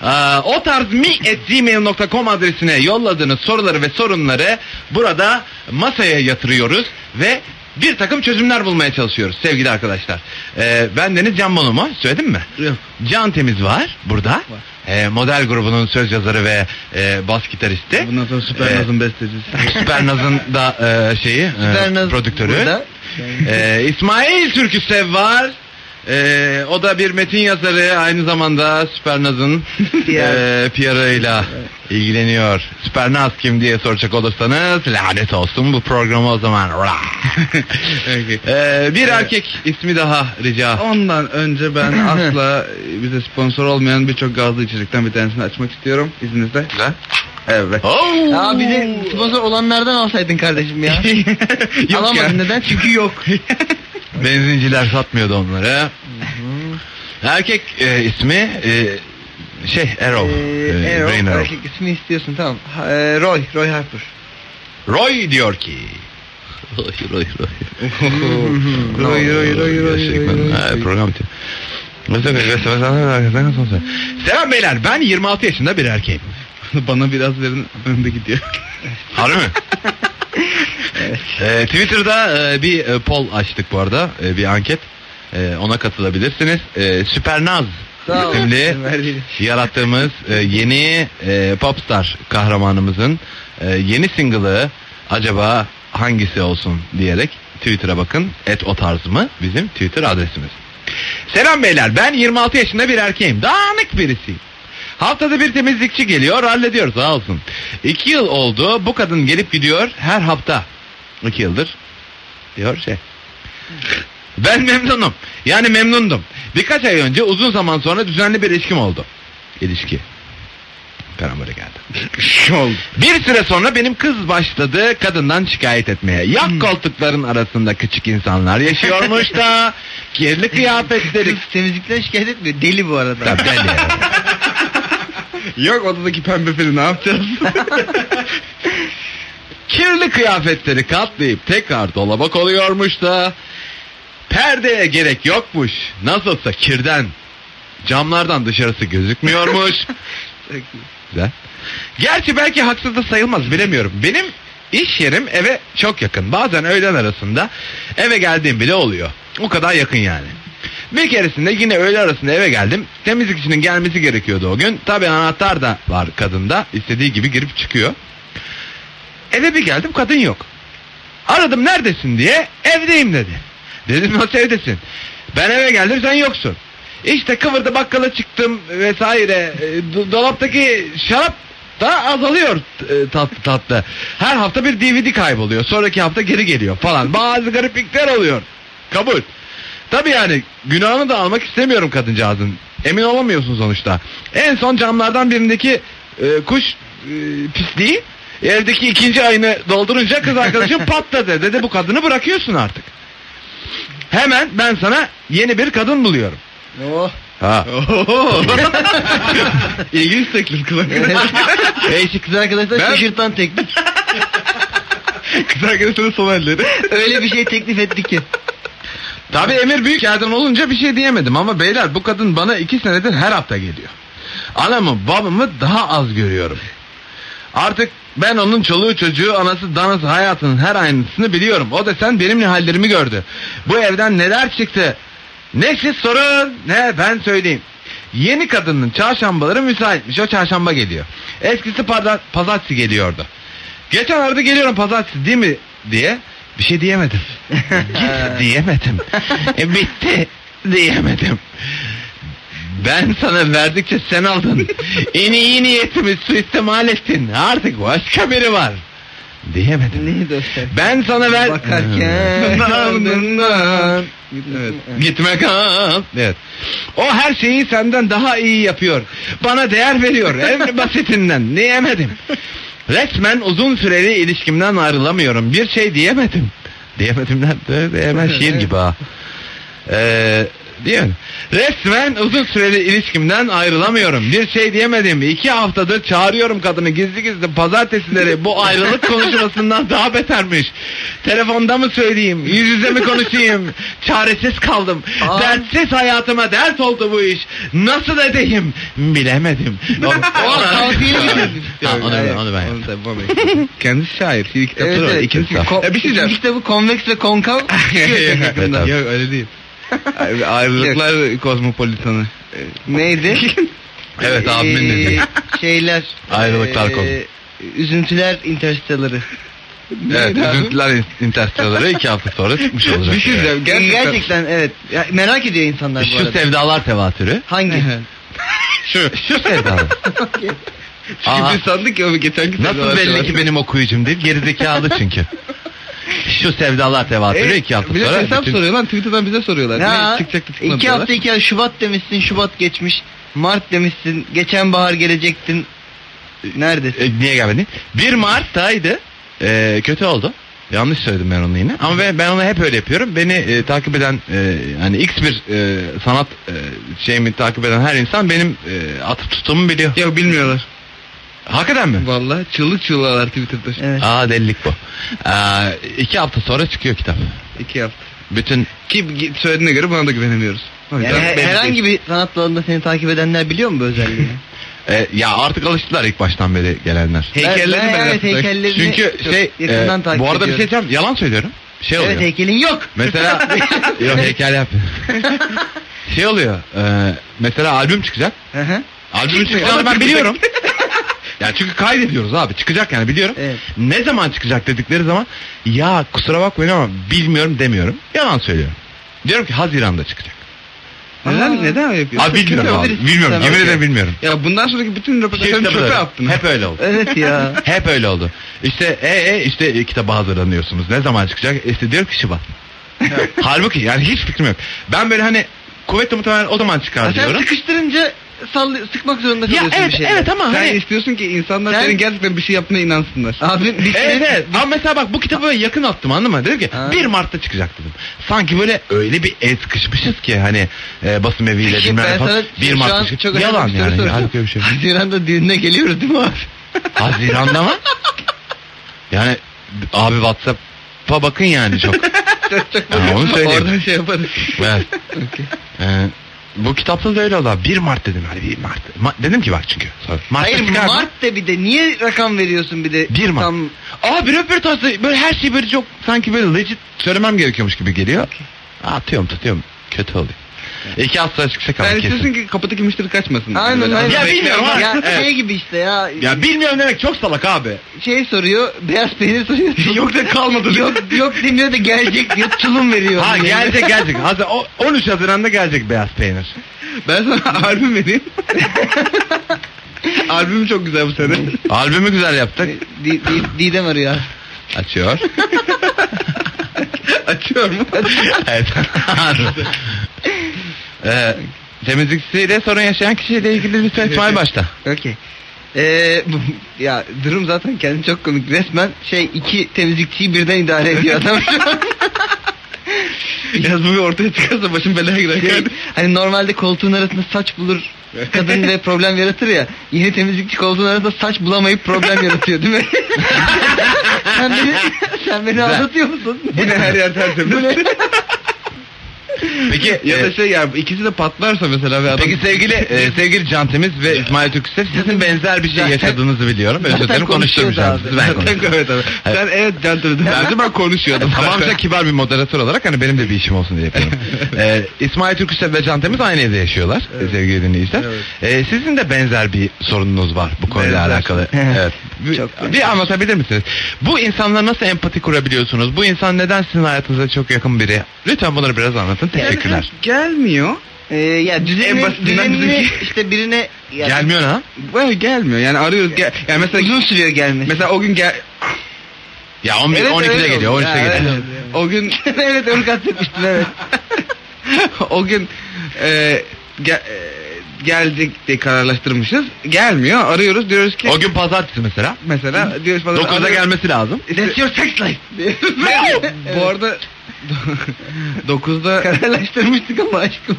Aa, o tarz Ee, mi at gmail.com adresine yolladığınız soruları ve sorunları burada masaya yatırıyoruz ve bir takım çözümler bulmaya çalışıyoruz sevgili arkadaşlar. Ee, ben Deniz Can Bonomo söyledim mi?
Yok.
Can Temiz var burada. Ee, model grubunun söz yazarı ve e, bas gitaristi.
Bundan sonra Süper
Ee,
Nazım bestecisi.
Süper Naz'ın da e, şeyi e,
Süper Naz
prodüktörü.
burada.
Ee, İsmail Türküsev var. Ee, o da bir metin yazarı aynı zamanda Süpernaz'ın
PR.
eee PR'ıyla ilgileniyor. Süpernaz kim diye soracak olursanız lanet olsun bu programı o zaman.
Peki.
Ee, bir erkek ismi daha rica.
Ondan önce ben asla bize sponsor olmayan birçok gazlı içecekten bir tanesini açmak istiyorum izninizle. Evet.
Oo.
Ya bize sponsor olanlardan alsaydın kardeşim ya.
Yok
Alamadın
ya.
neden? Çünkü yok.
Benzinciler satmıyordu onları. Erkek e, ismi e, şey Erol.
E,
Ee,
Ee,
Erol,
Rain Erol.
erkek ismi istiyorsun tamam. Ha, e, Roy, Roy Harper.
Roy diyor ki. Roy Roy Roy.
Roy, roy, roy, roy, roy, roy.
Ha, program bitiyor. Mesela mesela mesela mesela sonra. Selam beyler ben 26 yaşında bir erkeğim.
Bana biraz verin önde gidiyor.
Harbi mi? Ee, Twitter'da e, bir e, poll açtık bu arada. e, bir anket. E, ona katılabilirsiniz. E, Süpernaz
Sağ ol.
isimli
Verdiğin için.
yarattığımız e, yeni e, popstar kahramanımızın e, yeni single'ı acaba hangisi olsun diyerek Twitter'a bakın. Et o tarz mı? Bizim Twitter adresimiz. Selam beyler ben 26 yaşında bir erkeğim. Dağınık birisiyim. Haftada bir temizlikçi geliyor hallediyor sağ olsun. İki yıl oldu bu kadın gelip gidiyor her hafta. İki yıldır diyor şey. Ben memnunum. Yani memnundum. Birkaç ay önce uzun zaman sonra düzenli bir ilişkim oldu. İlişki. Karambole geldi.
Oldu.
Bir süre sonra benim kız başladı kadından şikayet etmeye. Yak koltukların arasında küçük insanlar yaşıyormuş da kirli kıyafetleri.
Kız temizlikten şikayet etmiyor. Deli bu arada.
Ya deli.
Yok odadaki pembe fili ne yapacağız?
Kirli kıyafetleri katlayıp tekrar dolaba koyuyormuş da perdeye gerek yokmuş. Nasılsa kirden camlardan dışarısı gözükmüyormuş. Güzel. Gerçi belki haksız da sayılmaz bilemiyorum. Benim iş yerim eve çok yakın. Bazen öğlen arasında eve geldiğim bile oluyor. O kadar yakın yani. Bir keresinde yine öğle arasında eve geldim. Temizlikçinin gelmesi gerekiyordu o gün. Tabii anahtar da var kadında. İstediği gibi girip çıkıyor. Eve bir geldim kadın yok. Aradım neredesin diye evdeyim dedi. Dedim nasıl evdesin? Ben eve geldim sen yoksun. İşte kıvırdı bakkala çıktım vesaire. E, do- dolaptaki şarap da azalıyor e, tatlı tatlı. Her hafta bir DVD kayboluyor. Sonraki hafta geri geliyor falan. Bazı gariplikler oluyor. Kabul. Tabii yani günahını da almak istemiyorum kadıncağızın. Emin olamıyorsun sonuçta. En son camlardan birindeki e, kuş e, pisliği evdeki ikinci ayını doldurunca kız arkadaşım patladı. Dedi bu kadını bırakıyorsun artık. Hemen ben sana yeni bir kadın buluyorum.
Oh.
Ha.
İlginç teklif kız arkadaş.
Değişik kız arkadaşlar
Ben-
şaşırtan teknik.
kız arkadaşının son halleri.
Öyle bir şey teklif ettik ki.
Tabii Emir büyük yerden olunca bir şey diyemedim ama beyler bu kadın bana iki senedir her hafta geliyor. Anamı babamı daha az görüyorum. Artık ben onun çoluğu çocuğu anası danası hayatının her aynısını biliyorum. O da sen benimle hallerimi gördü. Bu evden neler çıktı? Ne siz sorun ne ben söyleyeyim. Yeni kadının çarşambaları müsaitmiş. O çarşamba geliyor. Eskisi pada- pazartesi geliyordu. Geçen arada geliyorum pazartesi değil mi diye bir şey diyemedim. Git diyemedim. E, bitti diyemedim. Ben sana verdikçe sen aldın. En iyi niyetimi suistimal ettin. Artık başka biri var. Diyemedim.
Neydi o şarkı?
Ben sana ver...
Bakarken-
Evet.
Gitme kal. Evet. O her şeyi senden daha iyi yapıyor. Bana değer veriyor. En basitinden. Diyemedim. Resmen uzun süreli ilişkimden ayrılamıyorum. Bir şey diyemedim. Diyemedim nerede? Hemen şiir gibi ha. Ee, diyemedim. Resmen uzun süreli ilişkimden ayrılamıyorum. Bir şey diyemedim. İki haftadır çağırıyorum kadını gizli gizli pazartesileri. Bu ayrılık konuşmasından daha betermiş. Telefonda mı söyleyeyim? Yüz yüze mi konuşayım? Çaresiz kaldım.
Aa.
Dertsiz hayatıma dert oldu bu iş. Nasıl edeyim? Bilemedim. O,
tavsiyeyi getirdim.
Ha, onu, ben-
Hayır,
onu ben yaptım.
onu tabii, ben yaptım. Kendisi şair. Şiir kitapları
Evet,
var.
evet.
İkincisi-
Kitap. E,
Ya bir şey diyeceğim.
Üçüncü kitabı konveks ve konkav.
Yok, yok,
Evet,
yok,
abi.
yok, öyle değil. Abi, Ayrılıklar kozmopolitanı.
Neydi?
Evet abimin
Ee,
dediği.
Şeyler.
Ayrılıklar
ee,
konu.
Üzüntüler interstelları.
Evet,
Neydi abi?
üzüntüler interstelları iki hafta sonra çıkmış olacak.
Bir şey
Evet.
diyeceğim.
Gerçekten,
Gerçekten.
evet. Ya, merak ediyor insanlar bu
Şu
arada.
sevdalar tevatürü.
Hangi?
Şu. Şu sevdalar. Aa.
Çünkü biz sandık ya geçen gün.
Nasıl belli ki benim okuyucum değil? Gerizekalı çünkü. Şu sevdalar tevatürü iki hafta
E, bir de
sonra.
hesap
bütün-
soruyor lan Twitter'dan bize soruyorlar. Ne çıkacaktı çıkmadı
iki hafta iki ay Şubat demişsin Şubat geçmiş. Mart demişsin geçen bahar gelecektin. Neredesin?
E, niye gelmedin? 1 Mart'taydı. E, kötü oldu. Yanlış söyledim ben onu yine. Ama ben, ben onu hep öyle yapıyorum. Beni e, takip eden e, hani X bir e, sanat e, şeyimi takip eden her insan benim e, atıp tuttuğumu biliyor.
Yok bilmiyorlar.
Hakikaten mi?
Vallahi çığlık çığlıyorlar Twitter'da.
Evet.
Aa delilik bu. Ee, iki hafta sonra çıkıyor kitap.
İki hafta.
Bütün
Ki gi- söylediğine göre bana da güvenemiyoruz. O
Yani
yüzden
her-
belli değil.
herhangi bir sanat dalında seni takip edenler biliyor mu bu özelliği?
e, ya artık alıştılar ilk baştan beri gelenler.
Heykelleri
Ben-
ben
ben, evet,
yaptım.
heykellerini
Çünkü
çok
şey
yakından
e,
takip
bu arada bir şey
ediyorum.
diyeceğim yalan söylüyorum. Şey oluyor.
Evet heykelin yok.
Mesela yok heykel yap. şey oluyor. e, mesela albüm çıkacak.
Hı hı.
Albümün çıkacağını ben biliyorum. Ya çünkü kaydediyoruz abi çıkacak yani biliyorum.
Evet.
Ne zaman çıkacak dedikleri zaman ya kusura bakmayın ama bilmiyorum demiyorum. Yalan söylüyorum. Diyorum ki Haziran'da çıkacak.
Aa.
Neden, neden öyle yapıyorsun?
Abi bilmiyorum abi.
olabilir.
Bilmiyorum.
Tamam.
Yemin ederim bilmiyorum.
Ya bundan sonraki bütün röportajlarını
Kitapları-
çöpe attın.
Hep öyle oldu.
Evet ya.
Hep öyle oldu. İşte e, e işte e, kitaba hazırlanıyorsunuz. Ne zaman çıkacak? İşte diyorum ki Şubat. Halbuki yani hiç fikrim yok. Ben böyle hani kuvvetli muhtemelen o zaman
Ya
çıkar
sen
diyorum.
sıkıştırınca sallı, sıkmak zorunda
Ya
kalıyorsun
evet
bir şeyler.
evet ama
Sen
hani
istiyorsun ki insanlar
Sen-
senin gerçekten bir şey yaptığına inansınlar.
Abi bir şey
Evet, evet. Ama mesela bak bu kitabı böyle yakın attım anladın mı? Dedim ki
Ha.
1 Mart'ta çıkacak dedim. Sanki böyle öyle bir el sıkışmışız ki hani e, basın eviyle
Peki,
bilmem
ben
ne falan.
sana
1
şu
Mart'ta
an
çıkacak.
çok önemli
Yalan
bir soru
yani.
soracağım.
Halbuki öyle bir şey. yok.
Haziran'da düğününe geliyoruz değil mi abi?
Haziran'da mı? Yani abi Whatsapp'a bakın yani çok. Ha, onu söyleyeyim.
Oradan şey yaparız.
Evet. Ee, bu kitapta da öyle oldu. abi. 1 Mart dedim hani 1 Mart. Ma- dedim ki bak çünkü. Sonra Mart'ta
Hayır
çıkar mı?
Mart'ta bir de niye rakam veriyorsun bir de?
Bir Mart.
Tam-
Aa bir röportajda böyle her şey böyle çok sanki böyle legit söylemem gerekiyormuş gibi geliyor. Atıyorum tutuyorum. Kötü oluyor. İki hafta sonra çıkacak ama
Sen istiyorsun
kesin.
ki kapıdaki müşteri kaçmasın. Hani
Aynen
Böyle
aynen.
Ya bilmiyorum ha.
Ya
Evet.
şey gibi işte ya.
Ya bilmiyorum demek çok salak abi.
Şey soruyor. Beyaz peynir soruyor.
Yok da kalmadı.
yok yok demiyor da gelecek diyor. Tulum veriyor.
Ha
Yani.
gelecek gelecek. Hazır, o- 13 Haziran'da gelecek beyaz peynir.
Ben sana albüm vereyim. Albüm çok güzel bu sene.
Albümü güzel yaptık.
Di, di, Didem arıyor.
Açıyor.
Açıyor mu?
evet. ee, temizlikçisiyle sorun yaşayan kişiyle ilgili lütfen İsmail başta.
Okey. Ee, bu- ya durum zaten kendi çok komik. Resmen şey iki temizlikçiyi birden idare ediyor adam şu an.
Biraz bu bir ortaya çıkarsa başım belaya girer.
Şey,
kardeşim.
hani normalde koltuğun arasında saç bulur kadın ve problem yaratır ya. Yeni temizlikçi koltuğun arasında saç bulamayıp problem yaratıyor değil mi? sen beni, sen beni aldatıyor musun?
Bu ne her yer tertemiz.
Bu ne?
Peki
ya
e,
da şey ya ikisi de patlarsa mesela ve adam...
Peki sevgili e, sevgili Can Temiz ve İsmail Türküsev sizin benzer bir şey yaşadığınızı biliyorum. Özür dilerim konuşturmayacağım sizi ben
Sen,
konuştum.
evet, evet. Sen evet can tırdı.
Ben ben konuşuyordum. Tamamca kibar bir moderatör olarak hani benim de bir işim olsun diye yapıyorum. e, İsmail Türküsev ve Can Temiz aynı evde yaşıyorlar
Evet.
sevgili dinleyiciler.
Evet.
E, sizin de benzer bir sorununuz var bu konuyla
Benzer.
alakalı.
Evet.
evet. Bir,
Çok benzer.
bir anlatabilir misiniz? Bu insanla nasıl empati kurabiliyorsunuz? Bu insan neden sizin hayatınıza çok yakın biri? Lütfen bunları biraz anlatın. Teşekkürler.
Gelmiyor.
Ee, ya düzenini,
En basitinden
düzenini
düzenli.
işte birine ya,
Gelmiyor ha?
Böyle gelmiyor. Yani arıyoruz. Gel, yani mesela
uzun sürüyor gelmesi.
mesela o gün gel
Ya 11
Evet,
12'de
evet.
geliyor, 13'te
Ya,
geliyor.
evet.
o gün
evet onu kastetmiştim evet.
o gün e, ge- e, gelecek diye kararlaştırmışız. Gelmiyor. Arıyoruz diyoruz ki
O gün pazartesi mesela.
mesela diyoruz bana
9'a
arıyoruz.
gelmesi lazım.
That's your sex life.
Bu arada 9'da
Kararlaştırmıştık ama aşkım.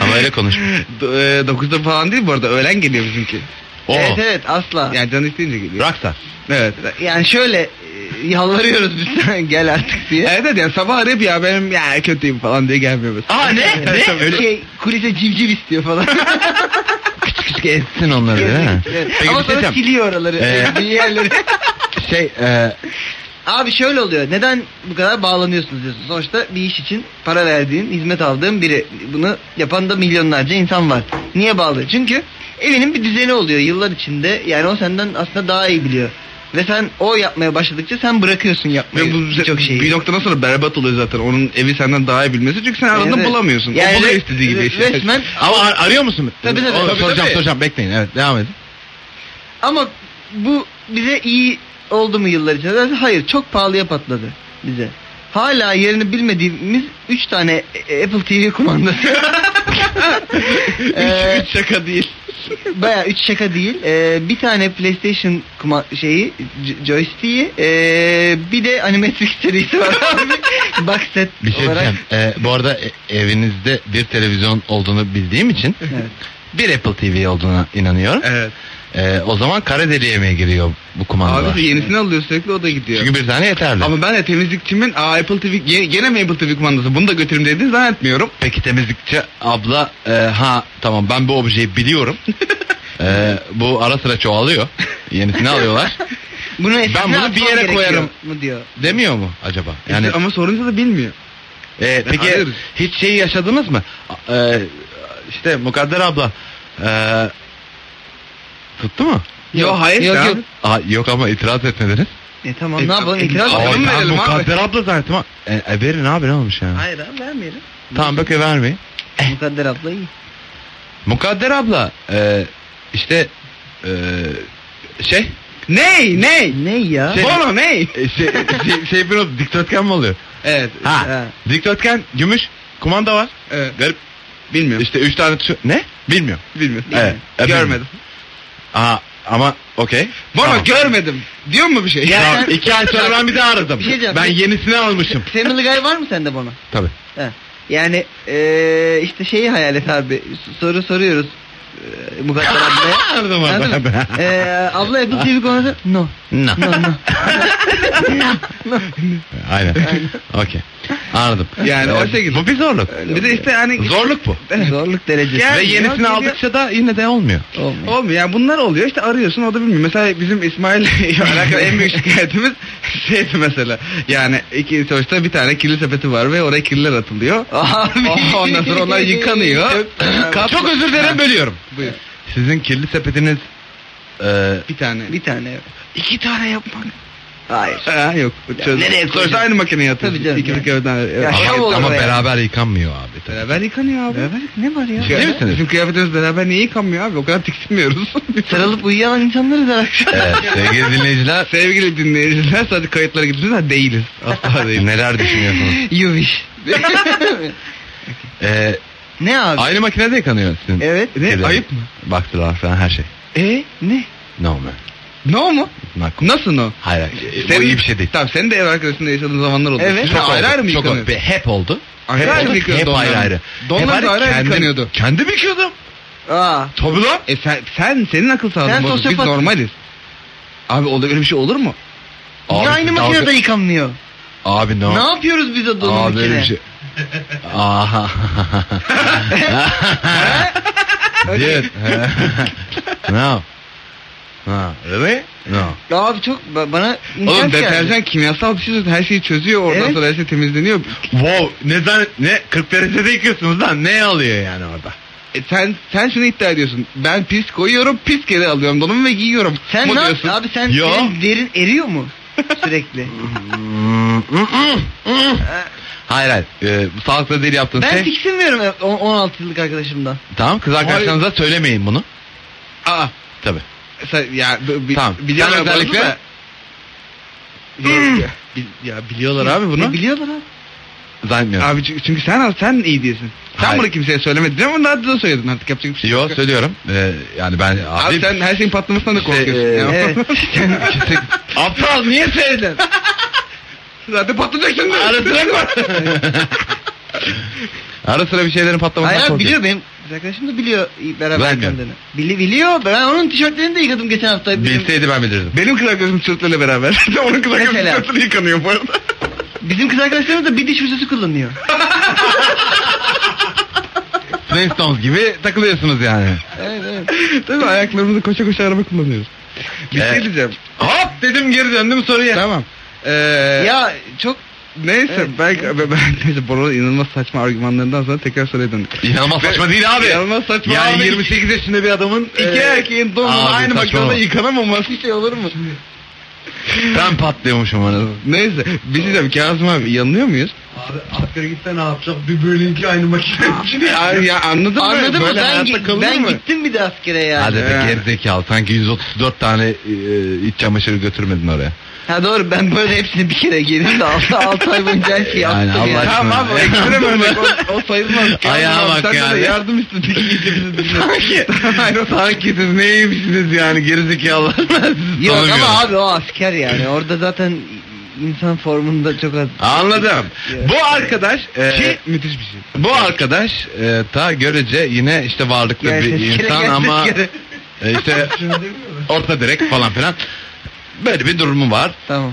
Ama öyle konuşma.
9'da e, falan değil bu arada öğlen geliyor bizimki.
Oo.
Evet evet asla. Yani,
Yani can isteyince geliyor.
Rockstar.
Evet.
şöyle e, yalvarıyoruz biz sen gel artık diye.
Evet evet yani sabah arayıp ya benim ya kötüyüm falan diye gelmiyor mesela.
Aa ne?
Evet,
ne?
tabii.
Öyle
Şey kulise civciv istiyor falan.
küçük küçük etsin onları değil mi?
Evet.
Peki
Ama
bir şey
sonra
diyeceğim.
siliyor oraları.
Ee.
bir yerleri.
Şey, e,
Abi şöyle oluyor. Neden bu kadar bağlanıyorsunuz diyorsun. Sonuçta bir iş için para verdiğin, hizmet aldığın biri. Bunu yapan da milyonlarca insan var. Niye bağlı? Çünkü evinin bir düzeni oluyor yıllar içinde. Yani o senden aslında daha iyi biliyor. Ve sen o yapmaya başladıkça sen bırakıyorsun yapmayı.
Ve bu
birçok
şey.
şeyi.
bir noktadan sonra berbat oluyor zaten. Onun evi senden daha iyi bilmesi çünkü sen aradığını
Evet.
bulamıyorsun.
Yani
o buluyor
re-
istediği gibi.
re-
işte.
Resmen
ama ar- arıyor musun?
Tabii, tabii.
Oğlum,
Tabii,
soracağım
tabii.
soracağım bekleyin evet devam edin.
Ama bu bize iyi oldu mu yıllar içinde? Hayır çok pahalıya patladı bize. Hala yerini bilmediğimiz 3 tane e, Apple TV kumandası.
Üç-
Ee,
üç şaka değil.
Baya 3 şaka değil. Ee, bir tane PlayStation kuma- şeyi j- joystick'i ee, bir de Animatrix serisi var abi. Box set
Bir şey
olarak.
diyeceğim. E, bu arada e- evinizde bir televizyon olduğunu bildiğim için
Evet.
bir Apple TV olduğuna inanıyorum.
Evet.
E, o zaman kara deliğe giriyor bu kumandalar?
Abi yenisini alıyor sürekli o da gidiyor.
Çünkü bir tane yeterli.
Ama ben de temizlikçimin Aa, Apple TV gene, gene mi Apple TV kumandası bunu da götürüm dediğini zannetmiyorum.
Peki temizlikçi abla e, ha tamam ben bu objeyi biliyorum. E, bu ara sıra çoğalıyor. Yenisini alıyorlar.
Bunu
Ben bunu
eskisine
bir yere
atmam
koyarım.
gerekiyor Mu diyor.
Demiyor mu acaba? Yani
Yani, ama sorunca da bilmiyor.
e, peki
arıyoruz.
hiç şeyi yaşadınız mı? A- E, işte Mukadder abla e, tuttu mu?
Yo, hayır
Yok
ya.
yok.
Aa, yok ama itiraz etmediniz.
E, tamam
E,
ne yapalım
e,
itiraz
Aa,
Ay,
canım
edelim.
ben
verelim abi.
Mukadder abla zannettim. ha. E, e, verin abi ne olmuş yani?
Hayır abi vermeyelim.
Tamam bakıyor vermeyin.
Mukadder abla iyi.
Mukadder abla e, işte e, şey
Ney ney?
Ne ya?
Şey-
Bono ney?
e, şey, şey, şey bir not- dikdörtgen mi oluyor?
Evet.
Ha.
Ha.
Dikdörtgen gümüş kumanda var.
evet.
Garip.
Bilmiyorum.
İşte üç tane tuşu. Ne? Bilmiyor.
Bilmiyorum.
Evet,
E,
Evet.
bilmiyorum.
Görmedim.
Aa ama okey.
Bono
Tamam.
görmedim. Diyor mu bir şey?
Ya-
Tamam, iki ay sonra ben bir daha aradım.
Bir şey diyeceğim.
ben
Bir-
yenisini almışım.
Family Guy var mı sende bana?
Tabii.
He. Yani eee, işte şeyi hayal et abi. S- Soru soruyoruz. eee, Mukadder ablaya.
Aradım
Anladın mı?
orada.
Ee,
Eee, abla Apple TV konusu. No.
No.
No no.
Aynen. Okey. Anladım.
Yani o
Ee,
şekilde.
Bu bir zorluk.
Bir de işte hani
Zorluk bu.
Zorluk derecesi.
Gel-
Ve
Gelmiyor,
yenisini
geliyor.
aldıkça da yine de olmuyor.
Olmuyor.
Olmuyor yani bunlar oluyor işte arıyorsun o da bilmiyor. Mesela bizim İsmail alakalı en büyük şikayetimiz şeydi mesela. Yani iki sonuçta bir tane kirli sepeti var ve oraya kirliler atılıyor.
Abi.
Aha, Ondan sonra onlar yıkanıyor. Kap-
Çok özür dilerim bölüyorum.
Buyur.
Sizin kirli sepetiniz e,
Bir tane.
Bir tane. evet.
iki tane yapmak.
Hayır.
Ha, yok.
Ya,
Çöz.
nereye koyacağım?
Sonuçta aynı makineye atıyorsun.
Tabii canım,
İki
yani.
köyden. Evet.
Ya,
ama,
şov olur
ama
be.
beraber yıkanmıyor abi. tabii.
Beraber yıkanıyor abi.
Beraber ne var ya?
Şey- Ciddi misiniz?
Bizim kıyafetimiz beraber niye yıkanmıyor abi? O kadar tiksinmiyoruz.
Sarılıp uyuyan insanlarız her akşam.
Evet, sevgili dinleyiciler
Sevgili dinleyiciler sadece kayıtlara gidiyorsunuz değiliz. Asla değil.
neler düşünüyorsunuz?
You wish.
E,
ne abi?
aynı makinede yıkanıyor sizin.
Evet.
kirli-
Ne? Ayıp mı?
Baktılar falan her şey.
E?
Ne?
No man.
No mu?
Not cool.
Nasıl no?
Hayır, hayır.
Senin-
bu iyi bir şey değil.
Tamam senin de ev arkadaşında yaşadığın zamanlar oldu.
Evet.
Siz
Çok
ayrı
oldu,
ayrı mı
çok oldu.
yıkanıyorsun?
Hep oldu.
Ayrı ayrı mı
Hep
yıkıyorsun
Hep ayrı
donlarını?
ayrı.
Donlar
Hep
da ayrı ayrı
kendim-
yıkanıyordu.
Kendim yıkıyordum.
Aa.
Tabii lan.
E sen, sen senin akıl sağlığın
Sen
bozuk. Biz
sosyopatsın.
normaliz. Abi olur öyle bir şey olur mu?
Niye
Abi,
aynı
dalga-
makinede yıkanmıyor?
Abi no.
Ne yapıyoruz biz o
Abi öyle
donunu
bir şey. Aha. Dude. no. No. Really? No.
Abi çok ba- bana imkan
Oğlum
geldi.
deterjan kimyasal bir şey zaten her şeyi çözüyor. Oradan
Evet.
sonra her şey temizleniyor.
Wow. Ne zan ne 40 derecede yıkıyorsunuz lan? Ne alıyor yani orada?
E sen sen şunu iddia ediyorsun. Ben pis koyuyorum, pis geri alıyorum donumu ve giyiyorum.
Sen
Bu
ne
diyorsun.
yaptın abi sen
Yo.
senin derin eriyor mu sürekli?
hayır hayır. Ee, bu sağlıklı değil yaptığın
ben
şey.
tiksinmiyorum e, on- 16 yıllık arkadaşımdan.
Tamam kız arkadaşlarınıza söylemeyin bunu.
Aa,
Tabii.
sen, ya b- b-
Tamam.
biliyorlar
Sen
bunu da-
özellikle-
Ya, ya, bil- ya biliyorlar abi bunu.
E, biliyorlar abi.
Zannetmiyorum.
Abi çünkü, çünkü sen sen iyi değilsin. Sen
Hayır.
bunu kimseye söylemedin ama daha da söyledin artık yapacak bir şey
Yo söylüyorum. Ee, yani ben
Abi sen her şeyin patlamasından da
İşte,
korkuyorsun.
e-
ya.
Evet.
Aptal niye söyledin?
Zaten patlayacak şimdi.
Ara sıra kork- Ara sıra bir şeylerin patlamasına
Hayır abi
korkuyorum.
biliyor benim kız arkadaşım da biliyor beraber
Vermiyorum.
yıkandığını. Bili, biliyor. Ben onun tişörtlerini de yıkadım geçen hafta. Bizim,
Bilseydi ben bilirdim.
Benim kız arkadaşım tişörtlerle beraber. Onun kız arkadaşım
Mesela.
tişörtleri yıkanıyor bu arada.
bizim kız arkadaşlarımız da bir diş fırçası kullanıyor.
Flintstones gibi takılıyorsunuz yani.
evet evet.
Tabii ayaklarımızı koşa koşa araba kullanıyoruz. Bir
Evet.
şey diyeceğim.
Hop dedim geri döndüm soruya.
Tamam. Ee,
Ya çok
neyse
Evet.
ben, ben, ben- neyse Bora'nın inanılmaz saçma argümanlarından sonra tekrar soruya döndük.
İnanılmaz saçma değil abi.
İnanılmaz saçma
yani
abi.
28 yaşında bir adamın
İki
e,
erkeğin donunu
Abi,
aynı
saçmalama.
makinede yıkanamaması şey olur mu?
ben patlıyormuşum anasını.
Neyse bir şey diyeceğim Kazım abi yanılıyor muyuz?
Abi askere gitsen ne yapacak? Bir bölünki aynı makine.
Ya, ya anladın mı?
anladın mı?
Böyle
Ben,
hayatta
gi-
kalınır
ben
mı?
gittim bir de askere yani.
Hadi be
Ya.
gerizekalı sanki 134 tane e, iç çamaşırı götürmedin oraya.
Ha doğru ben böyle hepsini bir kere giydim de 6, 6 ay boyunca her şeyi
Yani
yaptım
Allah
ya.
aşkına.
Tamam abi o ekstrem örnek o, o sayılmaz. Kazım
Ayağa
abi,
bak
sen de
yani.
de yardım istedik iyice bizi dinle.
Sanki, sanki siz neymişsiniz yani gerizekalılar ben sizi
Yok
tanımıyorum.
ama abi o asker yani. Orada zaten insan formunda çok az.
Anladım.
Evet.
Bu arkadaş e,
Ki müthiş bir şey.
bu arkadaş e, ta görece yine işte varlıklı
Yani
bir
askere
insan
geldik
ama
gene.
e, işte
Şunu demiyor musun?
orta direk falan filan. Böyle bir durumu var.
Tamam.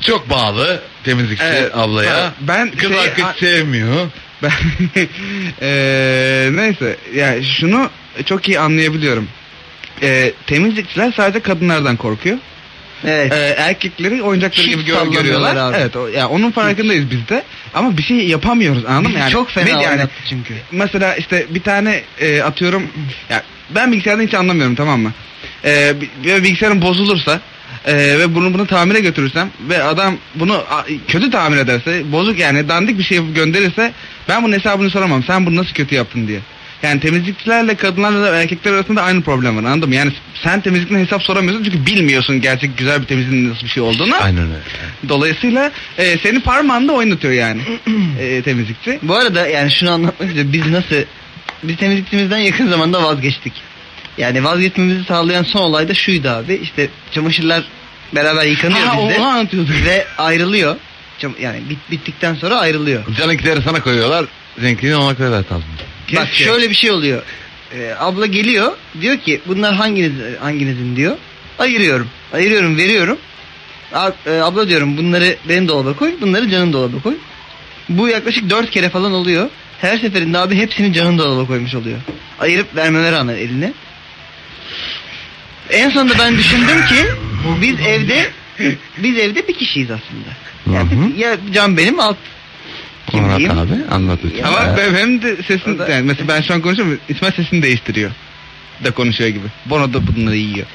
Çok bağlı temizlikçi
Evet.
ablaya.
Ha, ben
Kız
şey-
arkadaş
a-
sevmiyor.
Ben Eee, neyse yani şunu çok iyi anlayabiliyorum. Eee, temizlikçiler sadece kadınlardan korkuyor.
Evet.
Eee, erkekleri oyuncakları
Hiç
gibi gör-
sallamıyorlar
görüyorlar.
abi.
Evet o, ya onun farkındayız biz de. Ama bir şey yapamıyoruz anladın mı? Yani,
çok fena
ne- yani,
oynattı çünkü.
Mesela işte bir tane eee, atıyorum ya ben bilgisayardan hiç anlamıyorum tamam mı? Eee bi- böyle bilgisayarım bozulursa eee, ve bunu bunu tamire götürürsem ve adam bunu a- kötü tamir ederse bozuk yani dandik bir şey yapıp gönderirse ben bunun hesabını soramam. Sen bunu nasıl kötü yaptın diye. Yani temizlikçilerle kadınlarla da erkekler arasında aynı problem var anladın mı? Yani sen temizlikten hesap soramıyorsun çünkü bilmiyorsun gerçek güzel bir temizliğin nasıl bir şey olduğunu.
Aynen öyle.
Dolayısıyla eee senin parmağında oynatıyor yani eee, temizlikçi.
Bu arada yani şunu anlatmak istiyorum. Biz nasıl biz temizlikçimizden yakın zamanda vazgeçtik. Yani vazgeçmemizi sağlayan son olay da şuydu abi. İşte çamaşırlar beraber yıkanıyor
Ha,
bizde
onu anlatıyorduk.
ve ayrılıyor. Çam- Yani bit- bittikten sonra ayrılıyor.
Canınkileri sana koyuyorlar. Seninkini ona koyuyorlar tatlım.
Bak şöyle bir şey oluyor. Ee, abla geliyor diyor ki bunlar hanginiz hanginizin diyor. Ayırıyorum. Ayırıyorum veriyorum. A- e, abla diyorum bunları benim dolaba koy bunları canın dolaba koy. Bu yaklaşık dört kere falan oluyor. Her seferinde abi hepsini canın dolaba koymuş oluyor. Ayırıp vermeler rağmen eline. En sonunda ben düşündüm ki biz evde biz evde bir kişiyiz aslında. Yani
Hı hı.
ya can benim alt kim
Anlat
diyeyim?
abi anlat lütfen.
Ama
Ya.
ben, benim de sesim
O da-
yani mesela ben şu an konuşuyorum İsmail sesini değiştiriyor. Da konuşuyor gibi. Bono da bunları yiyor.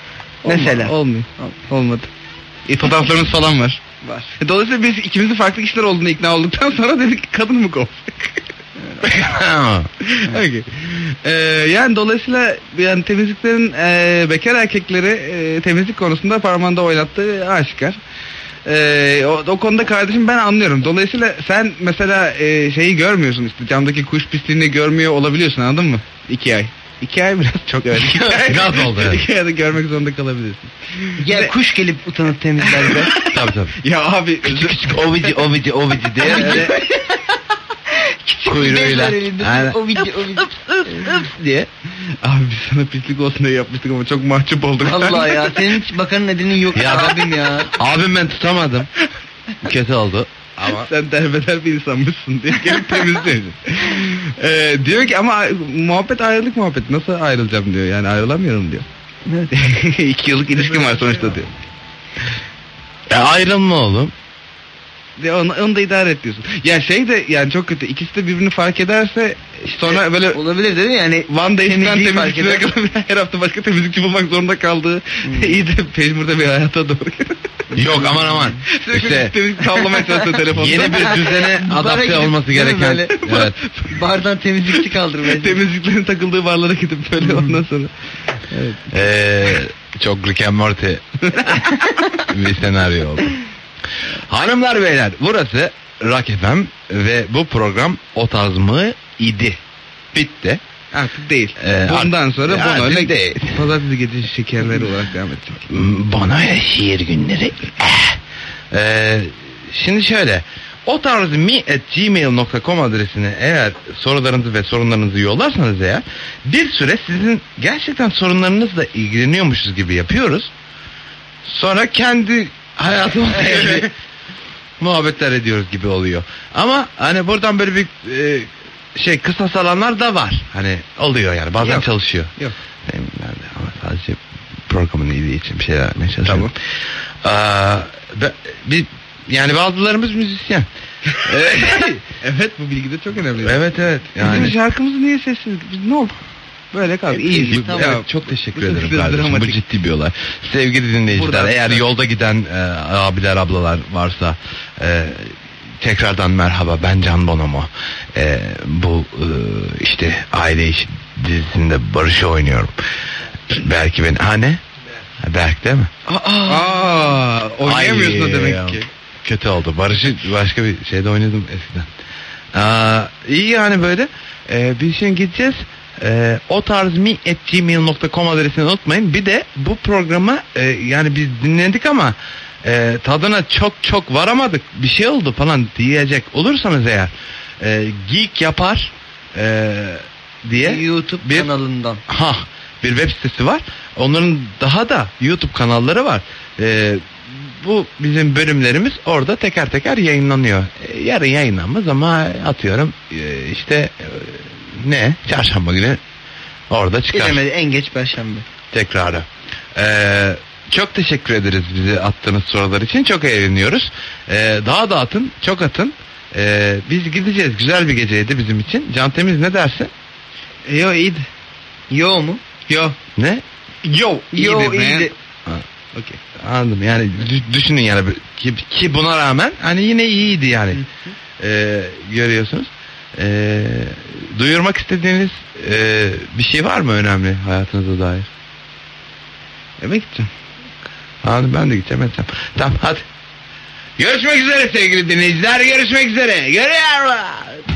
Olma-
Mesela?
Olmuyor. Olmadı. E, fotoğraflarımız falan var.
var.
E, Dolayısıyla biz ikimizin farklı kişiler olduğunu ikna olduktan sonra dedik ki kadın mı kovsak? Okey. Ee, yani dolayısıyla yani temizliklerin e, bekar erkekleri e, temizlik konusunda parmağında oynattığı aşikar. Ee, o, o konuda kardeşim ben anlıyorum. Dolayısıyla sen mesela e, şeyi görmüyorsun işte camdaki kuş pisliğini görmüyor olabiliyorsun anladın mı? İki ay. İki ay biraz çok öyle. İki ay-
Gaz oldu yani.
İki ayda görmek zorunda kalabilirsin.
Ya kuş gelip utanıp temizler be.
tabii tabii.
Ya abi
Küçük küçük ovici ovici ovici diye böyle kuyruğuyla. Aynen.
O video, o video.
diye. Abi biz sana pislik olsun diye yapmıştık ama çok mahcup olduk.
Vallahi ya senin hiç bakanın edinin yok
Ya ben-
abim ya.
Abim ben tutamadım. Kötü oldu. Ama
Sen derbeder bir insanmışsın diye gelip temizliyorsun. Ee, diyor ki ama ay- muhabbet ayrılık muhabbet nasıl ayrılacağım diyor yani ayrılamıyorum diyor.
Evet.
İki yıllık ilişkim var sonuçta diyor.
e, ayrılma oğlum.
Ve onu, onu da idare et diyorsun. Ya şey de yani çok kötü ikisi de birbirini fark ederse sonra böyle
Olabilir değil mi? Yani
Van Dijk'ten
Temizliği fark
temizlikçilere
eder.
kadar her hafta başka temizlikçi bulmak zorunda kaldığı iyice peşmurda bir hayata doğru.
Yok aman aman.
Sürekli
İşte
temizlik tavlamaya çalışıyor telefonda.
yeni bir düzene adapte
gidip,
olması
değil mi
gereken.
böyle?
Evet.
bardan temizlikçi kaldırmaya.
temizliklerin takıldığı barlara gidip böyle ondan sonra. Evet.
Ee, çok Rick and Morty bir senaryo oldu. Hanımlar beyler burası Rock FM ve bu program o tarz mı idi? Bitti.
Artık değil.
Ee,
Bundan
artık-
sonra
artık
Bono ile
değil.
pazartesi gece şekerleri olarak devam edecek.
Bana şiir günleri. Eh. Ee, şimdi şöyle. O tarz mi at gmail.com adresine eğer sorularınızı ve sorunlarınızı yollarsanız eğer bir süre sizin gerçekten sorunlarınızla ilgileniyormuşuz gibi yapıyoruz. Sonra kendi hayatımızla ilgili muhabbetler ediyoruz gibi oluyor. Ama hani buradan böyle bir e, şey kısa salanlar da var. Hani oluyor yani bazen
Yok.
çalışıyor.
Yok.
Ben de ama sadece programın iyiliği için bir şeyler yapmaya çalışıyorum. Ee, be- bir, yani bazılarımız müzisyen.
Evet bu bilgi de çok önemli.
evet evet.
Bizim
Yani
şarkımızı niye sessiz? Biz ne oldu? Böyle kaldı.
Hep
İyiyiz.
iyiyiz,
Bu-
tamam.
evet, çok teşekkür
bütün
ederim
biraz
kardeşim. Bu
dramatik.
ciddi bir olay. Sevgili dinleyiciler
Buradan-
eğer yolda giden e, abiler ablalar varsa e, tekrardan merhaba ben Can Bonomo. E, bu e, işte aile işi dizisinde Barış'ı oynuyorum. Belki ben... Ha ne? Ha, Berk değil mi?
Aa, oynayamıyorsun
Ay,
o demek ki.
Kötü oldu. Barış'ı başka bir şeyde oynadım eskiden. Aa, iyi yani böyle. Ee, bir şey gideceğiz. Ee, o tarz mi gmail.com adresini unutmayın. Bir de bu programı e, yani biz dinledik ama e, tadına çok çok varamadık. Bir şey oldu falan diyecek olursanız eğer e, geek yapar e, diye
YouTube
bir-
kanalından.
ha bir web sitesi var. Onların daha da YouTube kanalları var. Ee, bu bizim bölümlerimiz orada teker teker yayınlanıyor. Ee, yarın yayınlanmaz ama atıyorum ee, işte ee, ne? Çarşamba günü orada çıkar
Gelemedi en geç perşembe.
tekrarı. Ee, çok teşekkür ederiz bize attığınız sorular için. Çok eğleniyoruz. Ee, daha da atın, çok atın. Ee, biz gideceğiz. Güzel bir geceydi bizim için. Can Temiz ne dersin?
E, Yo iyiydi.
Yo mu?
Yo.
Ne?
Yo.
Yo
iyiydi. man.
iyiydi.
Okey.
Anladım yani dü- düşünün yani ki, ki buna rağmen hani yine iyiydi yani Ee, görüyorsunuz. Ee, duyurmak istediğiniz ee, bir şey var mı önemli hayatınıza dair? E,
Eve gideceğim.
Anladım ben de gideceğim edeceğim. Tamam hadi. Görüşmek üzere sevgili dinleyiciler görüşmek üzere. Görüyorlar.